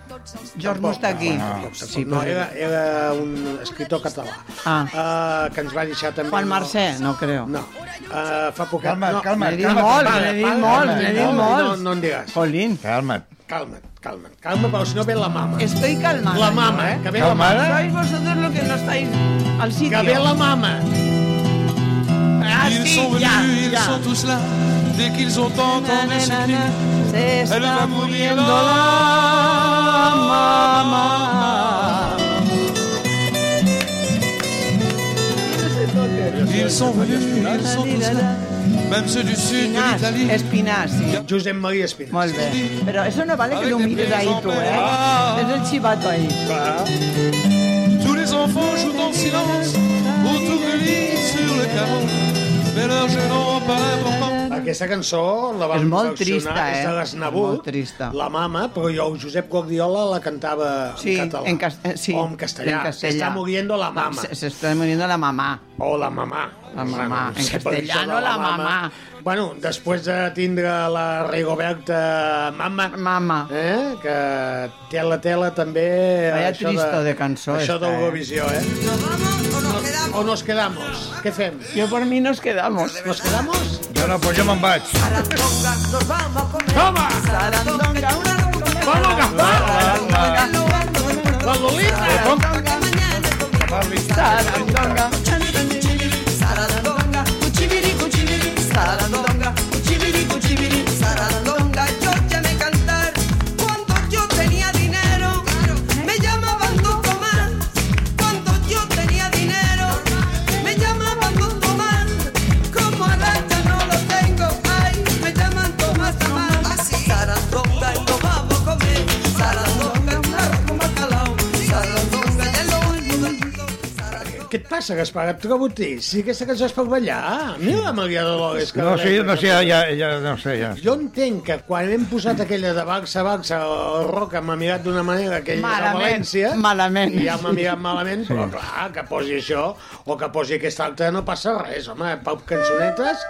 George Mustaquí.
Sí, no, era, era un escritor català
Ah.
uh, que ens va deixar també...
Juan Mercè, no creo.
No. Uh, fa poc...
Calma't,
no,
calma't, N'he dit calma't, molts, calma't, n'he dit calma't, molts,
eh?
calma't, n'he dit
No,
molts.
No, no en digues.
Jolín.
Calma't.
Calma't, calma't. Calma, però si no ve la mama.
Estoy calmada.
La mama, eh? Que ve la mama.
Sois vosotros lo que no estáis al sitio.
Que ve la mama.
Ah,
ils
sí,
sont venus,
ja,
ils
ja.
sont tous là. Dès qu'ils ont entendu ce cri,
Se
elle va
está
mourir
muriendo
la maman. Ils sont venus, ils sont tous là. Même ceux du sud de l'Italie.
Espinàs, sí.
Josep Maria Espinàs.
Molt bé. Però eso no vale que lo mires ahí tu, eh?
Ah.
És el chivato ahí.
Tous les enfants jouent en silence autour du lit sur le carreau. Mais leur jeu n'aura pas d'importance.
Aquesta cançó la va
És molt
versionar,
trista, eh?
És de les Nabut,
És molt trista.
la mama, però jo, el Josep Guardiola la cantava
Sí,
en català.
en, cas eh, sí,
O en castellà.
En castellà.
S'està muriendo la mama.
Se, se está muriendo la mamá.
O la mamà.
La mamà.
No
En
sé per què
castellà,
això de
no la mamà.
Bueno, després de tindre la Rigoberta Mama,
mama.
Eh? que té la tela també... eh,
Vaya
això
trista de cançó
Això
esta,
d'Eurovisió, eh? O nos quedamos? Què fem?
Yo por mí nos quedamos.
Nos quedamos?
Jo no, però jo me'n vaig.
Toma! Vamos, Gaspar! La Lolita!
Sarandonga.
Sarandonga, cuchibiri, cuchibiri, sarandonga, cuchibiri, cuchibiri, sarandonga. Yo llamé cantar cuando yo tenía dinero, me llamaban Don Tomás. Cuando yo tenía dinero, me llamaban Don Tomás. Como ahora no lo tengo, ay, me llaman Tomás Tomás. Sarandonga, y nos vamos a comer. Sarandonga, un arroz con bacalao. Sarandonga, ya lo
Què et passa, Gaspar? Et trobo trist. Si aquesta cançó és per ballar. Mira la Maria Dolores. que
No,
ballet,
sí, no
que
sé, ja, ja, ja, no sé, ja.
Jo entenc que quan hem posat aquella de Barça, Barça, o Roca m'ha mirat d'una manera que ell de
Malament,
València...
malament.
I ja m'ha mirat malament, però clar, que posi això o que posi aquesta altra no passa res, home. Pau Cançonetes...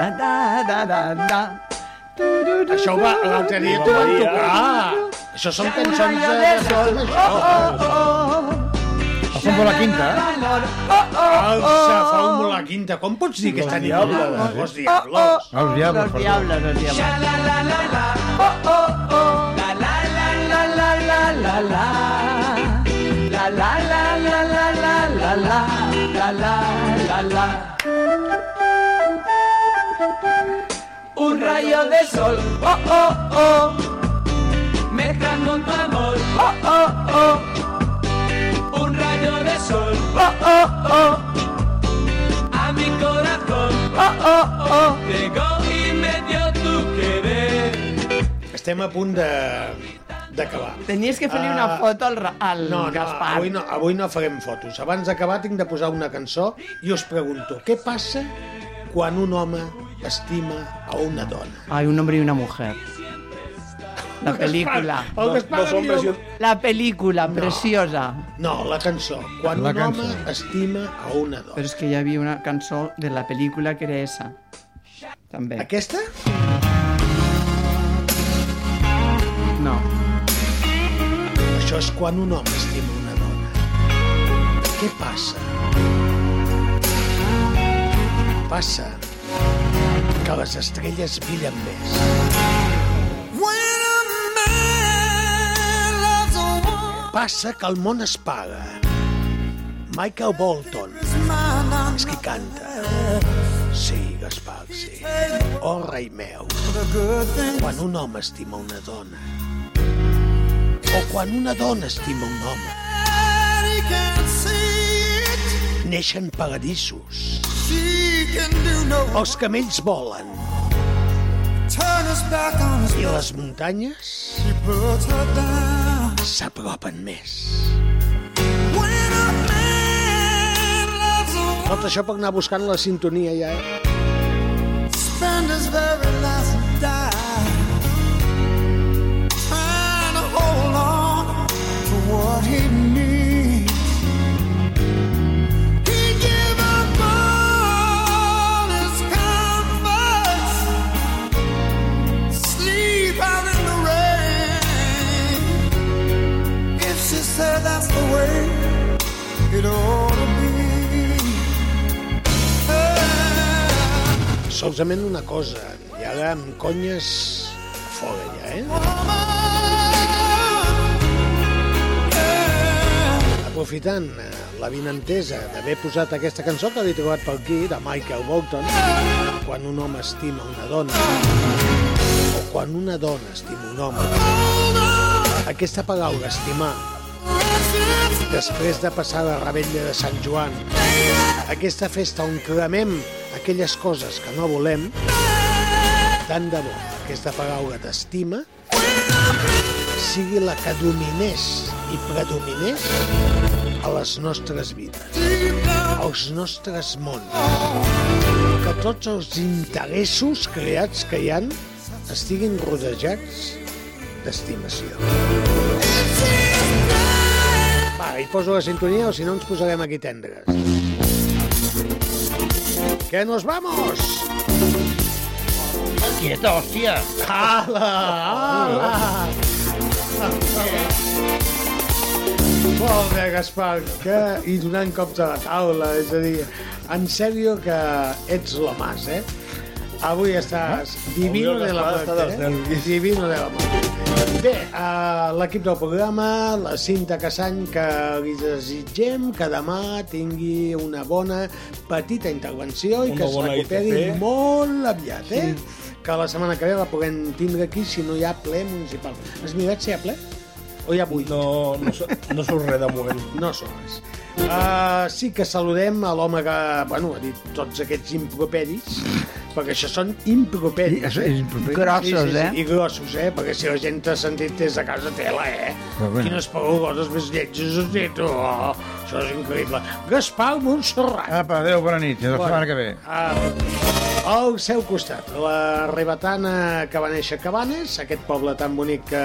Da, da, da, da, da.
Això ho va, l'altre dia t'ho van tocar. Això són cançons de...
Oh, Rayo de sol.
Això.
Oh, oh, oh.
Faumo
eh?
la quinta.
Oh,
Alça, Faumo la quinta. Com pots dir que està diabla?
Oh,
Els diables.
Els diables,
Els diables, els diables.
Un rayo de sol, oh oh oh, mezclando con tu amor, oh oh oh. Un rayo de sol, oh oh oh, a mi corazón, oh oh oh. Llegó y me dio tu querer.
Estem a punt de d'acabar.
Tenies que fer-li una
Ah,
foto al, Ra- al
No, no,
Gaspar.
avui no, avui no farem fotos. Abans d'acabar tinc de posar una cançó i us pregunto, què passa quan un home estima a una dona?
Hay un hombre y una mujer. La película.
el Gaspar Dos- dos hombres i un-
La película, preciosa.
No, la cançó. Quan
La
un
cançó.
home estima a una dona.
Però és que hi havia una cançó de la pel·lícula que era esa. També.
Aquesta?
No.
Això és quan un home estima una dona. Què passa? Passa que les estrelles brillen més. Passa que el món es paga. Michael Bolton. És qui canta. Sí, Gaspar, sí. Oh, rei meu. Quan un home estima una dona. O quan una dona estima un home. Neixen paradisos. Els camells volen. I les muntanyes s'apropen més. Tot això per anar buscant la sintonia ja, eh?
Spend his very last dime trying to hold on to what he needs. He gave up all his comforts, sleep out in the rain. If she said that's the way it ought to be.
Solament una cosa, i ara amb conyes a fora ja, eh? Aprofitant eh, la vinentesa d'haver posat aquesta cançó que l'he trobat per aquí, de Michael Bolton, quan un home estima una dona, o quan una dona estima un home. Aquesta paraula, estimar, després de passar la rebella de Sant Joan, aquesta festa on cremem aquelles coses que no volem, tant de bo aquesta paraula d'estima sigui la que dominés i predominés a les nostres vides, als nostres mons, que tots els interessos creats que hi han estiguin rodejats d'estimació. Va, hi poso la sintonia o si no ens posarem aquí tendres. Que nos vamos!
Quieta, hòstia.
Ala,
Ah!
ala! Molt bé, Gaspar, que i donant cops a la taula, és a dir, en sèrio que ets lo más, eh? Avui estàs
Ah, Avui
divino
el
de la
Gaspar està dels
muerte, eh? Divino de la muerte. Bé, a l'equip del programa, la Cinta Cassany, que li desitgem que demà tingui una bona petita intervenció i
Una
que es
bona
recuperi
ITP.
molt aviat, eh? Que la setmana que ve la puguem tindre aquí si no hi ha ple municipal. Has mirat si hi ha ple? O hi ha buit?
No, no, so- no surt res de moment.
No surt res. Uh, sí que saludem a l'home que, bueno, ha dit tots aquests improperis, perquè això són improperis.
I- això és improperi.
Sí, sí,
Grossos,
sí,
eh?
I grossos, eh? Perquè si la gent t'ha sentit des de casa tela, eh?
Però bé.
Quines paroloses més lletges has dit, oh, això és increïble. Gaspar Montserrat.
Apa, adéu, bona nit. Fins la
Bona.
setmana que ve.
Ah, al seu costat, la rebatana que va néixer a Cabanes, aquest poble tan bonic que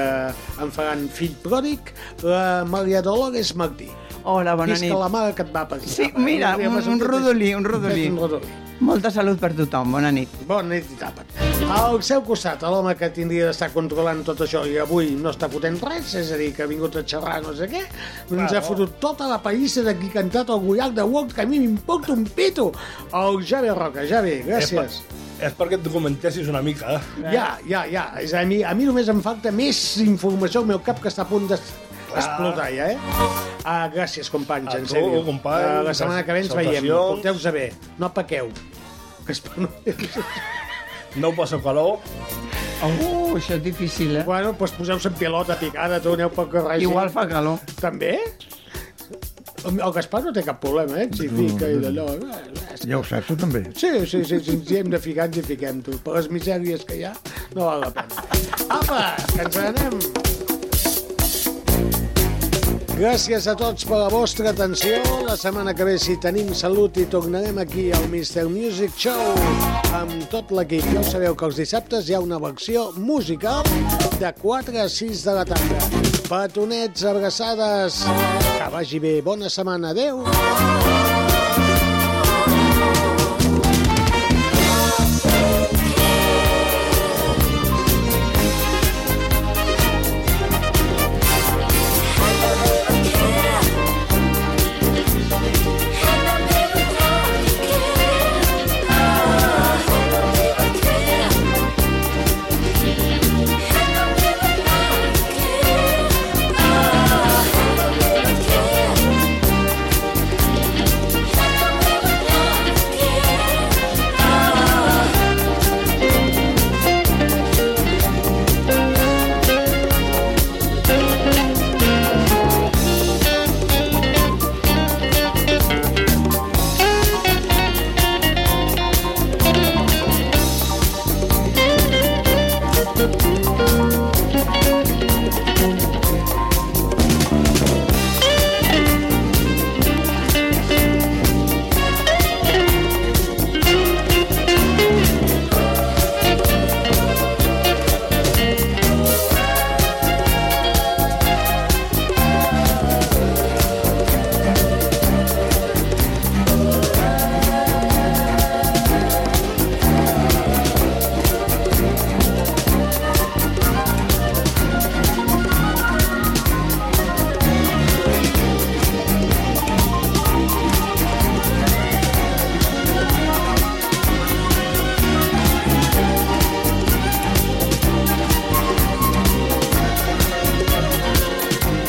en faran fill pròdic, la Maria Dolores Martí.
Hola, bona
Visca
nit.
la mare Ah, que et va parir.
Sí, mira, un, un rodolí, un rodolí.
Un rodolí.
Molta salut per tothom, bona nit.
Bona nit i tàpat. Al seu costat, l'home que tindria d'estar controlant tot això i avui no està fotent res, és a dir, que ha vingut a xerrar no sé què, ens
Claro.
ha fotut tota la pallissa de qui ha cantat el Goiac de Wok, que a mi m'importa un pito. El Javi Roca, Javi, gràcies.
És, per, és perquè et documentessis una mica. Eh?
Ja, ja, ja. És a, mi, a mi només em falta més informació al meu cap que està a punt d'explotar ja, eh? Ah, gràcies, companys,
A
en
tu,
sèrio.
company,
Ah, la setmana que ve ens veiem.
salutacions.
Porteu-vos a bé. No pequeu. Que es...
No passa calor.
Uh, això és difícil, eh? Bueno, doncs poseu-se en pilota picada, tu aneu pel carrer.
Igual
fa calor. També? El Gaspar no té cap problema, eh? Si fica i d'allò...
Ja ho saps, tu també.
Sí, sí, sí, sí, ens hi hem de ficar, ens hi fiquem, tu. Per les misèries que hi ha, no val la pena. Apa, que ens n'anem. Gràcies a tots per la vostra atenció. La setmana que ve, si tenim salut, i tornarem aquí al Mr. Music Show amb tot l'equip. Ja ho sabeu que els dissabtes hi ha una versió musical de 4 a 6 de la tarda. Petonets, abraçades, que vagi bé. Bona setmana. Adéu.